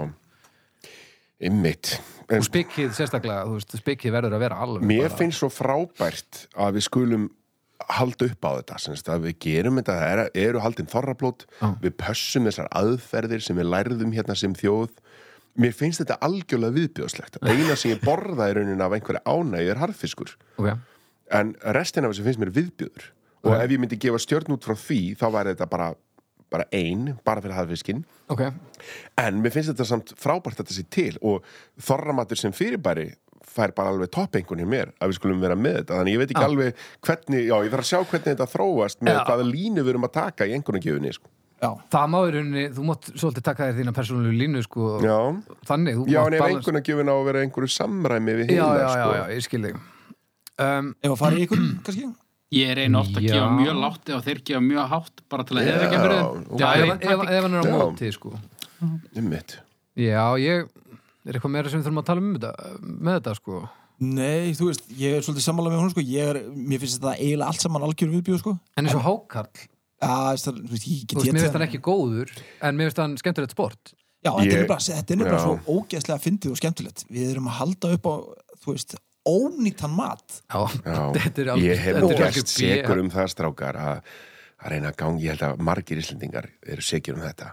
[SPEAKER 5] ymmit en
[SPEAKER 2] og spikkið sérstaklega, þú veist, spikkið verður að vera alveg
[SPEAKER 5] Mér
[SPEAKER 2] bara-
[SPEAKER 5] finnst svo frábært að við skulum halda upp á þetta semst, að við gerum þetta, það er, eru haldin þorrablót,
[SPEAKER 2] Já.
[SPEAKER 5] við pössum þessar aðferðir sem við lærðum hérna sem þjóð mér finnst þetta algjörlega
[SPEAKER 2] <laughs>
[SPEAKER 5] viðbjóðslegt eina sem ég borða í raunin af einhverja ánægju er harðfiskur
[SPEAKER 2] Ok.
[SPEAKER 5] en restin af þessu finnst mér viðbjóður og
[SPEAKER 2] Já.
[SPEAKER 5] ef ég myndi gefa stjörn út frá því þá væri þetta bara, bara ein bara fyrir harðfiskinn
[SPEAKER 2] ok,
[SPEAKER 5] En mér finnst þetta samt frábært að þetta sé til og þorramatur sem fyrirbæri fær bara alveg toppengun hjá mér að við skulum vera með þetta. Þannig ég veit ekki
[SPEAKER 2] Já.
[SPEAKER 5] alveg hvernig, já, ég þarf að sjá hvernig þetta þróast með
[SPEAKER 2] Já.
[SPEAKER 5] hvaða línu við erum að taka í engunargjöfunni, sko.
[SPEAKER 4] Já,
[SPEAKER 2] það má í rauninni, þú mátt svolítið taka þér þína persónulegu línu sko,
[SPEAKER 5] Já,
[SPEAKER 2] þannig, þú
[SPEAKER 5] já
[SPEAKER 2] mátt
[SPEAKER 5] en ef
[SPEAKER 2] balans-
[SPEAKER 5] engunargjöfun á að vera einhverju samræmi við
[SPEAKER 2] já,
[SPEAKER 5] hinna,
[SPEAKER 2] já, já,
[SPEAKER 5] sko.
[SPEAKER 2] já, ég skil þig um,
[SPEAKER 4] ef að fara í ykkur, kannski
[SPEAKER 3] Ég reyna ofta að
[SPEAKER 2] Já.
[SPEAKER 3] gefa mjög látt eða þeir gefa mjög hátt bara til að
[SPEAKER 5] Já,
[SPEAKER 3] eða ekki að
[SPEAKER 5] ok.
[SPEAKER 2] já, ef, ef,
[SPEAKER 3] byrja.
[SPEAKER 2] ef hann er á
[SPEAKER 5] Já.
[SPEAKER 2] móti sko.
[SPEAKER 5] Einmitt.
[SPEAKER 2] já, ég er eitthvað meira sem við þurfum að tala um þetta, með þetta sko.
[SPEAKER 4] Nei, þú veist, ég er svolítið sammála með hún sko. ég er, Mér finnst þetta eiginlega allt saman algjör viðbjóð sko.
[SPEAKER 2] en eins og hákarl,
[SPEAKER 4] Já, það, þú veist, ég
[SPEAKER 2] þú
[SPEAKER 4] get
[SPEAKER 2] veist,
[SPEAKER 4] ég
[SPEAKER 2] mér finnst hann ekki góður en mér finnst hann skemmtilegt sport
[SPEAKER 4] Já, þetta
[SPEAKER 5] Ég-
[SPEAKER 4] er nefnilega, þetta er nefnilega
[SPEAKER 5] Já.
[SPEAKER 4] svo ógeðslega fyndið og skemmtilegt. Við erum að halda upp á, þú veist, ónýtan mat.
[SPEAKER 2] já, <laughs> þetta er
[SPEAKER 5] Já,
[SPEAKER 2] alveg
[SPEAKER 5] ég hef
[SPEAKER 2] þetta er
[SPEAKER 5] gæst
[SPEAKER 2] algjör B-
[SPEAKER 5] segur um það, strákar, að, að reyna að gangi, ég held að margir Íslendingar eru segjur um þetta,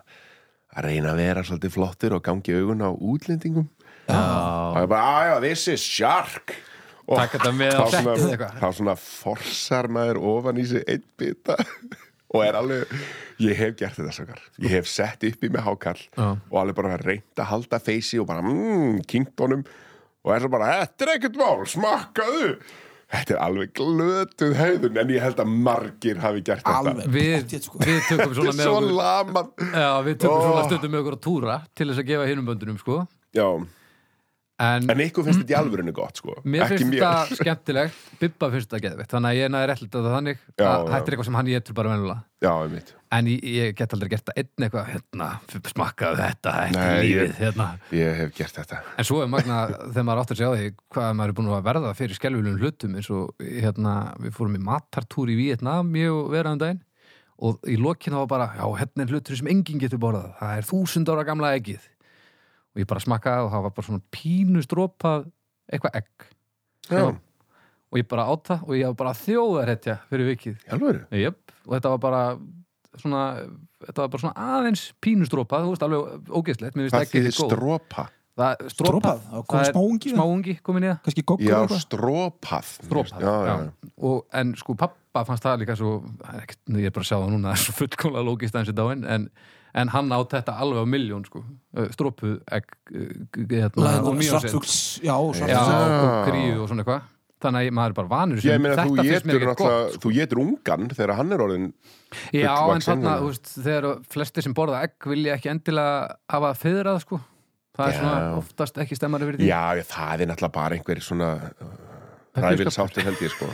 [SPEAKER 5] að reyna að vera svolítið flottur og gangi augun á útlendingum. Já. Og ég bara, aðja, this is shark. Og
[SPEAKER 2] Taka þetta með á
[SPEAKER 5] þá
[SPEAKER 2] settið
[SPEAKER 5] svona-
[SPEAKER 2] eitthvað.
[SPEAKER 5] Þá svona forsar maður ofan í sig einn bita <laughs> og er alveg, ég hef gert þetta strákar. Ég hef sett upp í mig hákall
[SPEAKER 2] Já.
[SPEAKER 5] og alveg bara reynt að halda feysi og bara, mmm, kinkt honum og er svo bara, þetta er ekkert mál, smakkaðu. Þetta er alveg glötuð hegðun en ég held að margir hafi gert þetta.
[SPEAKER 4] Alveg.
[SPEAKER 2] við,
[SPEAKER 4] Pottþétt, sko.
[SPEAKER 2] við tökum
[SPEAKER 5] Þetta <laughs>
[SPEAKER 2] svona
[SPEAKER 5] er
[SPEAKER 2] með
[SPEAKER 5] svo
[SPEAKER 2] okkur
[SPEAKER 5] laman.
[SPEAKER 2] já, við tökum svona
[SPEAKER 5] Ó.
[SPEAKER 2] stundum með okkur að túra til þess að gefa hinum böndunum sko.
[SPEAKER 5] Já,
[SPEAKER 2] en
[SPEAKER 5] en ykkur finnst þetta í alvörinu gott, sko.
[SPEAKER 2] Mér
[SPEAKER 5] Ekki
[SPEAKER 2] finnst þetta skemmtilegt, Bibba finnst þetta geðvitt þannig að ég næri ætla þetta þannig
[SPEAKER 5] Já,
[SPEAKER 2] að
[SPEAKER 5] já.
[SPEAKER 2] þetta er eitthvað sem hann getur bara venjulega
[SPEAKER 5] Já, einmitt.
[SPEAKER 2] en ég, ég get aldrei gert það einn eitthvað hérna, smakkaðu þetta, þetta er
[SPEAKER 5] Nei, ég-
[SPEAKER 2] lífið hérna.
[SPEAKER 5] Ég hef gert þetta.
[SPEAKER 2] en svo er magna þegar maður áttur að segja því hvað maður er búin að verða fyrir skelvilegum hlutum eins og hérna, við fórum í matartúr í Vietnam ég og vera um daginn og í lokinn þá var bara, já, hérna er hlutur sem enginn getur borðað, það er þúsund ára gamla eggið og ég bara smakkaði og það var bara svona pínustrópað eitthvað egg
[SPEAKER 5] Já,
[SPEAKER 2] Já. og ég bara átt það og ég var bara þjóðarhetja fyrir vikið
[SPEAKER 5] í alvöru.
[SPEAKER 2] Jöp, og þetta var bara svona, þetta var bara svona aðeins pínustrópað, þú veist, alveg ógeðslegt mér finnst
[SPEAKER 5] Það
[SPEAKER 2] ekki
[SPEAKER 5] þýðir
[SPEAKER 2] þetta góð
[SPEAKER 5] strópa.
[SPEAKER 2] það,
[SPEAKER 4] Strópað,
[SPEAKER 2] strópað,
[SPEAKER 4] þá kom smáungi
[SPEAKER 2] er
[SPEAKER 4] það.
[SPEAKER 2] smáungi komin í það
[SPEAKER 4] Kannski goggur
[SPEAKER 5] Já,
[SPEAKER 4] eitthvað.
[SPEAKER 5] strópað.
[SPEAKER 2] strópað,
[SPEAKER 5] Já, já, já.
[SPEAKER 2] Og, en <laughs> sko pappa fannst það líka svo, það er ekkert- ég er bara að sjá það núna það er svo fullkomlega lókist aðeins í dáin en, en hann át þetta alveg á miljón sko. Eh, stropuð egg eh,
[SPEAKER 5] sko.
[SPEAKER 2] hérna, og mjög
[SPEAKER 4] Læðan,
[SPEAKER 2] sinn
[SPEAKER 4] svartfugs, já,
[SPEAKER 2] já,
[SPEAKER 4] svartfugs
[SPEAKER 2] og kríu og svona eitthvað þannig að maður er bara vanur þessu.
[SPEAKER 5] Ég meina
[SPEAKER 2] Þetta
[SPEAKER 5] þú
[SPEAKER 2] finnst mér
[SPEAKER 5] getur
[SPEAKER 2] ekkert gott,
[SPEAKER 5] náttúrulega, þú getur ungan þegar hann er orðin
[SPEAKER 2] Já, en
[SPEAKER 5] fullvaxinn
[SPEAKER 2] þarna,
[SPEAKER 5] og-
[SPEAKER 2] þú veist, þegar flesti sem borða egg vilja ekki endilega hafa fyrrað, sko. Það er
[SPEAKER 5] Já.
[SPEAKER 2] svona oftast ekki stemmar yfir því.
[SPEAKER 5] Já, já, það er náttúrulega bara einhver svona ræfilsáttir held ég sko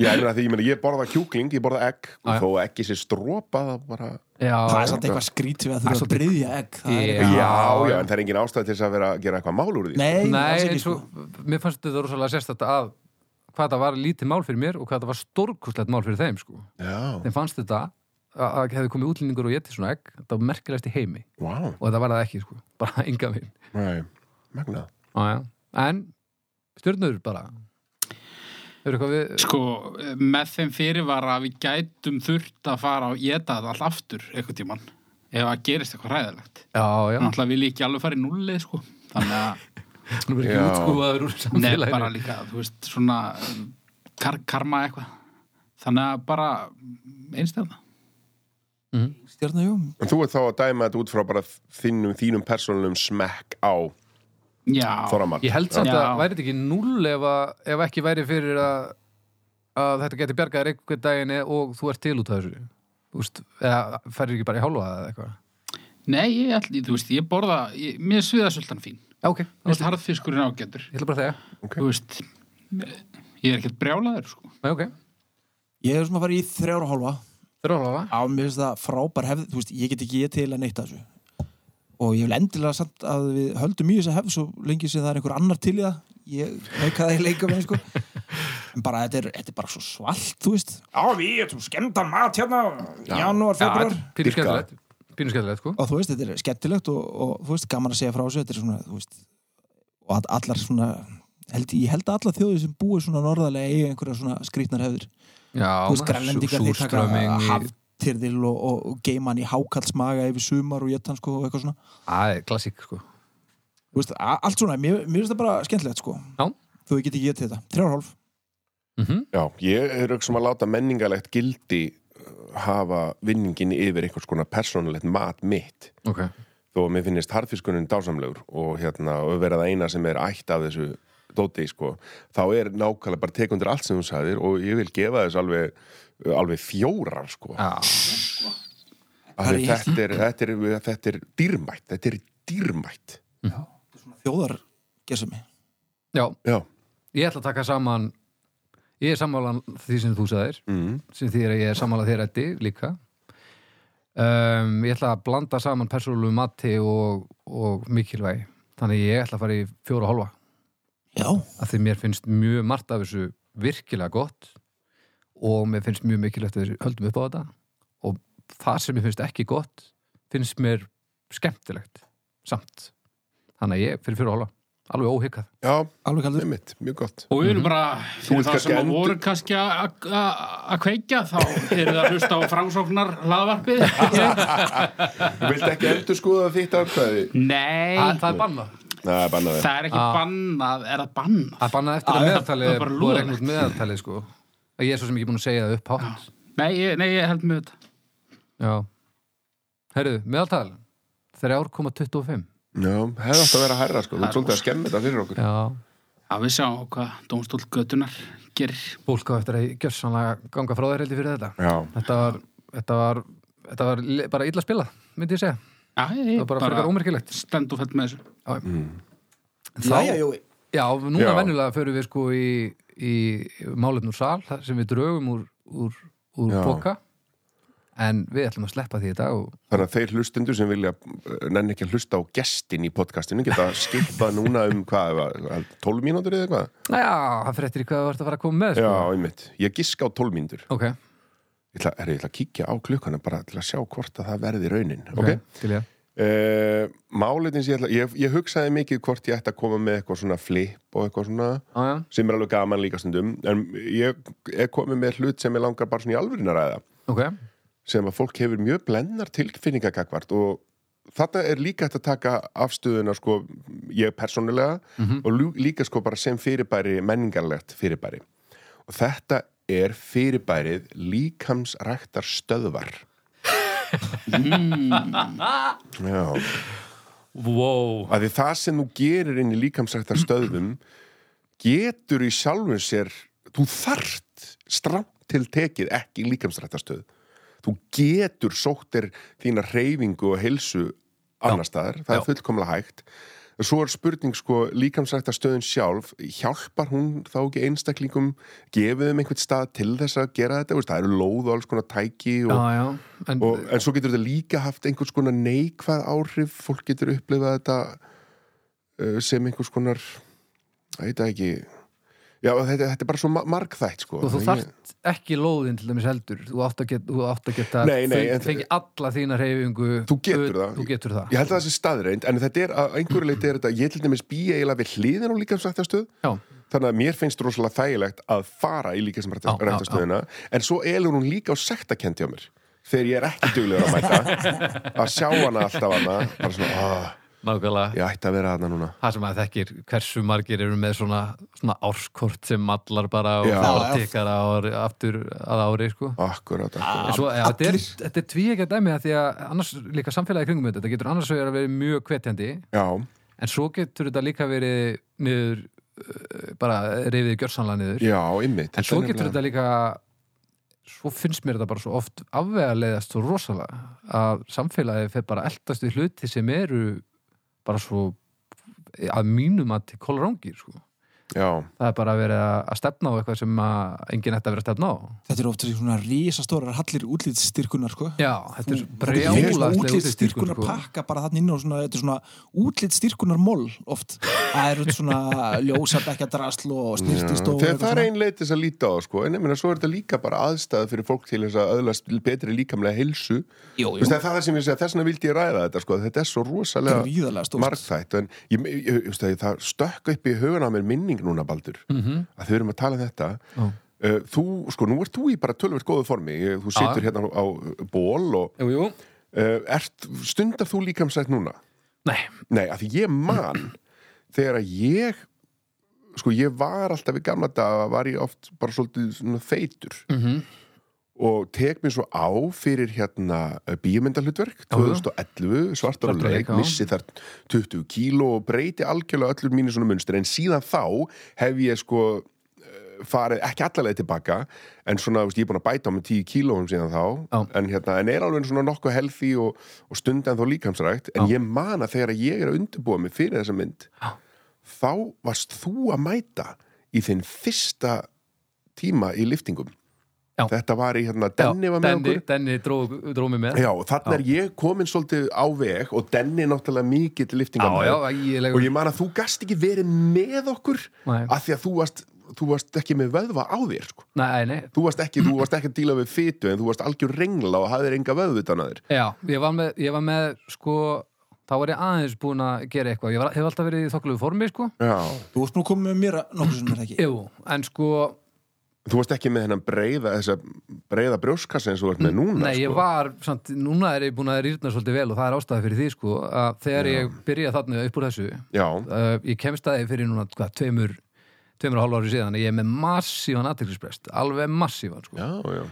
[SPEAKER 5] Já, ég meina því, ég meina, ég borða kjúkling, ég borða egg
[SPEAKER 2] Já,
[SPEAKER 5] og
[SPEAKER 2] já.
[SPEAKER 5] þó að ekki sér strópa það bara
[SPEAKER 2] Já,
[SPEAKER 4] Það er samt eitthvað skrítið við að þurfa að bryðja egg Það er-
[SPEAKER 2] Já.
[SPEAKER 5] Já, já, en það er engin ástæð til þess að vera að gera eitthvað mál úr því
[SPEAKER 4] Nei, alls
[SPEAKER 2] Nei,
[SPEAKER 4] ekki,
[SPEAKER 2] eins
[SPEAKER 4] sko.
[SPEAKER 2] og, mér fannst þetta rosalega sérstætt að hvað það var lítið mál fyrir mér og hvað það var stórkustlegt mál fyrir þeim, sko.
[SPEAKER 5] Já,
[SPEAKER 2] Þeim fannst þetta að að hefði komið útlendingur og getið svona egg, það var merkilegst í heimi
[SPEAKER 5] vá,
[SPEAKER 2] og þetta var það ekki, sko. <laughs> Bara enga minn.
[SPEAKER 5] nei, magna
[SPEAKER 2] Já, já. En, stjörnur bara. Hefur eitthvað við...
[SPEAKER 3] Sko, með þeim fyrirvara að við gætum þurft að fara og geta það allt aftur eitthvað tíman ef að gerist eitthvað ræðilegt.
[SPEAKER 2] Já, já.
[SPEAKER 4] Mm.
[SPEAKER 3] Þannig að við líka alveg fara í nullið, sko. Þannig
[SPEAKER 2] <laughs>
[SPEAKER 3] að,
[SPEAKER 2] Nú er ekki
[SPEAKER 5] Já.
[SPEAKER 2] útskúfaður úr
[SPEAKER 3] nefn
[SPEAKER 2] samfélaginu.
[SPEAKER 3] bara líka, þú veist, svona um, kar karma eitthvað. Þannig að bara einstaklega.
[SPEAKER 4] Stjarnar, jú.
[SPEAKER 5] En þú ert þá að dæma þetta út frá bara þínum, þínum persónum smekk á
[SPEAKER 3] Já,
[SPEAKER 5] þoramann
[SPEAKER 2] Ég held samt
[SPEAKER 3] Já.
[SPEAKER 2] að væri þetta ekki null ef, að, ef ekki væri fyrir að, að þetta geti bjargaðir einhver daginn eða- og þú ert til út af þessu Úst, eða færir ekki bara í hálfa eða eitthvað
[SPEAKER 3] nei, ég ætli, þú veist, ég borða, ég, mér sviða svolítan fín.
[SPEAKER 2] Já, ok,
[SPEAKER 3] Mér veist, harðfiskurinn ágættur.
[SPEAKER 2] ég ætla bara að þegja
[SPEAKER 5] Ok.
[SPEAKER 3] Þú veist, ég er ekkert brjálaður, sko.
[SPEAKER 2] Nei, ok,
[SPEAKER 4] Ég er svona að fara í þrjára hálfa
[SPEAKER 2] þeir eru hálfa
[SPEAKER 4] Já, mér finnst það frábær hefð Þú veist, ég get ekki ég til að neyta þessu Og ég vil endilega samt að við höldum í þessa hefð Svo lengi sem það er einhver annar til í það Ég auka það í leika með, sko En bara, þetta er, þetta er bara svo svalt, þú veist Já, við erum skemmtan mat hérna Janúar, februar
[SPEAKER 2] Pínu
[SPEAKER 5] Dýrka.
[SPEAKER 2] skemmtilegt, pínu skemmtilegt sko
[SPEAKER 4] Og þú veist, þetta er skemmtilegt og, og þú veist, gaman að segja frá þessu Þetta er svona, þú veist Og að allar svona held, Ég held að allar þjóði sem búi svona norðarlega Eigi einhverja svona skrýtnar hefðir
[SPEAKER 2] Já,
[SPEAKER 4] þú veist, grænlendingar þeir taka
[SPEAKER 2] súrströmming í-
[SPEAKER 4] haftirðil og, og, og geima hann í hákallsmaga yfir sumar og getan sko og eitthvað svona
[SPEAKER 2] Æ, klassík sko
[SPEAKER 4] Þú veist, a- allt svona, mér, mér finnst það bara skemmtilegt sko
[SPEAKER 2] Já.
[SPEAKER 4] þú get ekki getið þetta, þrjárhálf
[SPEAKER 2] Mhm.
[SPEAKER 5] Já, ég er auksum að láta menningalegt gildi uh, hafa vinningin yfir einhvers konar persónulegt mat mitt
[SPEAKER 2] Ok,
[SPEAKER 5] þó að mér finnist harðfiskunum dásamlegur og hérna, og vera það eina sem er ætt af þessu dóti, sko þá er nákvæmlega bara tekundir allt sem þú sagðir og ég vil gefa þess alveg uh, alveg fjórar, sko
[SPEAKER 2] já,
[SPEAKER 5] Af því þetta er, þetta, er, þetta er dýrmætt þetta er dýrmætt
[SPEAKER 4] þjóðar gesami
[SPEAKER 2] já
[SPEAKER 5] já,
[SPEAKER 2] Ég ætla að taka saman Ég er sammálan því sem þú sagðir
[SPEAKER 5] mm.
[SPEAKER 2] sem þýðir að ég er sammála þér ætti líka um, ég ætla að blanda saman persónulegu mati og, og mikilvægi þannig ég ætla að fara í fjóra og hálfa
[SPEAKER 4] já,
[SPEAKER 2] af því mér finnst mjög margt af þessu virkilega gott og mér finnst mjög mikilvægt að við höldum upp á þetta og það sem mér finnst ekki gott finnst mér skemmtilegt samt þannig að ég fyrir fjóra og hálfa alveg óhyggað
[SPEAKER 5] já,
[SPEAKER 4] alveg kaldur
[SPEAKER 5] einmitt, mjög gott
[SPEAKER 3] Og við erum bara, fyrir
[SPEAKER 5] ert
[SPEAKER 3] það sem
[SPEAKER 5] kannski
[SPEAKER 3] að
[SPEAKER 5] endur-
[SPEAKER 3] voru Mhm. kannski að- að að kveikja, þá eru það að hlusta á frásóknar <laughs> hlaðvarpið.
[SPEAKER 5] Þú vilt ekki endur skoða þitt atkvæði
[SPEAKER 3] Nei,
[SPEAKER 2] það, það er bannað
[SPEAKER 5] Nei, banna þér
[SPEAKER 3] Ah, það
[SPEAKER 2] Ah.
[SPEAKER 3] er ekki bannað, er það bannað?
[SPEAKER 2] Það er bannað eftir
[SPEAKER 3] Ah,
[SPEAKER 2] að
[SPEAKER 3] já,
[SPEAKER 2] meðaltali
[SPEAKER 3] það er
[SPEAKER 2] er
[SPEAKER 3] bara
[SPEAKER 2] búið að regna
[SPEAKER 3] lúðalegt.
[SPEAKER 2] út meðaltali sko. Að Ég er svo sem ekki búin að segja það upp hátt
[SPEAKER 3] Nei, ég, nei, ég held með þetta.
[SPEAKER 2] Já Herru, meðaltal 3,25
[SPEAKER 5] Já, hefði átt að vera hærra, sko, þú ert svolítið að skemmi þetta fyrir okkur
[SPEAKER 2] Já
[SPEAKER 3] Já, við sjáum hvað Dómstól Götunar gerir.
[SPEAKER 2] Fólk á eftir að gjössanlega ganga frá þér heldur fyrir þetta
[SPEAKER 5] Já,
[SPEAKER 2] Þetta var, þetta var, þetta var li- bara illa spilað, myndi ég segja
[SPEAKER 3] Já, ég,
[SPEAKER 2] Það var bara frekar ómerkilegt
[SPEAKER 3] stend og fett með þessu.
[SPEAKER 4] Jæja, Jói.
[SPEAKER 2] Já, núna
[SPEAKER 5] Já.
[SPEAKER 2] venjulega förum við sko í, í málefnur sal þar sem við draugum úr, úr, úr
[SPEAKER 5] Já.
[SPEAKER 2] boka En við ætlum að sleppa því í dag og
[SPEAKER 5] þannig að þeir hlustendur sem vilja eh, nenni ekki að hlusta á gestin í podcastinu geta <laughs> skipað núna um hvað var- 12 mínútur eða eitthvað
[SPEAKER 2] Já, það fyrir eftir í hvað þú ert að fara að koma með
[SPEAKER 5] Já,
[SPEAKER 2] sko.
[SPEAKER 5] einmitt, ég giska á 12 mínútur
[SPEAKER 2] Ok,
[SPEAKER 5] Ég ætla, herri, ég ætla að kíkja á klukkana bara til að sjá hvort að það verði raunin
[SPEAKER 2] ok,
[SPEAKER 5] Ok,
[SPEAKER 2] til ég
[SPEAKER 5] Uh, Máliðin sem ég ætla ég, ég hugsaði mikið hvort ég ætti að koma með eitthvað svona flip og eitthvað svona
[SPEAKER 2] Já, já,
[SPEAKER 5] sem er alveg gaman líka stundum en ég er komið með hlut sem ég langar bara svona í alvörinu að ræða
[SPEAKER 2] ok
[SPEAKER 5] sem að fólk hefur mjög blennar tilfinningagagvart og þetta er líka hægt að taka afstöðuna sko ég persónulega og lú- líka sko bara sem fyrirbæri menningarlegt fyrirbæri og þetta er fyrirbærið líkamsræktar stöðvar Já.
[SPEAKER 2] Wow.
[SPEAKER 5] að því það sem þú gerir inn í líkamsrættar stöðum getur í sjálfum sér þú þart stramt til tekið ekki í líkamsrættar stöð þú getur sóttir þína reyfingu og heilsu annar staðar, það
[SPEAKER 2] Já.
[SPEAKER 5] er fullkomlega hægt svo er spurning sko líkamsrættar stöðin sjálf, hjálpar hún þá ekki einstaklingum, gefið þeim einhvern stað til þess að gera þetta, Þú veist, það eru lóð og alls konar tæki og,
[SPEAKER 2] Já, já. En,
[SPEAKER 5] og, en svo getur þetta líka haft einhvers konar neikvæð áhrif fólk getur upplifað þetta uh, sem einhvers konar það heit það ekki já þetta, þetta er bara svo ma- margþætt sko.
[SPEAKER 2] og þú
[SPEAKER 5] Þannig ég-
[SPEAKER 2] þarft ekki lóðin til dæmis heldur. Þú átt að geta, þú átt að geta
[SPEAKER 5] Nei, nei,
[SPEAKER 2] feng-
[SPEAKER 5] en-
[SPEAKER 2] fengi alla þína reyfingu.
[SPEAKER 5] Þú getur það.
[SPEAKER 2] Þú getur það.
[SPEAKER 5] ég held að það sé staðreind en þetta er að einhverju leiti er þetta ég til dæmis býja eiginlega við hliðin á líkamsrættastöð
[SPEAKER 2] Já.
[SPEAKER 5] þannig að mér finnst rosalega þægilegt að fara í
[SPEAKER 2] Já, já,
[SPEAKER 5] líkamsrættastöðina en svo elur hún líka á sektakendi á mér þegar ég er ekki duglegur að mæta að sjá hana alltaf hana bara svona, "Ah,
[SPEAKER 2] Nákvæmlega.
[SPEAKER 5] ég ætti að vera hana núna
[SPEAKER 2] Það sem að þekkir hversu margir eru með svona, svona árskort sem mallar bara og
[SPEAKER 5] Já.
[SPEAKER 2] bara
[SPEAKER 4] Já, já.
[SPEAKER 2] tekkar ári, aftur að ári, sko.
[SPEAKER 5] akkurat, akkurat
[SPEAKER 2] En svo, ja, þetta er, þetta er tvíegja dæmi að því að annars líka samfélagi kringum þetta, þetta getur annars vegar að vera mjög hvetjandi
[SPEAKER 5] já
[SPEAKER 2] en svo getur þetta líka verið niður, uh, bara reyfið gjörsanlega niður
[SPEAKER 5] Já, ymmið
[SPEAKER 2] en svo getur þetta líka svo finnst mér þetta bara svo oft afvega leiðast svo rosalega að samfélagi fer bara að eldast við hluti sem eru bara svo að mínum að til kolrangir sko.
[SPEAKER 5] Já,
[SPEAKER 2] það er bara að vera að stefna á eitthvað sem að enginn ætti að vera að stefna á
[SPEAKER 4] Þetta eru ofta svona risastórar hallir útlitsstyrkunar sko.
[SPEAKER 2] Já, þetta er sko. brjálæðslega
[SPEAKER 4] útlitsstyrkunar pakka bara þannig inn og svona, þetta er svona útlitsstyrkunar mól oft það eru svona ljósabekja drasl og
[SPEAKER 5] já.
[SPEAKER 4] snirtist og
[SPEAKER 5] þegar það er ein leið til þess að líta á það, sko en ég meina svo er þetta líka bara aðstæða fyrir fólk til þess að öðlast betri líkamlega hilsu
[SPEAKER 4] Jú, jú.
[SPEAKER 5] Vist, það er það sem ég segja, þess vegna vildi ég ræða þetta sko. þetta er svo rosalega
[SPEAKER 4] Gríðarlega stórt.
[SPEAKER 5] margþætt en ég, ég, ég, ég, ég, það stökk upp í hugun á mér minning núna Baldur -hmm. að þau erum að tala um þetta
[SPEAKER 2] Já.
[SPEAKER 5] Uh, þú, sko, nú ert þú í bara tölvert góðu formi Ég- þú
[SPEAKER 2] Já.
[SPEAKER 5] situr hérna á, á ból og
[SPEAKER 2] Jú, jú
[SPEAKER 5] uh, ert, stundar þú líkamsætt núna?
[SPEAKER 2] Nei,
[SPEAKER 5] Nei, af því ég man þegar að ég sko ég var alltaf í gamla daga var ég oft bara svolítið svona feitur
[SPEAKER 2] Mhm.
[SPEAKER 5] og tek mér svo á fyrir hérna bíómyndalutverk
[SPEAKER 2] Já, já.
[SPEAKER 5] 2011, svartar og
[SPEAKER 2] Svartar og leik,
[SPEAKER 5] leik
[SPEAKER 2] já.
[SPEAKER 5] missi þar 20 kíló og breyti algjörlega öllur mínu svona munstri en síðan þá hef ég sko eh, farið ekki allalega tilbaka en svona, veist, ég er búin að bæta á mig 10 kílóum síðan þá
[SPEAKER 2] Já.
[SPEAKER 5] en, hérna, en er alveg svona nokkuð healthy og, og stundan þó líkamsrækt en
[SPEAKER 2] Já.
[SPEAKER 5] ég man að þegar ég er að undirbúa mig fyrir þessa mynd
[SPEAKER 2] Já.
[SPEAKER 5] þá varst þú að mæta í þinn fyrsta tíma í liftingum
[SPEAKER 2] Já.
[SPEAKER 5] þetta var í hérna, Denni var með
[SPEAKER 2] Denni,
[SPEAKER 5] okkur
[SPEAKER 2] Denni dró, dró mig með
[SPEAKER 5] Já, og þarna er ég komin svolítið á veg og Denni er náttúrulega mikill liftingar
[SPEAKER 2] já, ægilegur.
[SPEAKER 5] og ég man að þú gast ekki verið með okkur
[SPEAKER 2] Nei.
[SPEAKER 5] af því að þú varst, þú varst ekki með vöðva á þér sko.
[SPEAKER 2] Nei, nei,
[SPEAKER 5] þú varst ekki, þú varst ekki að díla við fytu en þú varst algjör rengla og hafðir enga vöðvutan að þér
[SPEAKER 2] já, ég var með, ég var með sko, þá var ég aðeins búin að gera eitthvað, ég var, hef alltaf verið í þokkulegu formi sko,
[SPEAKER 5] Já,
[SPEAKER 4] þú varst nú komið með mér nokkuð sem er það ekki
[SPEAKER 2] jú, en sko
[SPEAKER 5] þú varst ekki með hennan breiða þessa breiða brjóskassa eins og þú ert með núna
[SPEAKER 2] nei, ég
[SPEAKER 5] sko.
[SPEAKER 2] var, samt, núna er ég búin að rýrna svolítið vel og það er ástæði fyrir því sko að þegar ég byrja þarna upp úr þessu
[SPEAKER 5] Já,
[SPEAKER 2] uh, ég kemst að því fyrir núna, hvað, tveimur tveimur og hálf ári síðan, ég er með massívan aðteklisprest, alveg massívan sko.
[SPEAKER 5] já, já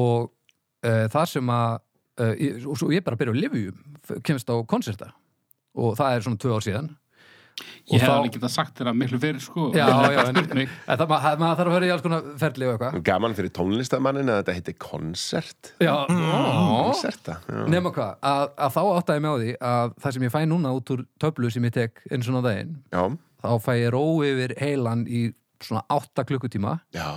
[SPEAKER 2] og uh, það sem að uh, ég, og svo ég bara byrja á livjum kemst á konserta og það er svona tvö ár síðan
[SPEAKER 3] Ég hef
[SPEAKER 2] þá-
[SPEAKER 3] alveg getað sagt þér að miklu fyrir sko
[SPEAKER 2] Já, já, en,
[SPEAKER 3] Spurt mig.
[SPEAKER 2] en það, maður, maður þarf að vera í alls konar ferli og eitthvað
[SPEAKER 5] Gaman fyrir tónlistamannin að þetta heiti konsert
[SPEAKER 2] Já, mm.
[SPEAKER 5] Konserta já.
[SPEAKER 2] nema hvað, að, að þá áttaði ég með á því að það sem ég fæ núna út úr töflu sem ég tek eins og á daginn,
[SPEAKER 5] já,
[SPEAKER 2] þá fæ ég ró yfir heilan í svona 8 klukkutíma
[SPEAKER 5] já,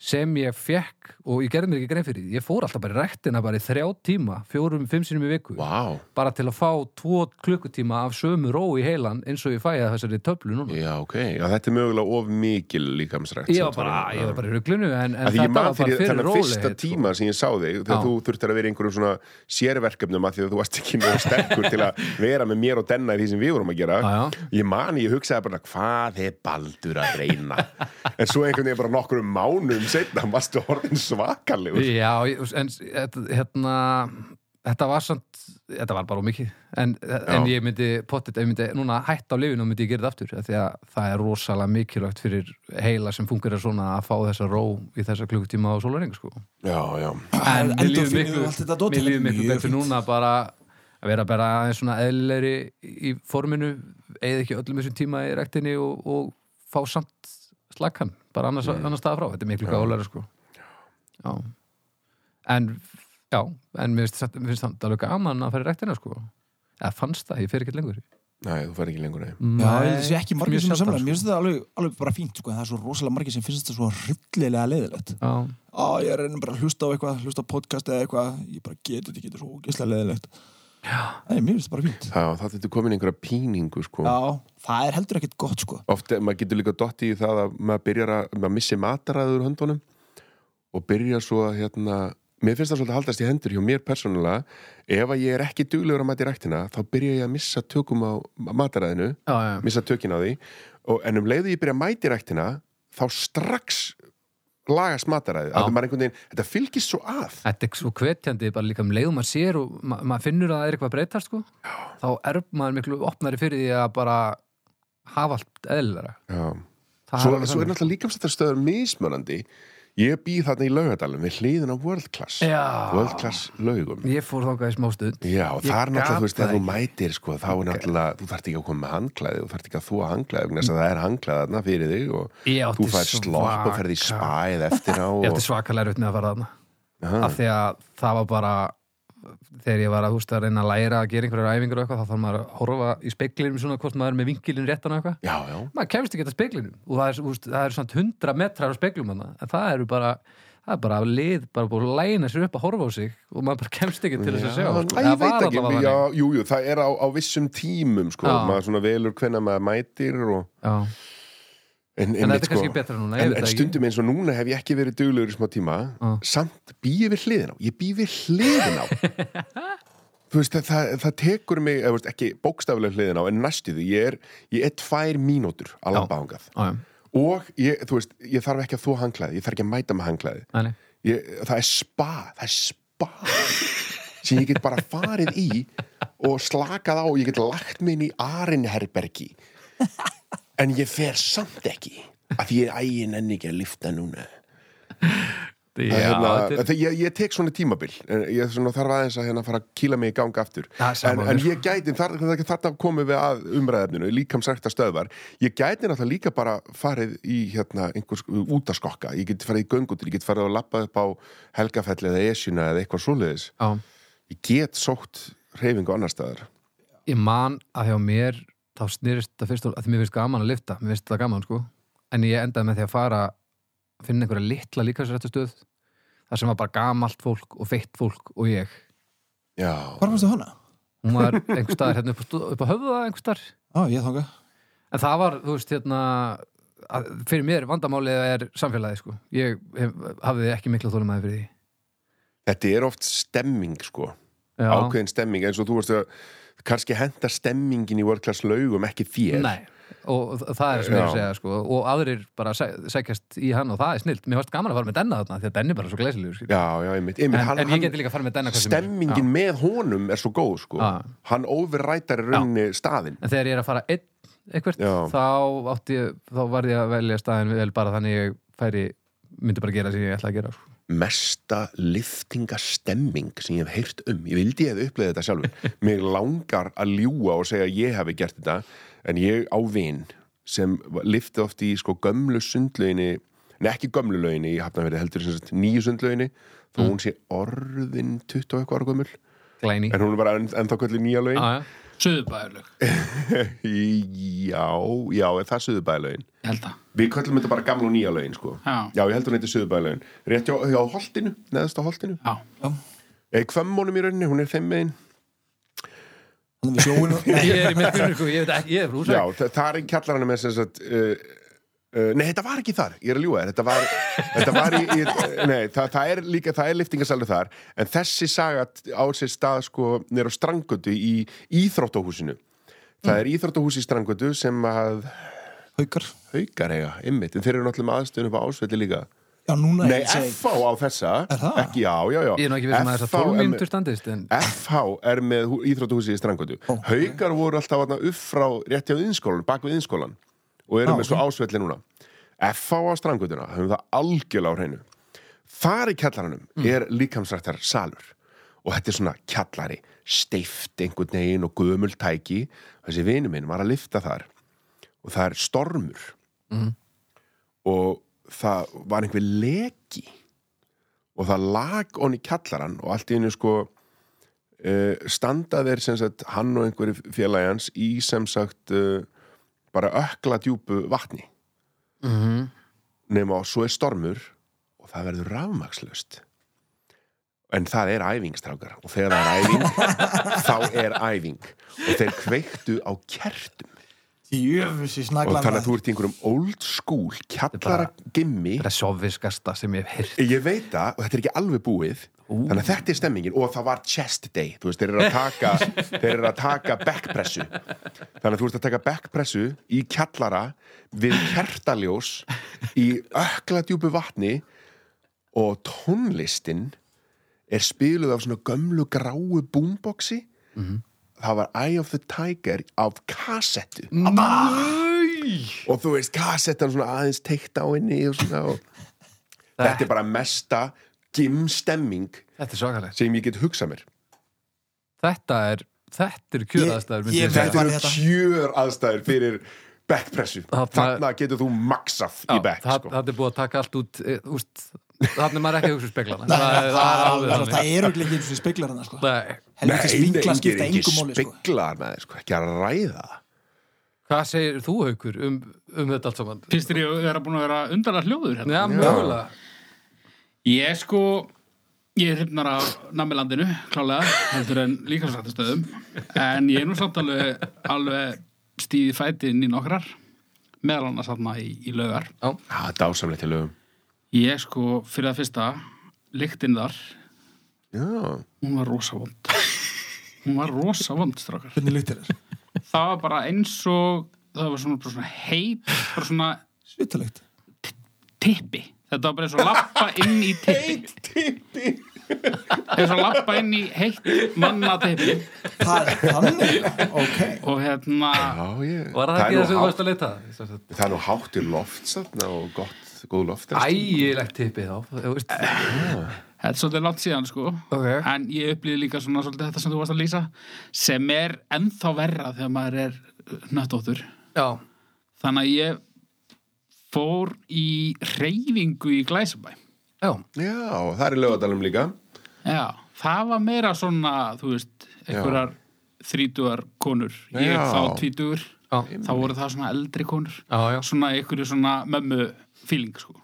[SPEAKER 2] sem ég fekk og ég gerði mér ekki grein fyrir því, ég fór alltaf bara í rektina bara í þrjá tíma, fjórum, fimm sinum í viku
[SPEAKER 5] vá
[SPEAKER 2] bara til að fá tvo klukkutíma af sömu ró í heilan eins og ég fæ að þessari töflu núna.
[SPEAKER 5] Já, ok, já, þetta er mögulega of mikil líkamsrækt
[SPEAKER 2] Ég
[SPEAKER 5] sem
[SPEAKER 2] var bara,
[SPEAKER 5] þú-
[SPEAKER 2] ég var bara í ruglunu en, en
[SPEAKER 5] Af
[SPEAKER 2] þetta
[SPEAKER 5] því ég man
[SPEAKER 2] var bara fyrir
[SPEAKER 5] fyrir
[SPEAKER 2] sko.
[SPEAKER 5] þennan
[SPEAKER 2] rólegheit.
[SPEAKER 5] fyrsta tíma sem ég sá þig þegar
[SPEAKER 2] Já.
[SPEAKER 5] þú þurftir að vera í einhverjum svona sérverkefnum að því að þú varst ekki mjög sterkur til að vera með mér og denna í því sem við vorum að gera
[SPEAKER 2] Já, já.
[SPEAKER 5] ég man, ég hugsaði bara hvað er Baldur að reyna en svo einhvern veginn bara nokkrum mánum setna varstu orðin svakalegur
[SPEAKER 2] Já, ég- en s- þetta- hérna þetta var samt, þetta var bara of mikið en, en ég myndi, pottet, ef ég myndi núna hætt á lifinu myndi ég gera þetta aftur af því að það er rosalega mikilvægt fyrir heila sem fungerir svona að fá þessa ró í þessa klukkutíma á sólaring sko.
[SPEAKER 5] já, já,
[SPEAKER 2] en mér líður
[SPEAKER 4] endorfínið og allt þetta
[SPEAKER 2] miklu
[SPEAKER 4] dót,
[SPEAKER 2] mér líður
[SPEAKER 4] þetta er
[SPEAKER 2] miklu
[SPEAKER 4] mjög
[SPEAKER 2] betur
[SPEAKER 4] fínt.
[SPEAKER 2] núna bara að vera bara aðeins svona eðlilegri í forminu, eða ekki öllum þessum tíma í rektinni og, og fá samt slakkan, bara annars, annars staða frá þetta er miklu gálega sko já en, já, en mér finnst, mér finnst það alveg gaman að fara í rektina sko eða fannst það, ég fer ekki lengur
[SPEAKER 5] nei, þú fær ekki lengur nei.
[SPEAKER 4] Já, ég held að það sé ekki
[SPEAKER 2] eh,
[SPEAKER 4] margir
[SPEAKER 2] mjög
[SPEAKER 4] sem er
[SPEAKER 2] sjaldan,
[SPEAKER 4] samlega.
[SPEAKER 2] sko.
[SPEAKER 4] Mér finnst þetta alveg, alveg bara fínt, sko, en það er svo rosalega margir sem finnst þetta svo hryllilega leiðilegt.
[SPEAKER 2] sko. já,
[SPEAKER 4] Á, ég er reynum bara að hlusta á eitthvað, hlusta á podcast eða eitthvað, ég bara getur þetta, getur svo ógeðslega leiðilegt. Já. Nei, mér finnst þetta bara fínt.
[SPEAKER 5] já, það þetta er komin einhverja píningu sko.
[SPEAKER 4] Já, það er heldur ekkert gott, sko.
[SPEAKER 5] oft er- maður getur líka dott í það að maður byrjar að, maður missi mataraður höndunum og byrjar svo að hérna mér finnst það svolítið að haldast í hendur hjá mér persónulega ef að ég er ekki duglegur að mæta í ræktina þá byrja ég að missa tökum á mataraðinu
[SPEAKER 2] já, já,
[SPEAKER 5] missa tökin á því og, en um leiðu ég byrja að mæta í ræktina þá strax lagast mataræði
[SPEAKER 2] Já.
[SPEAKER 5] að maður einhvern veginn, þetta fylgist svo að
[SPEAKER 2] þetta er svo hvetjandi bara líka um leiðum að sér og ma maður finnur að það er eitthvað að breytast sko já. þá er maður miklu opnari fyrir því að bara hafa allt eðlilega
[SPEAKER 5] Já.
[SPEAKER 2] Það alveg
[SPEAKER 5] svo, svo er
[SPEAKER 2] þannig.
[SPEAKER 5] náttúrulega líkamstættarstöður mismunandi ég býð þarna í laugadalum við hliðin á World Class
[SPEAKER 2] Já.
[SPEAKER 5] World Class laugum
[SPEAKER 2] ég fór þákað í smá stund
[SPEAKER 5] Já, og
[SPEAKER 2] Ég
[SPEAKER 5] það er náttúrulega,
[SPEAKER 2] gat
[SPEAKER 5] þú veist,
[SPEAKER 2] það
[SPEAKER 5] ef þú
[SPEAKER 2] ekki.
[SPEAKER 5] mætir sko, þá er náttúrulega, þú þarft ekki að koma með handklæði þú þarft ekki að þú að handklæði, vegna þess að það er handklæði þarna fyrir þig og
[SPEAKER 2] Ég átti
[SPEAKER 5] þú fær slopp og ferð í
[SPEAKER 2] svaka-
[SPEAKER 5] spæð eftir á
[SPEAKER 2] <laughs> ég ætti
[SPEAKER 5] og,
[SPEAKER 2] svakalega erfitt með að fara þarna
[SPEAKER 5] Aha.
[SPEAKER 2] af því að það var bara þegar ég var að, húst, að reyna að læra að gera einhverjar æfingur og eitthvað, þá þarf maður að horfa í speiklinum svona hvort maður er með vinkilin réttan og eitthvað
[SPEAKER 5] Já, já,
[SPEAKER 2] maður kemst ekki að speiklinum og það er, húst, það er svona 100 metrar á speiklum þarna. en það eru bara það er bara lið, bara búið að læna sér upp að horfa á sig og maður bara kemst ekki til þess að sjá
[SPEAKER 5] Já,
[SPEAKER 2] sko.
[SPEAKER 5] æ,
[SPEAKER 2] Það
[SPEAKER 5] ég veit
[SPEAKER 2] var
[SPEAKER 5] ekki,
[SPEAKER 2] allavega
[SPEAKER 5] já,
[SPEAKER 2] þannig.
[SPEAKER 5] jú, jú, það er á, á vissum tímum sko,
[SPEAKER 2] Já.
[SPEAKER 5] maður svona velur hvenna maður mætir og,
[SPEAKER 2] Já.
[SPEAKER 5] en,
[SPEAKER 2] en þetta
[SPEAKER 5] einmitt, sko.
[SPEAKER 2] er kannski betra núna, ég
[SPEAKER 5] en,
[SPEAKER 2] veit
[SPEAKER 5] en
[SPEAKER 2] það ekki Ah.
[SPEAKER 5] stundum eins og núna hef ég ekki verið duglegur í smá tíma
[SPEAKER 2] Já.
[SPEAKER 5] samt býi við hliðin á ég býi við
[SPEAKER 2] <laughs>
[SPEAKER 5] hliðin á þú veist, það, það, það tekur mig eða, þú veist, ekki bókstaflega hliðin á en næstuðu, ég er, ég er tvær mínútur
[SPEAKER 2] Já.
[SPEAKER 5] að labba ángað
[SPEAKER 2] Já, já.
[SPEAKER 5] og ég, þú veist, ég þarf ekki að þú hanglaði ég þarf ekki að mæta með hanglaði
[SPEAKER 2] Nei, nei.
[SPEAKER 5] ég, það er spa, það er spa sem ég get bara farið í og slakað á ég get lagt mig inn í Arinherbergi en ég fer samt ekki af því ég ægin enn ekki að lifta núna
[SPEAKER 2] Já,
[SPEAKER 5] Það er hérna,
[SPEAKER 2] þetta er-
[SPEAKER 5] þetta- ég, ég tek svona tímabil en ég svona, þarf aðeins að hérna fara að kýla mig í ganga aftur
[SPEAKER 2] Það er sama
[SPEAKER 5] en,
[SPEAKER 2] við,
[SPEAKER 5] en
[SPEAKER 2] sko.
[SPEAKER 5] ég gæti, þar, þar, þarna komum við að umræðefninu, líkam sækta stöðvar ég gæti náttúrulega líka bara farið í hérna, einhvers út að skokka ég geti farið í göngutur, ég geti farið að lappa upp á helgafelli eða esjuna eða eitthvað svoleiðis
[SPEAKER 2] Já.
[SPEAKER 5] ég get sótt reyfingu annar staðar
[SPEAKER 2] ég man að hjá mér þá snýrist það fyrst og að því mér finnst gaman að lifta mér finnst það gaman sko en ég endaði með því að fara að finna einhverja litla líkansrættastöð þar sem var bara gamalt fólk og feitt fólk og ég
[SPEAKER 5] Já,
[SPEAKER 4] Hvar fannst þú hana?
[SPEAKER 2] hún var einhver staðar hérna upp, á stó- upp á höfða einhver staðar
[SPEAKER 4] Á, ég þanga.
[SPEAKER 2] en það var þú veist hérna að, fyrir mér vandamálið er samfélagið sko ég hef, hafði ekki mikla þólumæði fyrir því
[SPEAKER 5] þetta er oft stemming sko
[SPEAKER 2] Já.
[SPEAKER 5] ákveðin stemming, eins og þú veist að kannski henda stemmingin í World Class laugum ekki þér
[SPEAKER 2] Nei, og þ- það er sem ég er að
[SPEAKER 5] Já.
[SPEAKER 2] segja sko, og aðrir bara sæ- sækjast í hann og það er snilt, mér varst gaman að fara með denna þarna því að denni er bara svo glæsilegur sko. skilur.
[SPEAKER 5] Já, já, einmitt, einmitt
[SPEAKER 2] en,
[SPEAKER 5] hann-
[SPEAKER 2] en
[SPEAKER 5] hann-
[SPEAKER 2] ég geti líka að fara með denna hvað sem er.
[SPEAKER 5] stemmingin með honum er svo góð sko.
[SPEAKER 2] Já.
[SPEAKER 5] hann overrætar í rauninni staðinn
[SPEAKER 2] Já. en þegar ég er að fara einn eitthvert,
[SPEAKER 5] Já.
[SPEAKER 2] þá átti ég þá varði ég að velja staðin vel bara þannig ég færi, myndi bara gera sem ég ætla að gera sko.
[SPEAKER 5] mesta liftingastemming sem ég hef heyrt um ég vildi ég hefði upplegið þetta sjálfur mig langar að ljúa og segja að ég hefði gert þetta en ég á vin sem lifti oft í sko gömlu sundlauginni nei ekki gömlu lauginni í hafnafyrir heldur sem sagt nýju sundlauginni þó hún sé orðin 20 og eitthvað ára gömul
[SPEAKER 2] glæni
[SPEAKER 5] en hún er bara enn, ennþá kvöldi nýja laugin
[SPEAKER 2] Já, já.
[SPEAKER 3] Suðubæðurlög,
[SPEAKER 5] <laughs> já, já, er það suðubæðlaugin
[SPEAKER 3] ég held það
[SPEAKER 5] Við köllum þetta bara gamla og nýja lögin sko.
[SPEAKER 3] Já.
[SPEAKER 5] ég held hún heiti Suðubæðalögin Rétt hjá, hjá Holtinu, neðast á Holtinu
[SPEAKER 3] Já,
[SPEAKER 5] Eða Kvemmónum Eh, í rauninni, hún er þeim megin
[SPEAKER 4] Þannig við sjóin <laughs> og...
[SPEAKER 2] ég er í myrkunni, sko, ég veit ekki, ég er frúsæk
[SPEAKER 5] Já, þa það er í kjallarana með sem sagt uh, uh, Nei, þetta var ekki þar, ég er að ljúga þér Þetta
[SPEAKER 2] <laughs>
[SPEAKER 5] var, þetta var í, í Nei, það, það er líka, það er liftingasalur þar En þessi saga á sér stað sko, Nér á Strangutu í Íþróttahúsinu
[SPEAKER 2] Mm.
[SPEAKER 5] Það er Íþróttahús í Strangutu sem að
[SPEAKER 4] Haukar.
[SPEAKER 5] haukar eiga, ymmit En þeir eru náttúrulega með aðstöðun upp á ásvelli líka
[SPEAKER 4] Já, Já, núna
[SPEAKER 5] Nei,
[SPEAKER 4] ég segi-
[SPEAKER 5] FH á þessa
[SPEAKER 4] Er það?
[SPEAKER 5] ekki, Já, já, já
[SPEAKER 2] Ég er nú ekki við sem að þessar
[SPEAKER 5] FH er
[SPEAKER 2] 12
[SPEAKER 5] með-
[SPEAKER 2] mínútur standist en
[SPEAKER 5] FH er með íþrótahúsi í Strangotu
[SPEAKER 4] Ó.
[SPEAKER 5] Haukar voru alltaf þarna upp frá rétti á innskólan, bak við innskólan og
[SPEAKER 4] Á,
[SPEAKER 5] eru með svo ásvelli núna FH á Strangotuna, höfum það algjörlega á hreinu Þar í kjallaranum er líkamsrættar salur og þetta er svona kjallari steift einhvern veginn og gömul tæki þessi vinu minn var að lifta þar og það er stormur og það var einhver leki og það lag onni kjallaran og allt í einu sko uh, standa þeir sem sagt hann og einhverju félagi hans í sem sagt uh, bara ökla djúpu vatni
[SPEAKER 2] Mhm.
[SPEAKER 5] mm -hmm. nema og svo er stormur og það verður rafmakslaust en það er æfingstrákar og þegar það er
[SPEAKER 2] <laughs>
[SPEAKER 5] æfing þá er æfing og þeir kveiktu á kertum
[SPEAKER 4] Jöfus, ég
[SPEAKER 5] og
[SPEAKER 4] snagla
[SPEAKER 5] þannig að þú ert í einhverjum old school kjallara gimmi
[SPEAKER 2] þetta er sofiskasta sem ég hef heyrt
[SPEAKER 5] Ég veit það og þetta er ekki alveg búið Þannig að þetta er stemmingin og það var chest day Þú veist, þeir eru að taka, þeir eru að taka backpressu Þannig að þú veist að taka backpressu í kjallara við kertaljós í ökla djúpu vatni og tónlistin er spiluð af svona gömlu gráu boomboxi Það var Eye of the Tiger af kassettu og þú veist, kassettan svona aðeins teikt á henni og svona og Þetta er bara mesta gimstemming
[SPEAKER 2] Þetta er svakalegt
[SPEAKER 5] sem ég get hugsað mér.
[SPEAKER 2] Þetta er, þetta er kjöðaðstæður
[SPEAKER 4] Ég- ég
[SPEAKER 5] Þetta
[SPEAKER 4] var
[SPEAKER 5] eru
[SPEAKER 2] hérna-
[SPEAKER 4] þetta.
[SPEAKER 5] kjör aðstæður fyrir backpressu.
[SPEAKER 2] Þarna-
[SPEAKER 5] Þarna getur þú maxað í back,
[SPEAKER 2] það,
[SPEAKER 5] sko.
[SPEAKER 2] það er búið að taka allt út e, úst, Þannig maður ekki að hugsa um <laughs> speglana Það er- það er alveg
[SPEAKER 4] það
[SPEAKER 2] þannig.
[SPEAKER 4] það eru ekki eins og speglar hana sko.
[SPEAKER 2] Nei.
[SPEAKER 5] Nei,
[SPEAKER 4] helviti
[SPEAKER 5] nei,
[SPEAKER 4] speglar
[SPEAKER 5] engir
[SPEAKER 4] skipta
[SPEAKER 5] ekki
[SPEAKER 4] engum máli sko.
[SPEAKER 5] speglar með þér, sko, ekki að ræða það.
[SPEAKER 2] Hvað segir þú, Haukur, um, um þetta allt saman?
[SPEAKER 3] Fyrst er ég að vera búin að vera undarlega hljóður hérna.
[SPEAKER 2] Já, mögulega
[SPEAKER 3] Ég sko, ég er hérna hrifnar af namilandinu, klálega, heldur en líkamsrættastöðum. En ég er nú samt alveg, alveg stíði fætinn í nokkrar, meðal annars þarna í, í laugar.
[SPEAKER 5] Það er dásamlegt í lögum.
[SPEAKER 3] Ég sko, fyrir það fyrsta, lyktin þar,
[SPEAKER 5] Já,
[SPEAKER 3] hún var rosa vond. Hún var rosa vond, strákar.
[SPEAKER 4] hvernig lyktir þér?
[SPEAKER 3] Það var bara eins og, það var svona, bara svona heit, bara svona
[SPEAKER 4] Svittalegt
[SPEAKER 3] tippi þetta var bara eins og lappa inn í tippi heit tippi eins og lappa inn í heitt manna tippi
[SPEAKER 4] Það er þannig Ok
[SPEAKER 3] og hérna
[SPEAKER 5] já, ég.
[SPEAKER 2] Var það
[SPEAKER 5] er
[SPEAKER 2] ekki
[SPEAKER 5] nú
[SPEAKER 2] það sem þú
[SPEAKER 5] hátt-
[SPEAKER 2] varst að leita? Sem sagt,
[SPEAKER 5] Það er nú hátt í loft, satna, og gott, góð loft.
[SPEAKER 2] Ægilegt tippi þá þú veist.
[SPEAKER 3] þetta er svolítið langt síðan sko
[SPEAKER 2] Ok.
[SPEAKER 3] en ég upplýði líka svona svolítið þetta sem þú varst að lýsa sem er ennþá verra þegar maður er nöttóttur
[SPEAKER 2] Já,
[SPEAKER 3] þannig að ég fór í reyfingu í Glæsabæ
[SPEAKER 2] já,
[SPEAKER 5] Já, það er í lögadalum líka.
[SPEAKER 3] já, það var meira svona þú veist, einhverjar þrítugar konur ég
[SPEAKER 5] Já.
[SPEAKER 3] þá tvítugur
[SPEAKER 2] já,
[SPEAKER 3] þá voru það svona eldri konur
[SPEAKER 2] já, já. Mhm.
[SPEAKER 3] svona einhverju svona mömmu feeling sko.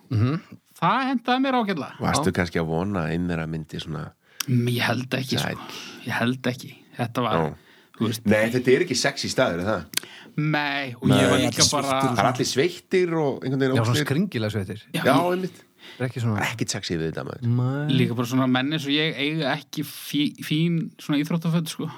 [SPEAKER 3] það hendaði mér ágætlega
[SPEAKER 5] Varstu kannski að vona að innir að myndi svona...
[SPEAKER 3] Mm, ég held ekki sko. ég held ekki þetta var
[SPEAKER 5] Já.
[SPEAKER 3] þú veist,
[SPEAKER 5] Nei, þetta er ekki sexy staður, er það?
[SPEAKER 3] mei og ég var
[SPEAKER 5] Nei.
[SPEAKER 3] líka
[SPEAKER 5] Það
[SPEAKER 3] bara
[SPEAKER 5] er allir sveittir og einhvern veginn
[SPEAKER 2] Já, svona
[SPEAKER 5] ógeðslegir.
[SPEAKER 2] skringilega sveitir
[SPEAKER 5] Já, einmitt.
[SPEAKER 2] Það er ekki svona
[SPEAKER 5] Ekkert sexy við þetta, maður.
[SPEAKER 3] líka bara svona menni svo ég eiga ekki fí, fín svona íþróttaföld sko.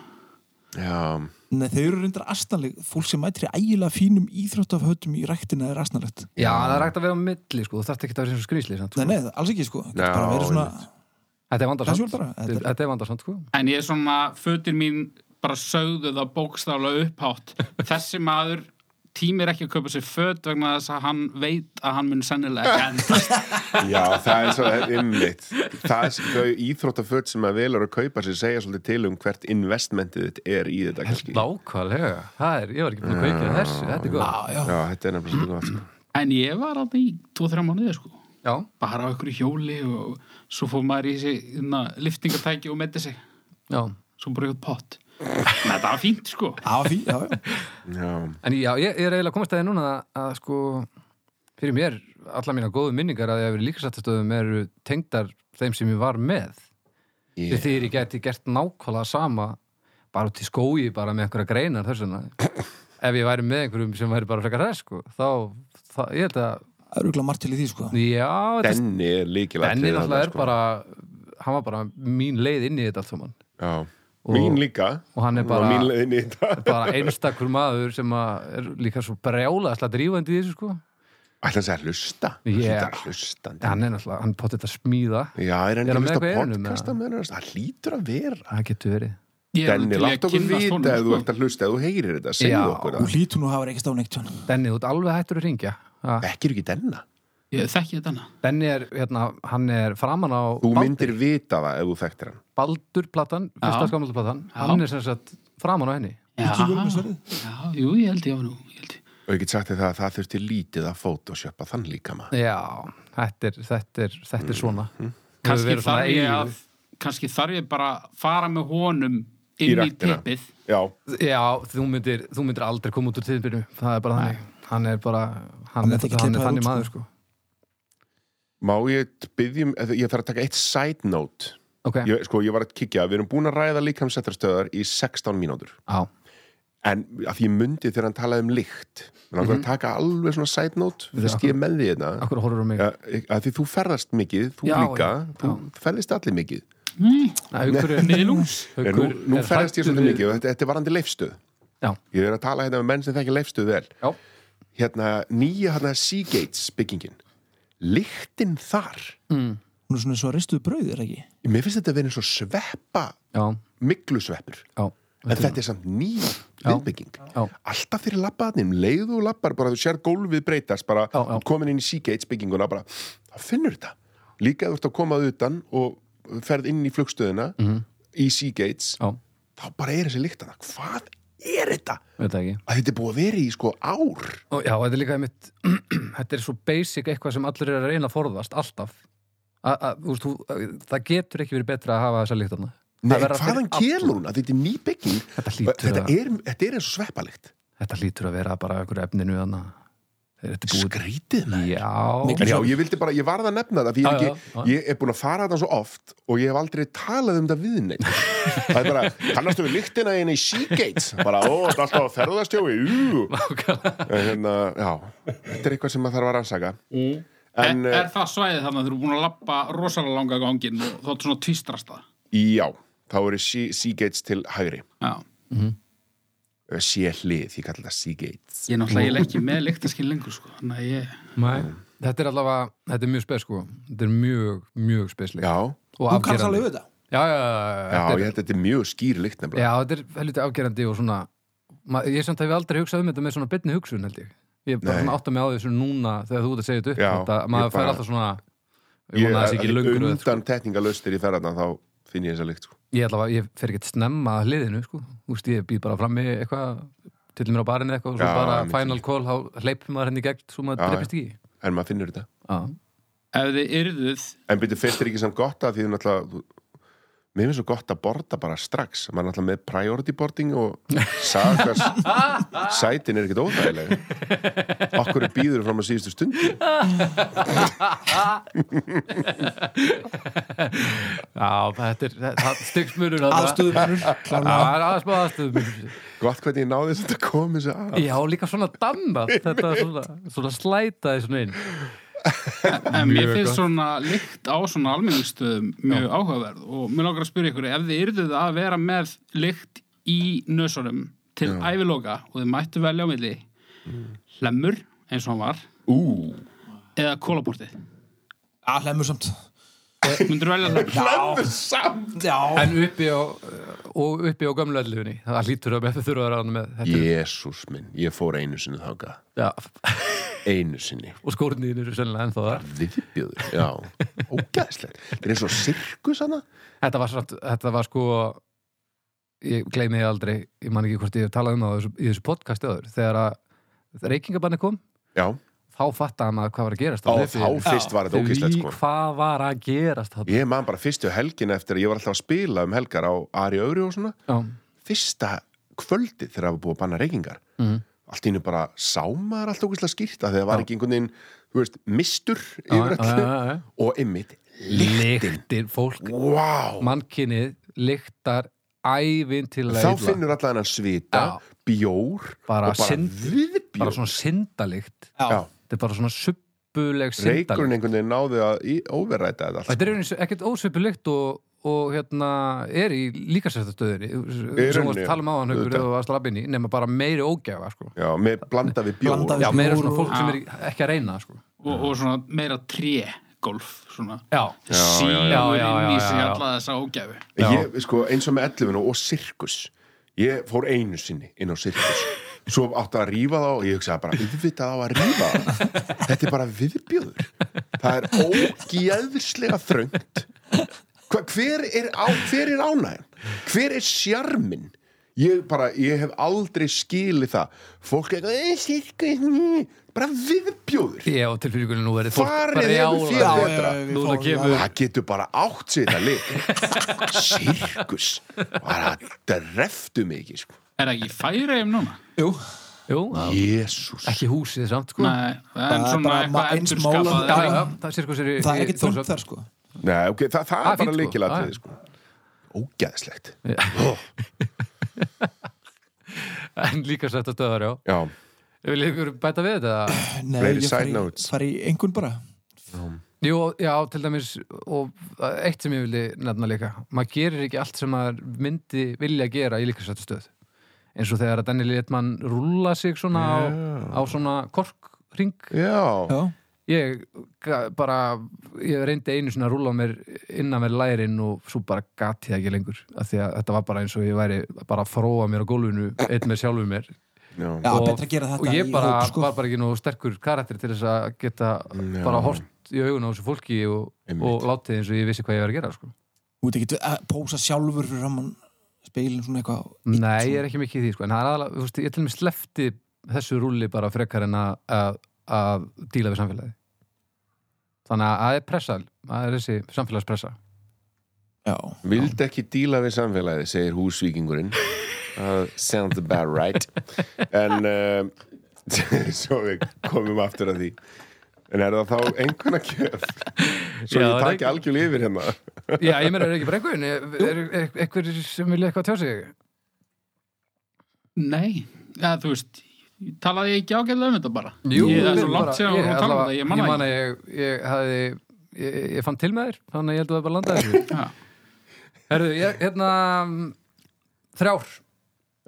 [SPEAKER 5] Já,
[SPEAKER 4] Nei, þau eru reyndar astanleg fólk sem mætir í ægilega fínum íþróttafhautum í ræktina er astanlegt
[SPEAKER 2] Já, það er hægt að vera á milli, sko, þú þarft ekki að vera eins og skrýsli samt, sko.
[SPEAKER 4] Nei, nei, alls ekki sko Getur
[SPEAKER 5] Já,
[SPEAKER 4] bara verið svona
[SPEAKER 2] Þetta er vandarsamt
[SPEAKER 4] Casual bara, þetta er-
[SPEAKER 2] Þetta er vandarsamt, sko
[SPEAKER 3] en ég er svona fötir mín bara sögðu það
[SPEAKER 5] <laughs>
[SPEAKER 3] bókstaflega upphátt þessi maður tímir ekki að kaupa sér föt vegna þess að hann veit að hann mun sennilega ekki
[SPEAKER 5] <laughs>
[SPEAKER 3] endast
[SPEAKER 5] já það er svo ymmit. Það er þau íþróttaföt sem að velur að kaupa sér segja svolítið til um hvert investmentið þitt er í þetta kannski.
[SPEAKER 2] Lákvalega, það er, ég var ekki búin að kveikja þessu Þetta er góð
[SPEAKER 4] Já, já,
[SPEAKER 5] Já, þetta er nefnilega svolítið gott. sko.
[SPEAKER 3] en ég var að í 2-3 mánuði sko.
[SPEAKER 2] Já,
[SPEAKER 3] bara á einhverju hjóli og svo fór maður í þessi hérna, liftingatæki og metti sig
[SPEAKER 2] já
[SPEAKER 3] svo bara eitthvað pott en þetta var fínt sko
[SPEAKER 4] já, fí, já, já.
[SPEAKER 5] Já,
[SPEAKER 2] En já, ég, ég er eiginlega komast að því núna að sko fyrir mér, alla mína góðu minningar að ég hafi verið líkarsættastöðum eru tengdar þeim sem ég var með
[SPEAKER 5] Ég-
[SPEAKER 2] yeah. þegar ég geti gert nákvæmlega sama bara út í skói, bara með einhverja greinar þessuna ef ég væri með einhverjum sem væri bara frekar þess sko, þá, þá, ég held að
[SPEAKER 4] Það eru örugglega margt til í því sko
[SPEAKER 2] já, þetta
[SPEAKER 5] Denni er sko. líkilega
[SPEAKER 2] Benni náttúrulega er bara hann var bara mín leið inn í þetta allt saman
[SPEAKER 5] Já, mín líka.
[SPEAKER 2] og hann er
[SPEAKER 5] Hún var
[SPEAKER 2] bara-
[SPEAKER 5] Mín
[SPEAKER 2] <laughs>
[SPEAKER 5] leiðin í þetta.
[SPEAKER 2] bara einstakur maður sem að er líka svo brjálaðslega drífandi í þessu sko
[SPEAKER 5] Ætla hans að hlusta
[SPEAKER 2] Ég-
[SPEAKER 5] Hlýtar að hlusta
[SPEAKER 2] hann er náttúrulega, hann potið að smíða
[SPEAKER 5] Já, er hann
[SPEAKER 2] Er
[SPEAKER 5] ekki
[SPEAKER 2] hann
[SPEAKER 5] að
[SPEAKER 2] með
[SPEAKER 5] hlusta
[SPEAKER 2] eitthvað í eyrunum,
[SPEAKER 5] podcasta með hann Það hlýtur að vera
[SPEAKER 2] það getur verið
[SPEAKER 3] Ég er
[SPEAKER 5] Denni,
[SPEAKER 3] alveg til í að
[SPEAKER 5] látt okkur
[SPEAKER 3] kynnast honum,
[SPEAKER 5] vita ef þú
[SPEAKER 3] sko.
[SPEAKER 5] ert að hlusta, ef þú heyrir þetta, segðu
[SPEAKER 2] Já.
[SPEAKER 5] okkur
[SPEAKER 4] Þú
[SPEAKER 5] það
[SPEAKER 4] hlýtur nú að hafa rekist á neitt John.
[SPEAKER 2] Denni, þú ert alveg hættur að ringja
[SPEAKER 5] Ekki er ekki denna
[SPEAKER 3] Ég þekki þetta hana
[SPEAKER 2] Denni er, hérna, hann er framan á
[SPEAKER 5] Þú
[SPEAKER 2] Baldur-
[SPEAKER 5] myndir vita það ef þú þekktir hann
[SPEAKER 2] Baldur-platan, fyrsta
[SPEAKER 3] Já.
[SPEAKER 2] skamaldurplatan
[SPEAKER 3] Já.
[SPEAKER 2] hann er sem sagt framan á henni
[SPEAKER 4] Ekki verið með svarið.
[SPEAKER 3] Já, jú, ég held ég á nú ég held ég.
[SPEAKER 5] Og ég get sagt þér það að það þurfti lítið að photoshoppa þann líka maður
[SPEAKER 2] Já, þetta er, þetta er, þetta er svona
[SPEAKER 5] Mhm.
[SPEAKER 2] mm.
[SPEAKER 3] Kannski þarf ég að kannski þarf ég bara að fara með honum
[SPEAKER 5] Í
[SPEAKER 3] inn í
[SPEAKER 5] ræktina.
[SPEAKER 3] tippið
[SPEAKER 5] Já,
[SPEAKER 2] Já, þú myndir, þú myndir aldrei koma út úr tíðbyrnu Það er bara þannig Hann er bara, hann,
[SPEAKER 4] myndi
[SPEAKER 2] er,
[SPEAKER 4] ekki
[SPEAKER 2] hann
[SPEAKER 4] klippa
[SPEAKER 2] er þannig
[SPEAKER 4] það út, sko.
[SPEAKER 2] maður sko
[SPEAKER 5] má ég byggjum Ég þarf að taka eitt side note
[SPEAKER 2] Ok,
[SPEAKER 5] ég, Sko, ég var að kikja, við erum búin að ræða líkamsettarastöðar í 16 mínútur
[SPEAKER 2] á,
[SPEAKER 5] En að því ég myndi þegar hann talaði um lykt Þannig
[SPEAKER 2] Mhm.
[SPEAKER 5] mm -hmm. að taka alveg svona side note Fyrst ég er með því þetta
[SPEAKER 2] akkur horfður um mig
[SPEAKER 5] Ja, að því þú ferðast mikið, þú
[SPEAKER 2] Já,
[SPEAKER 5] líka
[SPEAKER 2] já,
[SPEAKER 5] þú ferðist allir mikið
[SPEAKER 2] Haukur er,
[SPEAKER 3] Miðlungs
[SPEAKER 5] en
[SPEAKER 2] haukur
[SPEAKER 5] nú, nú
[SPEAKER 2] er
[SPEAKER 5] ferðast ég
[SPEAKER 2] hræddur
[SPEAKER 5] svolítið
[SPEAKER 2] við-
[SPEAKER 5] mikið og þetta, þetta er varandi leifstöð
[SPEAKER 2] Já,
[SPEAKER 5] ég er að tala hérna með menn sem þekki leifstöð vel
[SPEAKER 2] já,
[SPEAKER 5] hérna nýja hérna Seagates byggingin lyktin þar
[SPEAKER 4] Hún er svona svo ristuð brauð, er ekki?
[SPEAKER 5] mér finnst þetta að vera eins og sveppa
[SPEAKER 2] já,
[SPEAKER 5] miglusveppur
[SPEAKER 2] já
[SPEAKER 5] en þetta er samt ný viðbygging
[SPEAKER 2] Já.
[SPEAKER 5] alltaf fyrir labbaðnum, leið og labbar bara þú sér gólfið breytast, bara
[SPEAKER 2] Já, já.
[SPEAKER 5] komin inn í Seagates bygginguna, bara þá finnur þetta, líka ef þú ert að komað utan og ferð inn í flugstöðina í Seagates
[SPEAKER 2] Mhm. Já,
[SPEAKER 5] þá bara er þessi lyktana, hvað er þetta?
[SPEAKER 2] veit það ekki
[SPEAKER 5] að þetta er búið að vera í sko ár
[SPEAKER 2] Og já, þetta er líka einmitt <clears throat> Þetta er svo basic eitthvað sem allir er að reyna að forðast alltaf a, a, úst, þú, Það getur ekki verið betra að hafa þessa líkt þarna
[SPEAKER 5] Nei,
[SPEAKER 2] Það verða
[SPEAKER 5] hvaðan
[SPEAKER 2] fyrir
[SPEAKER 5] kelur hún? Að þetta er ný bygging
[SPEAKER 2] Þetta hlýtur
[SPEAKER 5] þetta
[SPEAKER 2] að-
[SPEAKER 5] er, þetta er eins og sveppalikt
[SPEAKER 2] Þetta lítur að vera bara einhverju efninu þarna Þetta er búið
[SPEAKER 5] skrítið með
[SPEAKER 2] Já,
[SPEAKER 5] En já, ég vildi bara, ég varð að nefna það því ég,
[SPEAKER 2] Já,
[SPEAKER 5] er
[SPEAKER 2] já,
[SPEAKER 5] ekki,
[SPEAKER 2] já.
[SPEAKER 5] ég er búin að fara þetta svo oft og ég hef aldrei talað um þetta við neitt Það er bara, kannastu við lyktina einu í Seagates bara, ó, þetta er alltaf að ferðast hjá við ú. En hérna, já Þetta er eitthvað sem maður þarf að rannsaka
[SPEAKER 3] En,
[SPEAKER 5] En,
[SPEAKER 3] er,
[SPEAKER 5] eh,
[SPEAKER 3] er það svæðið þannig að þú eru búin að lappa rosalega langa gangin og þá er svona tvistrast það?
[SPEAKER 5] Já, þá eru Se- Seagates til hægri
[SPEAKER 3] Já.
[SPEAKER 5] Sé hlið, ég kallar þetta Seagates
[SPEAKER 3] Ég er náttúrulega ég er ekki með lyktaskinn lengur sko. Þannig að ég...
[SPEAKER 2] Nei, þetta er allavega, þetta er mjög spes sko Þetta er mjög, mjög spesleik
[SPEAKER 5] Já,
[SPEAKER 2] Og
[SPEAKER 4] Þú kannst
[SPEAKER 2] afgerandi
[SPEAKER 4] alveg við þetta.
[SPEAKER 2] Já, já, já,
[SPEAKER 5] já,
[SPEAKER 2] já,
[SPEAKER 5] ég
[SPEAKER 2] já,
[SPEAKER 5] held að þetta er mjög skýr lykt nefnilega
[SPEAKER 2] já, þetta er helviti afgerandi og svona ma, Ég samt hef aldrei hugsað um þetta með svona byrni hugsun held ég Ég bara
[SPEAKER 5] Nei.
[SPEAKER 2] svona átta mig á þessu núna þegar þú ert að segja þetta upp
[SPEAKER 5] Já,
[SPEAKER 2] þetta,
[SPEAKER 5] ég
[SPEAKER 2] Maður
[SPEAKER 5] bara-
[SPEAKER 2] fær alltaf svona Ég vona þessi ekki löngur
[SPEAKER 5] undan
[SPEAKER 2] röð, sko.
[SPEAKER 5] sko. tekningalaustir í ferðarna þá finn ég þessa lykt sko.
[SPEAKER 2] Ég allavega, ég fer ekki að snemma að hliðinu sko Þú veist, ég býð bara frammi eitthvað til mér á barinu eitthvað og svo
[SPEAKER 5] Já,
[SPEAKER 2] bara
[SPEAKER 5] mitt
[SPEAKER 2] final call, þá hleypum maður henni í gegn svo maður
[SPEAKER 5] Já,
[SPEAKER 2] dreipist ekki í.
[SPEAKER 5] en maður finnur þetta
[SPEAKER 2] Já,
[SPEAKER 3] Ef þið yrðuð
[SPEAKER 5] en byrju fyrst er ekki samt gott að því þú náttúrulega þú- mér finnst svo gott að borda bara strax maður er náttúrulega með priority boarding og
[SPEAKER 2] <laughs>
[SPEAKER 5] sagði hvað sætin er ekkert óþægilega okkur er býður fram að síðustu stundu
[SPEAKER 2] Já, þetta er, þetta er stygsmunur
[SPEAKER 4] Aðstöðumennur, klárlega.
[SPEAKER 2] Aðstöðumunur Aðstöðumunur
[SPEAKER 5] gott hvernig ég náði þess að koma þessu að
[SPEAKER 2] Já, líka svona <laughs> dammað Þetta er svona, svona slætaði svona inn
[SPEAKER 3] En mér finnst svona lykt á svona almenningstöðum mjög áhugaverð og mér langar að spyrja ykkur ef þið yrðuð að vera með lykt í nösunum til æviloka og þið mættu velja á milli hlemmur eins og hann var
[SPEAKER 5] ú,
[SPEAKER 3] eða kólabortið
[SPEAKER 4] Já, hlæmur samt.
[SPEAKER 3] Myndur velja hlemmur?
[SPEAKER 5] hlæmur samt
[SPEAKER 4] Já,
[SPEAKER 2] En uppi á, og uppi á gamlu ellufinni Það lítur að með þurfa að vera hann með þetta
[SPEAKER 5] jésús minn, ég fór einu sinni þáka
[SPEAKER 2] Já,
[SPEAKER 5] einu sinni
[SPEAKER 2] og skórniðin eru sennilega ennþá þar
[SPEAKER 5] viðbjöður, já,
[SPEAKER 2] <laughs>
[SPEAKER 5] ógæðslegt þetta er eins og sirkus hana
[SPEAKER 2] Þetta var, satt, þetta var sko Ég gleymi því aldrei Ég man ekki hvort ég hef talað um það á þessu- í þessu podcasti áður Þegar að reykingabanni kom
[SPEAKER 5] já,
[SPEAKER 2] Þá fattaði maður hvað var að gerast á
[SPEAKER 5] Á,
[SPEAKER 2] hlaupi.
[SPEAKER 5] þá fyrst var þetta
[SPEAKER 2] Því
[SPEAKER 5] ógeðslegt, sko.
[SPEAKER 2] Hvað var að gerast þarna?
[SPEAKER 5] Ég man bara fyrstu helgin eftir að ég var alltaf að spila um helgar á Ari Öfri og svona
[SPEAKER 2] Já,
[SPEAKER 5] fyrsta kvöldið þegar það var búið að banna reykingar
[SPEAKER 2] Mhm.
[SPEAKER 5] allt innu bara sámaður allt okkurslega skýrt að það var ekki einhvern veginn þú veist, mistur
[SPEAKER 2] já,
[SPEAKER 5] yfir
[SPEAKER 2] já,
[SPEAKER 5] öllu
[SPEAKER 2] já, já.
[SPEAKER 5] og ymmit, lyktin
[SPEAKER 2] Lyktir, fólk
[SPEAKER 5] wow.
[SPEAKER 2] mannkinnið lyktar ævintilega
[SPEAKER 5] þá
[SPEAKER 2] illa.
[SPEAKER 5] finnur allan hennan svita
[SPEAKER 2] Já.
[SPEAKER 5] bjór
[SPEAKER 2] Bara
[SPEAKER 5] og bara
[SPEAKER 2] synd- bara
[SPEAKER 5] viðbjór
[SPEAKER 2] svona syndalikt
[SPEAKER 5] Já.
[SPEAKER 2] þetta er bara svona suppuleg syndalikt
[SPEAKER 5] reykurinn einhvern veginn náði að í- overræta þetta allt sko.
[SPEAKER 2] þetta er eins, ekkert ósuppulikt og, og og hérna er í líkasættastöðinni
[SPEAKER 5] Í
[SPEAKER 2] sem varst
[SPEAKER 5] rauninni,
[SPEAKER 2] að tala um áðan haukur
[SPEAKER 5] auðvitað.
[SPEAKER 2] eða varst að labba inn í, nema bara meiri ógæfa sko.
[SPEAKER 5] Já, með blanda við bjór
[SPEAKER 4] Blanda við-
[SPEAKER 2] já, meira svona
[SPEAKER 4] og-
[SPEAKER 2] fólk sem er í- ekki að reyna sko.
[SPEAKER 3] og, og svona meira tré-golf svona
[SPEAKER 2] já,
[SPEAKER 3] sígur
[SPEAKER 5] já,
[SPEAKER 2] já, já,
[SPEAKER 3] inn í
[SPEAKER 2] já,
[SPEAKER 3] sig
[SPEAKER 2] já.
[SPEAKER 3] alla þessa ógæfu
[SPEAKER 5] ég, sko, eins og með 11 og sirkus ég fór einu sinni inn á sirkus svo átti að rífa þá og ég hugsaði bara yfirvitað á að rífa þá þetta er bara viðbjöður það er ógeðslega þröngt Hva, hver, er á, hver er ánægin? hver er sjarmin? ég bara, ég hef aldrei skilið það fólk er eitthvað, "Eh, sirkus mm," bara viðbjöður
[SPEAKER 2] ég og tilfyrir nú verið fólk
[SPEAKER 5] Farið
[SPEAKER 2] bara brjálað.
[SPEAKER 5] hefur fé- Já, já,
[SPEAKER 2] Núna kemur-
[SPEAKER 5] það getur bara átt sér það lið sirkus bara dreftu mikið sko.
[SPEAKER 3] er það ekki færi um núna?
[SPEAKER 4] Jú,
[SPEAKER 2] Jú, já.
[SPEAKER 5] Jésús
[SPEAKER 2] ekki húsið samt sko.
[SPEAKER 3] Nei, en
[SPEAKER 4] er
[SPEAKER 3] svona
[SPEAKER 4] bara ma-
[SPEAKER 3] eitthvað
[SPEAKER 4] eins
[SPEAKER 3] endurskapað
[SPEAKER 4] málað-
[SPEAKER 2] já,
[SPEAKER 3] eða
[SPEAKER 2] já,
[SPEAKER 3] eitthvað.
[SPEAKER 2] það er sirkus er í-
[SPEAKER 4] það er
[SPEAKER 2] í
[SPEAKER 4] ekkert þungt
[SPEAKER 2] Þórshöfn.
[SPEAKER 4] þar sko
[SPEAKER 5] Nei, okay, það, það
[SPEAKER 2] Ah,
[SPEAKER 5] er bara
[SPEAKER 2] fínt, sko.
[SPEAKER 5] leikilatrið
[SPEAKER 2] Ah.
[SPEAKER 5] sko. ógæðslegt
[SPEAKER 2] <laughs> en líkasættastöðar, já
[SPEAKER 5] já,
[SPEAKER 2] vil ykkur bæta við þetta?
[SPEAKER 4] Nei,
[SPEAKER 5] Fleiri
[SPEAKER 4] ég
[SPEAKER 5] side
[SPEAKER 4] fari,
[SPEAKER 5] notes.
[SPEAKER 4] fari í engun bara
[SPEAKER 2] Jú, já, til dæmis og uh, eitt sem ég vildi nefna líka maður gerir ekki allt sem maður myndi vilja gera í líkasættastöð eins og þegar að Daniel Edman rúlla sig svona á, á svona korkring
[SPEAKER 5] já.
[SPEAKER 4] Já,
[SPEAKER 2] ég ga- bara ég reyndi einu svona að rúlla á mér innan mér lærin og svo bara gati það ekki lengur af því að þetta var bara eins og ég væri bara að fróa mér á gólfinu einn með sjálfu mér
[SPEAKER 4] já
[SPEAKER 5] Já.
[SPEAKER 2] og,
[SPEAKER 4] betra að gera þetta
[SPEAKER 2] og ég
[SPEAKER 4] í
[SPEAKER 2] bara,
[SPEAKER 4] hóp, sko.
[SPEAKER 2] var bara ekki nú sterkur karakter til þess að geta
[SPEAKER 5] Já.
[SPEAKER 2] bara hort í augun á þessu fólki og,
[SPEAKER 5] Einmitt.
[SPEAKER 2] og látið eins og ég vissi hvað ég var að gera sko.
[SPEAKER 4] Þú ert ekki að pósa sjálfur fyrir raman speilin svona eitthvað
[SPEAKER 2] nei, ég er ekki mikið í því sko. en það er aðalega, þú veist, ég til og með slefti þessu rúli bara frekar en að- að að díla við samfélagi þannig að það er pressa það er þessi samfélagspressa
[SPEAKER 4] Já,
[SPEAKER 5] vildi ekki díla við samfélagið segir húsvíkingurinn uh, sounds about right en uh, <laughs> svo við komum aftur að því en er það þá einhverna kjöf
[SPEAKER 2] Já,
[SPEAKER 5] svo ég
[SPEAKER 2] það er-
[SPEAKER 5] taki algjörl yfir hérna
[SPEAKER 2] já, ég meina, er ekki bara einhvern er, er, er eitthvað sem vilja eitthvað tjá sig
[SPEAKER 3] Nei, ja, þú veist talaði ég ekki ágæðlega um þetta bara ég
[SPEAKER 2] þetta
[SPEAKER 3] er svo langt sem að tala um þetta, ég
[SPEAKER 2] ég
[SPEAKER 3] manna
[SPEAKER 2] man að ég, ég hafði ég, ég fann til með þér, þannig að ég held að það bara
[SPEAKER 4] <laughs>
[SPEAKER 2] landa þessu
[SPEAKER 3] ekki
[SPEAKER 2] Herðu, ég, hérna mm, þrjár,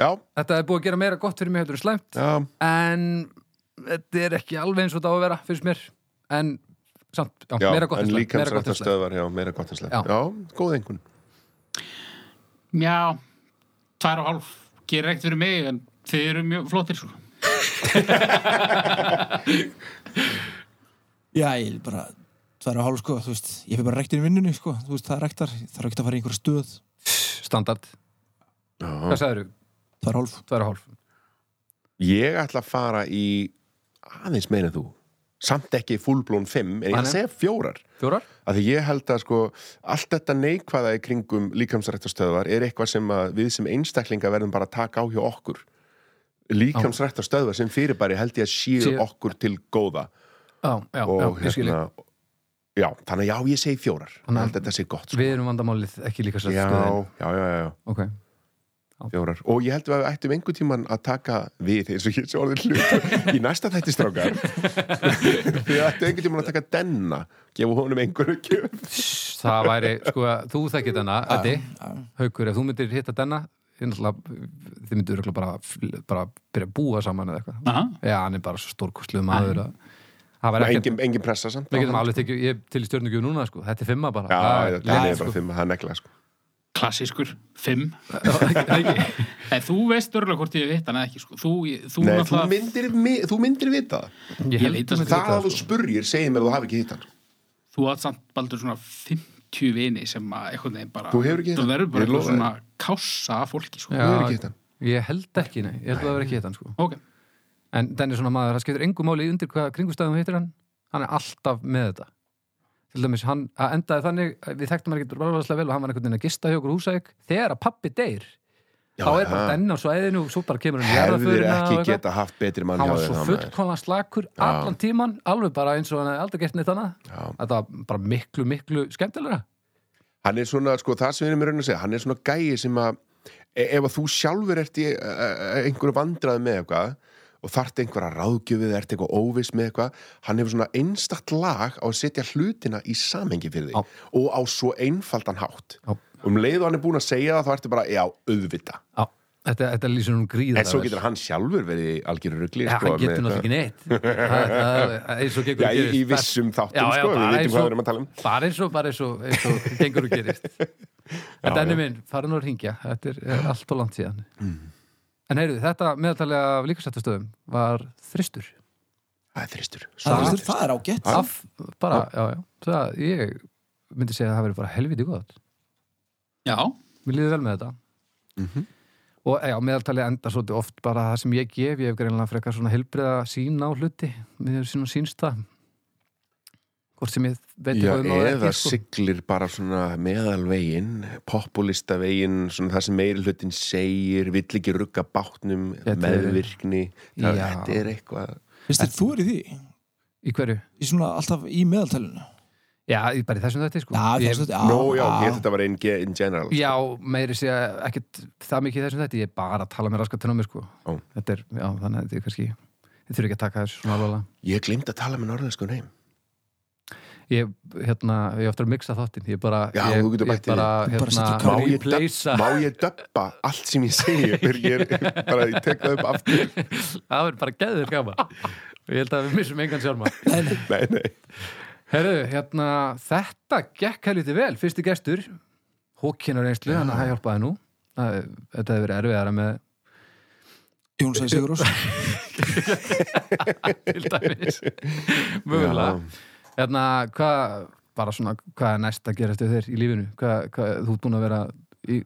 [SPEAKER 5] já,
[SPEAKER 2] þetta er búið að gera meira gott fyrir mig heldur en slæmt,
[SPEAKER 5] já,
[SPEAKER 2] en þetta er ekki alveg eins og þetta á að vera fyrir mér, en samt, já,
[SPEAKER 5] já
[SPEAKER 2] meira gott en slæmt, meira gott en
[SPEAKER 5] en
[SPEAKER 2] slæmt
[SPEAKER 5] líkamsrættastöðvar já, meira gott en
[SPEAKER 2] Já.
[SPEAKER 5] slæmt já, góð einhvern
[SPEAKER 3] Já, tvær og hálf gerir ekkert fyrir mig en þið eru mjög flottir sko.
[SPEAKER 4] já ég er bara Það er að hálf sko, þú veist, ég fyrir bara rektin í vinnunni sko, þú veist, það er rektar, það er ekki að fara í einhverja stöð,
[SPEAKER 2] standard,
[SPEAKER 5] já.
[SPEAKER 2] hvað sagður þú,
[SPEAKER 4] það er hálf.
[SPEAKER 2] tvær og hálf
[SPEAKER 5] Ég ætla að fara í aðeins meina þú samt ekki fullblón 5 en ég
[SPEAKER 2] Nei,
[SPEAKER 5] ætla að
[SPEAKER 2] nei.
[SPEAKER 5] segja fjórar
[SPEAKER 2] fjórar,
[SPEAKER 5] af því ég held að sko allt þetta neikvæða í kringum líkamsrættastöðvar er eitthvað sem að við sem einstaklinga verðum bara að taka á hjá okkur líkamsrættastöðvar sem fyrirbæri held ég að séu
[SPEAKER 2] Séu-
[SPEAKER 5] okkur til góða
[SPEAKER 2] já, já, já,
[SPEAKER 5] og hérna,
[SPEAKER 2] ég skil ég
[SPEAKER 5] já, þannig að já, ég segi fjórar
[SPEAKER 2] Þannig að-
[SPEAKER 5] held að þetta sé gott sko.
[SPEAKER 2] við erum vandamálið ekki líka
[SPEAKER 5] já,
[SPEAKER 2] sætt
[SPEAKER 5] já, já, já, já
[SPEAKER 2] ok,
[SPEAKER 5] Fjórar. Og ég held að við ættum einhvern tíman að taka við eins og ég sé orðin
[SPEAKER 2] <laughs>
[SPEAKER 5] hlut í næsta þættistrákar við ættum einhvern tíman að taka denna gefa honum einhverju gjöf
[SPEAKER 2] það væri, sko, þú þekkir þennan Addi,
[SPEAKER 4] já.
[SPEAKER 2] haukur, ef þú myndir hitta þennan þið myndir örugglega bara, bara byrja að búa saman eða eitthvað
[SPEAKER 3] Aha.
[SPEAKER 2] Já, hann er bara svo stórkostluð maður að það var ekkert,
[SPEAKER 5] engin, engin pressa samt
[SPEAKER 2] við getum alveg tekið ég er til í stjórnugjöf núna, sko, þetta er fimma bara
[SPEAKER 5] Já,
[SPEAKER 2] Það
[SPEAKER 5] já,
[SPEAKER 2] er
[SPEAKER 5] Denni er
[SPEAKER 2] leiðin,
[SPEAKER 5] bara fimm, það er negla sko.
[SPEAKER 3] klassískur,
[SPEAKER 5] <laughs>
[SPEAKER 3] fimm
[SPEAKER 2] sko.
[SPEAKER 3] en þú veist örgulega hvort ég veit hann eða ekki sko. þú, ég- þú
[SPEAKER 5] Nei, þú
[SPEAKER 3] náttúrulega
[SPEAKER 5] myndir, mi- þú myndir vita það
[SPEAKER 2] ég
[SPEAKER 3] Ég veit
[SPEAKER 2] held
[SPEAKER 3] að
[SPEAKER 2] að
[SPEAKER 5] Það að
[SPEAKER 2] sko.
[SPEAKER 5] þú spurjir, segir mér að þú hafi ekki hitt hann
[SPEAKER 3] þú hatt samt baldur svona 50 vini sem að eitthvað neginn bara
[SPEAKER 5] Þú hefur ekki hitt
[SPEAKER 3] það
[SPEAKER 5] hann?
[SPEAKER 3] verður bara
[SPEAKER 5] Ég
[SPEAKER 3] eitthvað
[SPEAKER 5] lofa
[SPEAKER 3] svona kása af fólki sko.
[SPEAKER 5] Þú hefur
[SPEAKER 2] Já.
[SPEAKER 5] ekki hitt hann
[SPEAKER 2] ég held ekki, nei, ég held að það vera ekki hittan sko.
[SPEAKER 3] ok,
[SPEAKER 2] en Denni er svona maður, það skiptir engu máli undir hvaða kringustæðum heitir hann, hann er alltaf með þetta til dæmis, hann það endaði þannig, við þekktum hann ekki ráðvæðslega vel og hann var einhvern veginn að gista hjá okkur húsæk þegar að pappi deyr,
[SPEAKER 5] Já,
[SPEAKER 2] þá er bara
[SPEAKER 5] ha.
[SPEAKER 2] Denni á svæðinu og svo bara kemur hann í
[SPEAKER 5] Hefðir
[SPEAKER 2] jarðarförina og
[SPEAKER 5] ekki
[SPEAKER 2] eitthvað.
[SPEAKER 5] geta haft betri mann
[SPEAKER 2] hann
[SPEAKER 5] hjá
[SPEAKER 2] var
[SPEAKER 5] þér,
[SPEAKER 2] svo
[SPEAKER 5] hann maður.
[SPEAKER 2] fullkomlega slakur allan tíman, alveg bara eins og hann hefði aldrei gert neitt annað
[SPEAKER 5] Já.
[SPEAKER 2] þetta var bara miklu, miklu skemmtilega
[SPEAKER 5] hann er svona, sko, það sem við erum í raun að segja hann er svona gæi sem að e- ef að þú sjálfur ert í e- e- einhverju vandrað með eitthvað og þarft einhverja ráðgjöfið, ert eitthvað óviss með eitthvað, hann hefur svona einstakt lag á að setja hlutina í samhengi fyrir þig
[SPEAKER 2] Já.
[SPEAKER 5] og á svo einfaldan hátt
[SPEAKER 2] Já.
[SPEAKER 5] um leið og hann er búin að segja það þá ertu bara, já, auðvita
[SPEAKER 2] Já, þetta, þetta lýsir hún gríðar
[SPEAKER 5] en svo getur hann sjálfur verið í algjöru rugli sko,
[SPEAKER 2] Já, hann getur náttúrulega ekki
[SPEAKER 5] <laughs>
[SPEAKER 2] neitt Það- það- það- eins og gengur
[SPEAKER 5] Já,
[SPEAKER 2] og
[SPEAKER 5] í-
[SPEAKER 2] gerist
[SPEAKER 5] í vissum þáttum,
[SPEAKER 2] Já, já,
[SPEAKER 5] sko, við
[SPEAKER 2] bara
[SPEAKER 5] vitum
[SPEAKER 2] eins
[SPEAKER 5] hvað
[SPEAKER 2] og-
[SPEAKER 5] við erum að tala um.
[SPEAKER 2] Bara eins og, bara eins og, eins og gengur og
[SPEAKER 5] <laughs>
[SPEAKER 2] gerist En
[SPEAKER 5] Já,
[SPEAKER 2] Denni
[SPEAKER 5] já. Mm.
[SPEAKER 2] minn, fara nú að ringja Þetta er, er allt og langt síðan En heyrðu, þetta meðaltalið af líkasættastöðum var þristur
[SPEAKER 5] það er þristur
[SPEAKER 4] Það,
[SPEAKER 5] Svo
[SPEAKER 4] er- það er ágætt.
[SPEAKER 2] Af, bara, já, já Það, ég myndi segja að það verið bara helviti gott
[SPEAKER 3] Já,
[SPEAKER 2] Mér líður vel með þetta
[SPEAKER 5] Mhm.
[SPEAKER 2] Og já, meðaltalið endar svolítið oft bara það sem ég gef, ég hef greinlega frekar svona helbriða sín á hluti, mér hefur sín og sínst það hvort sem ég veit
[SPEAKER 5] Já,
[SPEAKER 2] eitthvað um það
[SPEAKER 5] eða
[SPEAKER 2] sko.
[SPEAKER 5] siglir bara svona meðalvegin, populistavegin, svona það sem meiri hlutin segir, vill ekki rugga bátnum,
[SPEAKER 2] Þetta er-
[SPEAKER 5] meðvirkni, það,
[SPEAKER 2] Já.
[SPEAKER 5] þetta er eitthvað.
[SPEAKER 4] Vist þér, þú er í því?
[SPEAKER 2] Í hverju?
[SPEAKER 4] Í svona alltaf í meðaltælinu?
[SPEAKER 2] Já, í- bara í þessum þetta sko.
[SPEAKER 4] Já,
[SPEAKER 2] ég,
[SPEAKER 4] ég, já,
[SPEAKER 5] Nó, já, sko. ég, þetta var einn ge- in general.
[SPEAKER 2] já, meiri sé ekkert það mikið í þessum þetta, ég er bara að tala með raskatunum mér sko.
[SPEAKER 5] Ó.
[SPEAKER 2] Þetta er, já, þannig að þetta er kannski ég þurfi ekki að taka þessu svona alveg
[SPEAKER 5] Ég glemt að tala með norðinsku
[SPEAKER 2] <laughs>
[SPEAKER 5] neim.
[SPEAKER 2] Ég, hérna, ég á eftir að mixa þáttin ég bara,
[SPEAKER 5] Já,
[SPEAKER 2] ég,
[SPEAKER 5] þú getur
[SPEAKER 2] ég
[SPEAKER 5] bætt í
[SPEAKER 2] bara,
[SPEAKER 4] Þú bara
[SPEAKER 2] hérna,
[SPEAKER 4] setur
[SPEAKER 5] Má ég,
[SPEAKER 2] replacea-
[SPEAKER 5] döpp- má ég döppa allt sem ég
[SPEAKER 2] <laughs>
[SPEAKER 5] segi, fyrir ég er bara að tekka upp aftur.
[SPEAKER 2] það verður bara geður gaman og ég held að við missum engan sjálfma
[SPEAKER 5] Nei, nei.
[SPEAKER 2] Herru, hérna, þetta gekk helviti vel, fyrsti gestur hókinar einslu, þannig að það hjálpaði nú Það- þetta hefur verið erfiðara með
[SPEAKER 4] Jón Sæði Sigurós.
[SPEAKER 2] til <laughs> dæmis mögulega, hérna, hvað bara svona, hvað er næst að gerast við þér í lífinu, hvað, hvað þú ert búin að vera í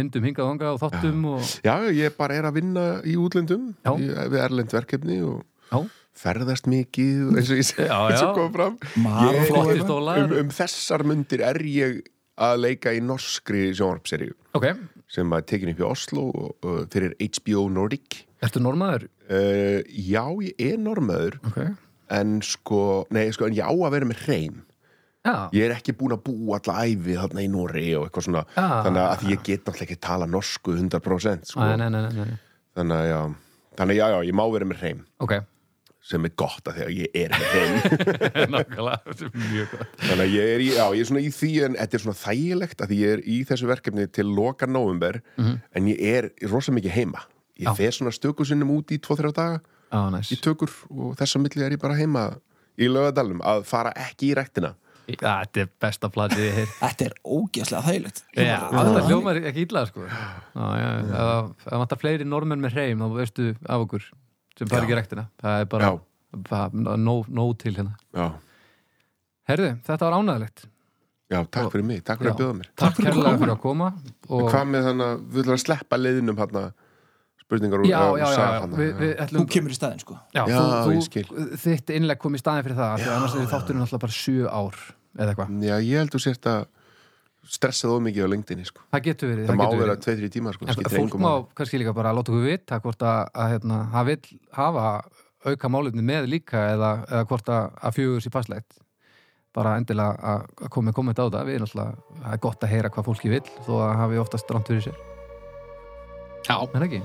[SPEAKER 2] myndum hingað og þangað og þáttum og,
[SPEAKER 5] Já, ég bara er að vinna í útlöndum,
[SPEAKER 2] Já.
[SPEAKER 5] í, við erlend verkefni og
[SPEAKER 2] já,
[SPEAKER 5] ferðast mikið eins og ég segi,
[SPEAKER 2] Já,
[SPEAKER 5] <laughs> eins
[SPEAKER 2] já.
[SPEAKER 5] og kom fram
[SPEAKER 4] Maraþon.
[SPEAKER 5] Ég-
[SPEAKER 2] Flottir stólar.
[SPEAKER 5] um, um þessar mundir er ég að leika í norskri sjónvarpseríu
[SPEAKER 2] ok,
[SPEAKER 5] sem að tekin upp í Oslo og, og fyrir HBO Nordic
[SPEAKER 2] ertu normaður?
[SPEAKER 5] uh, Já, ég er normaður
[SPEAKER 2] ok,
[SPEAKER 5] en sko, nei, sko, en ég á að vera með hreim
[SPEAKER 2] já,
[SPEAKER 5] Ég er ekki búin að búa alla æfi þarna í Nóri og eitthvað svona
[SPEAKER 2] Ah.
[SPEAKER 5] þannig að því ég get náttúrulega ekki tala norsku 100% sko.
[SPEAKER 2] Æ, nei, nei, nei, nei, nei.
[SPEAKER 5] þannig að já, þannig að já, já, ég má vera með hreim
[SPEAKER 2] ok,
[SPEAKER 5] sem er gott að því að ég er með hreim
[SPEAKER 2] <laughs> nákvæmlega þetta er mjög gott
[SPEAKER 5] Þannig að ég er, í, já, ég er svona í því en þetta er svona þægilegt að því ég er í þessu verkefni til loka nóvumber
[SPEAKER 2] Mhm.
[SPEAKER 5] en ég er rosa mikið heima. Ég
[SPEAKER 2] Já.
[SPEAKER 5] fer svona stöku sinnum út í 2-3 daga
[SPEAKER 2] Á, næs.
[SPEAKER 5] í tökur og þess að milli er ég bara heima í lögadalum að fara ekki í rektina.
[SPEAKER 2] Já, Þetta er besta platið ég heyrt.
[SPEAKER 4] Þetta er ógeðslega þægilegt.
[SPEAKER 2] Já, þetta hljómar ekki illa, sko. Já, já, ef það vantar fleiri normenn með hreim, þá veistu af okkur sem fari ekki í rektina. Það er bara,
[SPEAKER 5] Já.
[SPEAKER 2] bara nóg no, til hérna.
[SPEAKER 5] Já,
[SPEAKER 2] Herðu, þetta var ánæðilegt.
[SPEAKER 5] já takk fyrir mig, takk fyrir að bjóða mér.
[SPEAKER 2] Takk
[SPEAKER 4] fyrir
[SPEAKER 2] kærlega
[SPEAKER 4] komuna.
[SPEAKER 2] fyrir að koma.
[SPEAKER 5] Og...
[SPEAKER 2] Og,
[SPEAKER 5] Hvað með þannig að við ætlum að sleppa leiðinum hérna spurningar úr
[SPEAKER 2] já, já, já,
[SPEAKER 5] sal
[SPEAKER 2] já,
[SPEAKER 5] þarna,
[SPEAKER 2] við, við
[SPEAKER 4] Þú
[SPEAKER 2] ætlum...
[SPEAKER 4] kemur í staðin, sko.
[SPEAKER 2] Já,
[SPEAKER 5] Já, ég
[SPEAKER 2] þú,
[SPEAKER 5] skil.
[SPEAKER 2] þú, þitt innleg kom í staðin fyrir það, af því
[SPEAKER 5] Já,
[SPEAKER 2] að annars er
[SPEAKER 5] já.
[SPEAKER 2] þátturinn alltaf bara sjö ár eða eitthvað.
[SPEAKER 5] Já, ég held þú sért að stressa það ómikið á lengdinni, sko.
[SPEAKER 2] Það getur verið.
[SPEAKER 5] Það, má
[SPEAKER 2] getur
[SPEAKER 5] vera 2-3 tímar, sko.
[SPEAKER 2] En
[SPEAKER 5] skiptir
[SPEAKER 2] fólk
[SPEAKER 5] engu
[SPEAKER 2] má
[SPEAKER 5] máli.
[SPEAKER 2] kannski líka bara láta okkur vita hvort að, að hérna, hann vill hafa auka málefni með líka eða, eða hvort að, að fjögur sér passlegt bara endilega að- að koma með komment á það við erum alltaf, það er gott að heyra hvað fólki vill þó að hafi oftast rámt fyrir sér
[SPEAKER 3] já,
[SPEAKER 2] en ekki,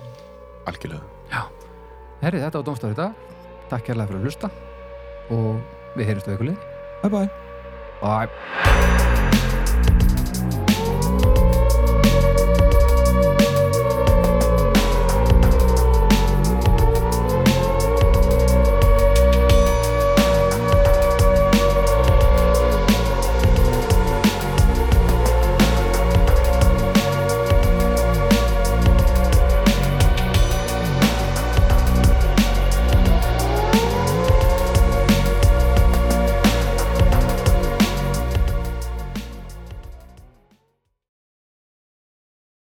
[SPEAKER 5] Algjörlega.
[SPEAKER 2] herri þetta á Dómstafur í dag takk kærlega fyrir að hlusta og við heyrjumst á ykkur leið
[SPEAKER 4] Bye bye.
[SPEAKER 2] bye